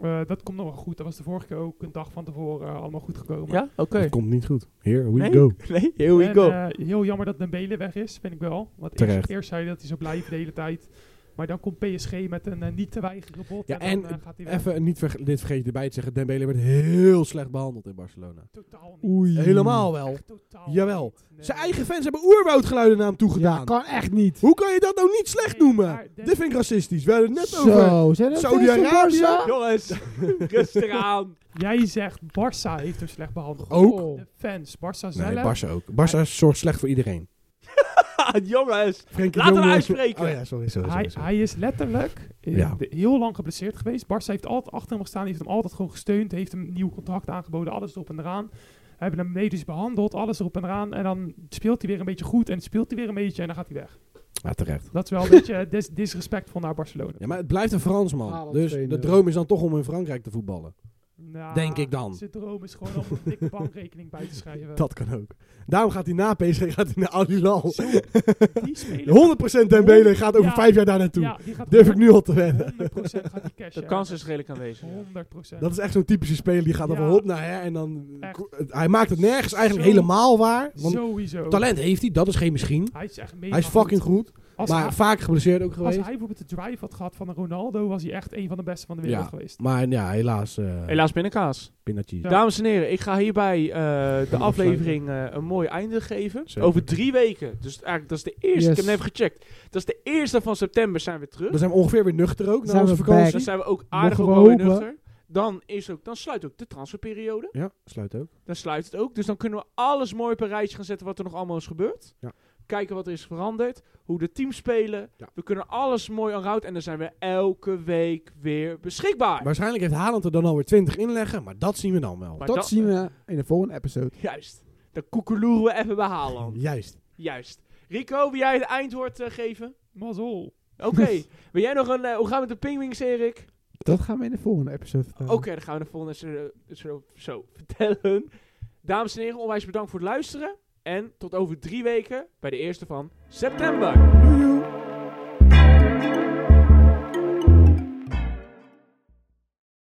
Speaker 4: Eh, dat komt nog wel goed. Dat was de vorige keer ook een dag van tevoren eh, allemaal goed gekomen.
Speaker 1: Ja, oké.
Speaker 2: Dat komt niet goed. Here we
Speaker 1: Nee?
Speaker 2: go.
Speaker 1: Nee, here we
Speaker 4: En,
Speaker 1: go.
Speaker 4: eh, heel jammer dat Dembele weg is, vind ik wel. Want
Speaker 2: Terecht.
Speaker 4: eerst, eerst zei hij dat hij zo blijft de hele tijd. Maar dan komt PSG met een eh, niet te weigeren bod.
Speaker 2: Ja,
Speaker 4: en dan
Speaker 2: en
Speaker 4: eh, gaat hij weg.
Speaker 2: Even niet verge- dit vergeet je erbij te zeggen. Dembele werd heel slecht behandeld in Barcelona.
Speaker 4: Totaal niet.
Speaker 3: Oei.
Speaker 2: Helemaal
Speaker 3: Hmm.
Speaker 2: wel.
Speaker 4: Echt totaal
Speaker 2: Jawel.
Speaker 4: niet. Nee.
Speaker 2: Zijn eigen fans hebben oerwoudgeluiden naar hem toe gedaan.
Speaker 3: Ja, kan echt niet.
Speaker 2: Hoe kan je dat nou niet slecht
Speaker 4: Nee,
Speaker 2: noemen?
Speaker 4: maar Dem-
Speaker 2: Dit vind ik racistisch. We hadden het net over.
Speaker 3: Zo, zijn er
Speaker 2: Saudi-Arabië?
Speaker 3: Saudi-Arabië?
Speaker 1: Jongens, rustig aan.
Speaker 4: Jij zegt Barça heeft hem slecht behandeld.
Speaker 2: Ook.
Speaker 4: De fans, Barça zelf.
Speaker 2: Oh. Nee, Barça ook. Barça zorgt slecht voor iedereen.
Speaker 4: Ah,
Speaker 1: Jongens.
Speaker 2: Frenkie
Speaker 1: Laat
Speaker 2: de Jong
Speaker 1: hem
Speaker 2: was-
Speaker 1: uitspreken.
Speaker 2: Oh ja, sorry, sorry, sorry,
Speaker 4: hij,
Speaker 2: sorry.
Speaker 4: hij is letterlijk eh,
Speaker 2: Ja.
Speaker 4: de- heel lang geblesseerd geweest. Barça heeft altijd achter hem gestaan, heeft hem altijd gewoon gesteund, heeft hem een nieuw contract aangeboden, alles erop en eraan. Hebben hem medisch behandeld, alles erop en eraan. En dan speelt hij weer een beetje goed en speelt hij weer een beetje en dan gaat hij weg.
Speaker 2: Ja, terecht.
Speaker 4: Dat is wel een beetje eh, dis disrespectvol naar Barcelona.
Speaker 2: Ja, maar het blijft een Fransman.
Speaker 3: Haaland
Speaker 2: dus
Speaker 3: 2-0.
Speaker 2: de droom is dan toch om in Frankrijk te voetballen.
Speaker 4: Nou,
Speaker 2: Denk ik dan.
Speaker 4: Zijn droom is gewoon om een dikke bankrekening bij te schrijven.
Speaker 2: Dat kan ook. Daarom gaat hij na PSG gaat hij naar Al-Hilal.
Speaker 4: Zo, die speler.
Speaker 2: 100% Dembele gaat over
Speaker 4: Ja.
Speaker 2: vijf jaar daar naartoe.
Speaker 4: Ja, die gaat
Speaker 2: Durf ik nu al te wedden.
Speaker 4: 100% gaat die cash.
Speaker 1: De kans is redelijk aanwezig.
Speaker 4: 100%.
Speaker 2: Dat is echt zo'n typische speler die gaat dan
Speaker 4: Ja.
Speaker 2: van hop naar her en dan...
Speaker 4: Echt.
Speaker 2: Hij maakt het nergens eigenlijk
Speaker 4: Zo.
Speaker 2: helemaal waar. Want
Speaker 4: Sowieso.
Speaker 2: talent heeft hij, dat is geen misschien.
Speaker 4: Hij is echt mega
Speaker 2: Hij is fucking goed,
Speaker 4: Als
Speaker 2: maar
Speaker 4: hij-
Speaker 2: vaak geblesseerd ook
Speaker 4: Als
Speaker 2: geweest.
Speaker 4: hij bijvoorbeeld de drive had gehad van een Ronaldo, was hij echt een van de beste van de wereld
Speaker 2: Ja.
Speaker 4: geweest.
Speaker 2: Maar ja, helaas. eh helaas.
Speaker 1: Helaas binnenkaas. Dames en heren, ik ga hierbij eh, de aflevering eh, een mooi einde geven.
Speaker 2: Zeker.
Speaker 1: Over drie weken. Dus eigenlijk, dat is de eerste. Ik heb
Speaker 3: Yes.
Speaker 1: net even gecheckt. Dat is de eerste van september zijn we terug. Dus
Speaker 2: Dan zijn we ongeveer weer nuchter ook na
Speaker 3: Zijn
Speaker 2: onze
Speaker 3: we
Speaker 2: vakantie.
Speaker 1: Dan
Speaker 3: back.
Speaker 1: zijn we ook aardig ook
Speaker 3: Mogen we
Speaker 1: wel weer
Speaker 3: hopen.
Speaker 1: nuchter. Dan, is ook, dan sluit ook de transferperiode.
Speaker 2: Ja, sluit ook.
Speaker 1: Dan sluit het ook. Dus dan kunnen we alles mooi op een rijtje gaan zetten wat er nog allemaal is gebeurd.
Speaker 2: Ja.
Speaker 1: Kijken wat er is veranderd. Hoe de teams spelen.
Speaker 2: Ja.
Speaker 1: We kunnen alles mooi aanhouden. En dan zijn we elke week weer beschikbaar.
Speaker 2: Waarschijnlijk heeft Haaland er dan alweer 20 inleggen, maar dat zien we dan wel.
Speaker 1: Maar
Speaker 3: Dat
Speaker 1: dat-
Speaker 3: zien we in de volgende episode.
Speaker 1: Juist. Dan koekeloeren we even bij Haaland.
Speaker 2: Juist.
Speaker 1: Juist. Rico, wil jij het eindwoord eh, geven?
Speaker 4: Mazzel.
Speaker 1: Oké. wil jij nog een... eh, hoe gaan we met de pingwings, Erik?
Speaker 3: Dat gaan we in de volgende episode
Speaker 1: Oké, dan gaan we de volgende zo, zo, zo vertellen. Dames en heren, onwijs bedankt voor het luisteren. En tot over drie weken bij de eerste van september.
Speaker 3: Joejoe.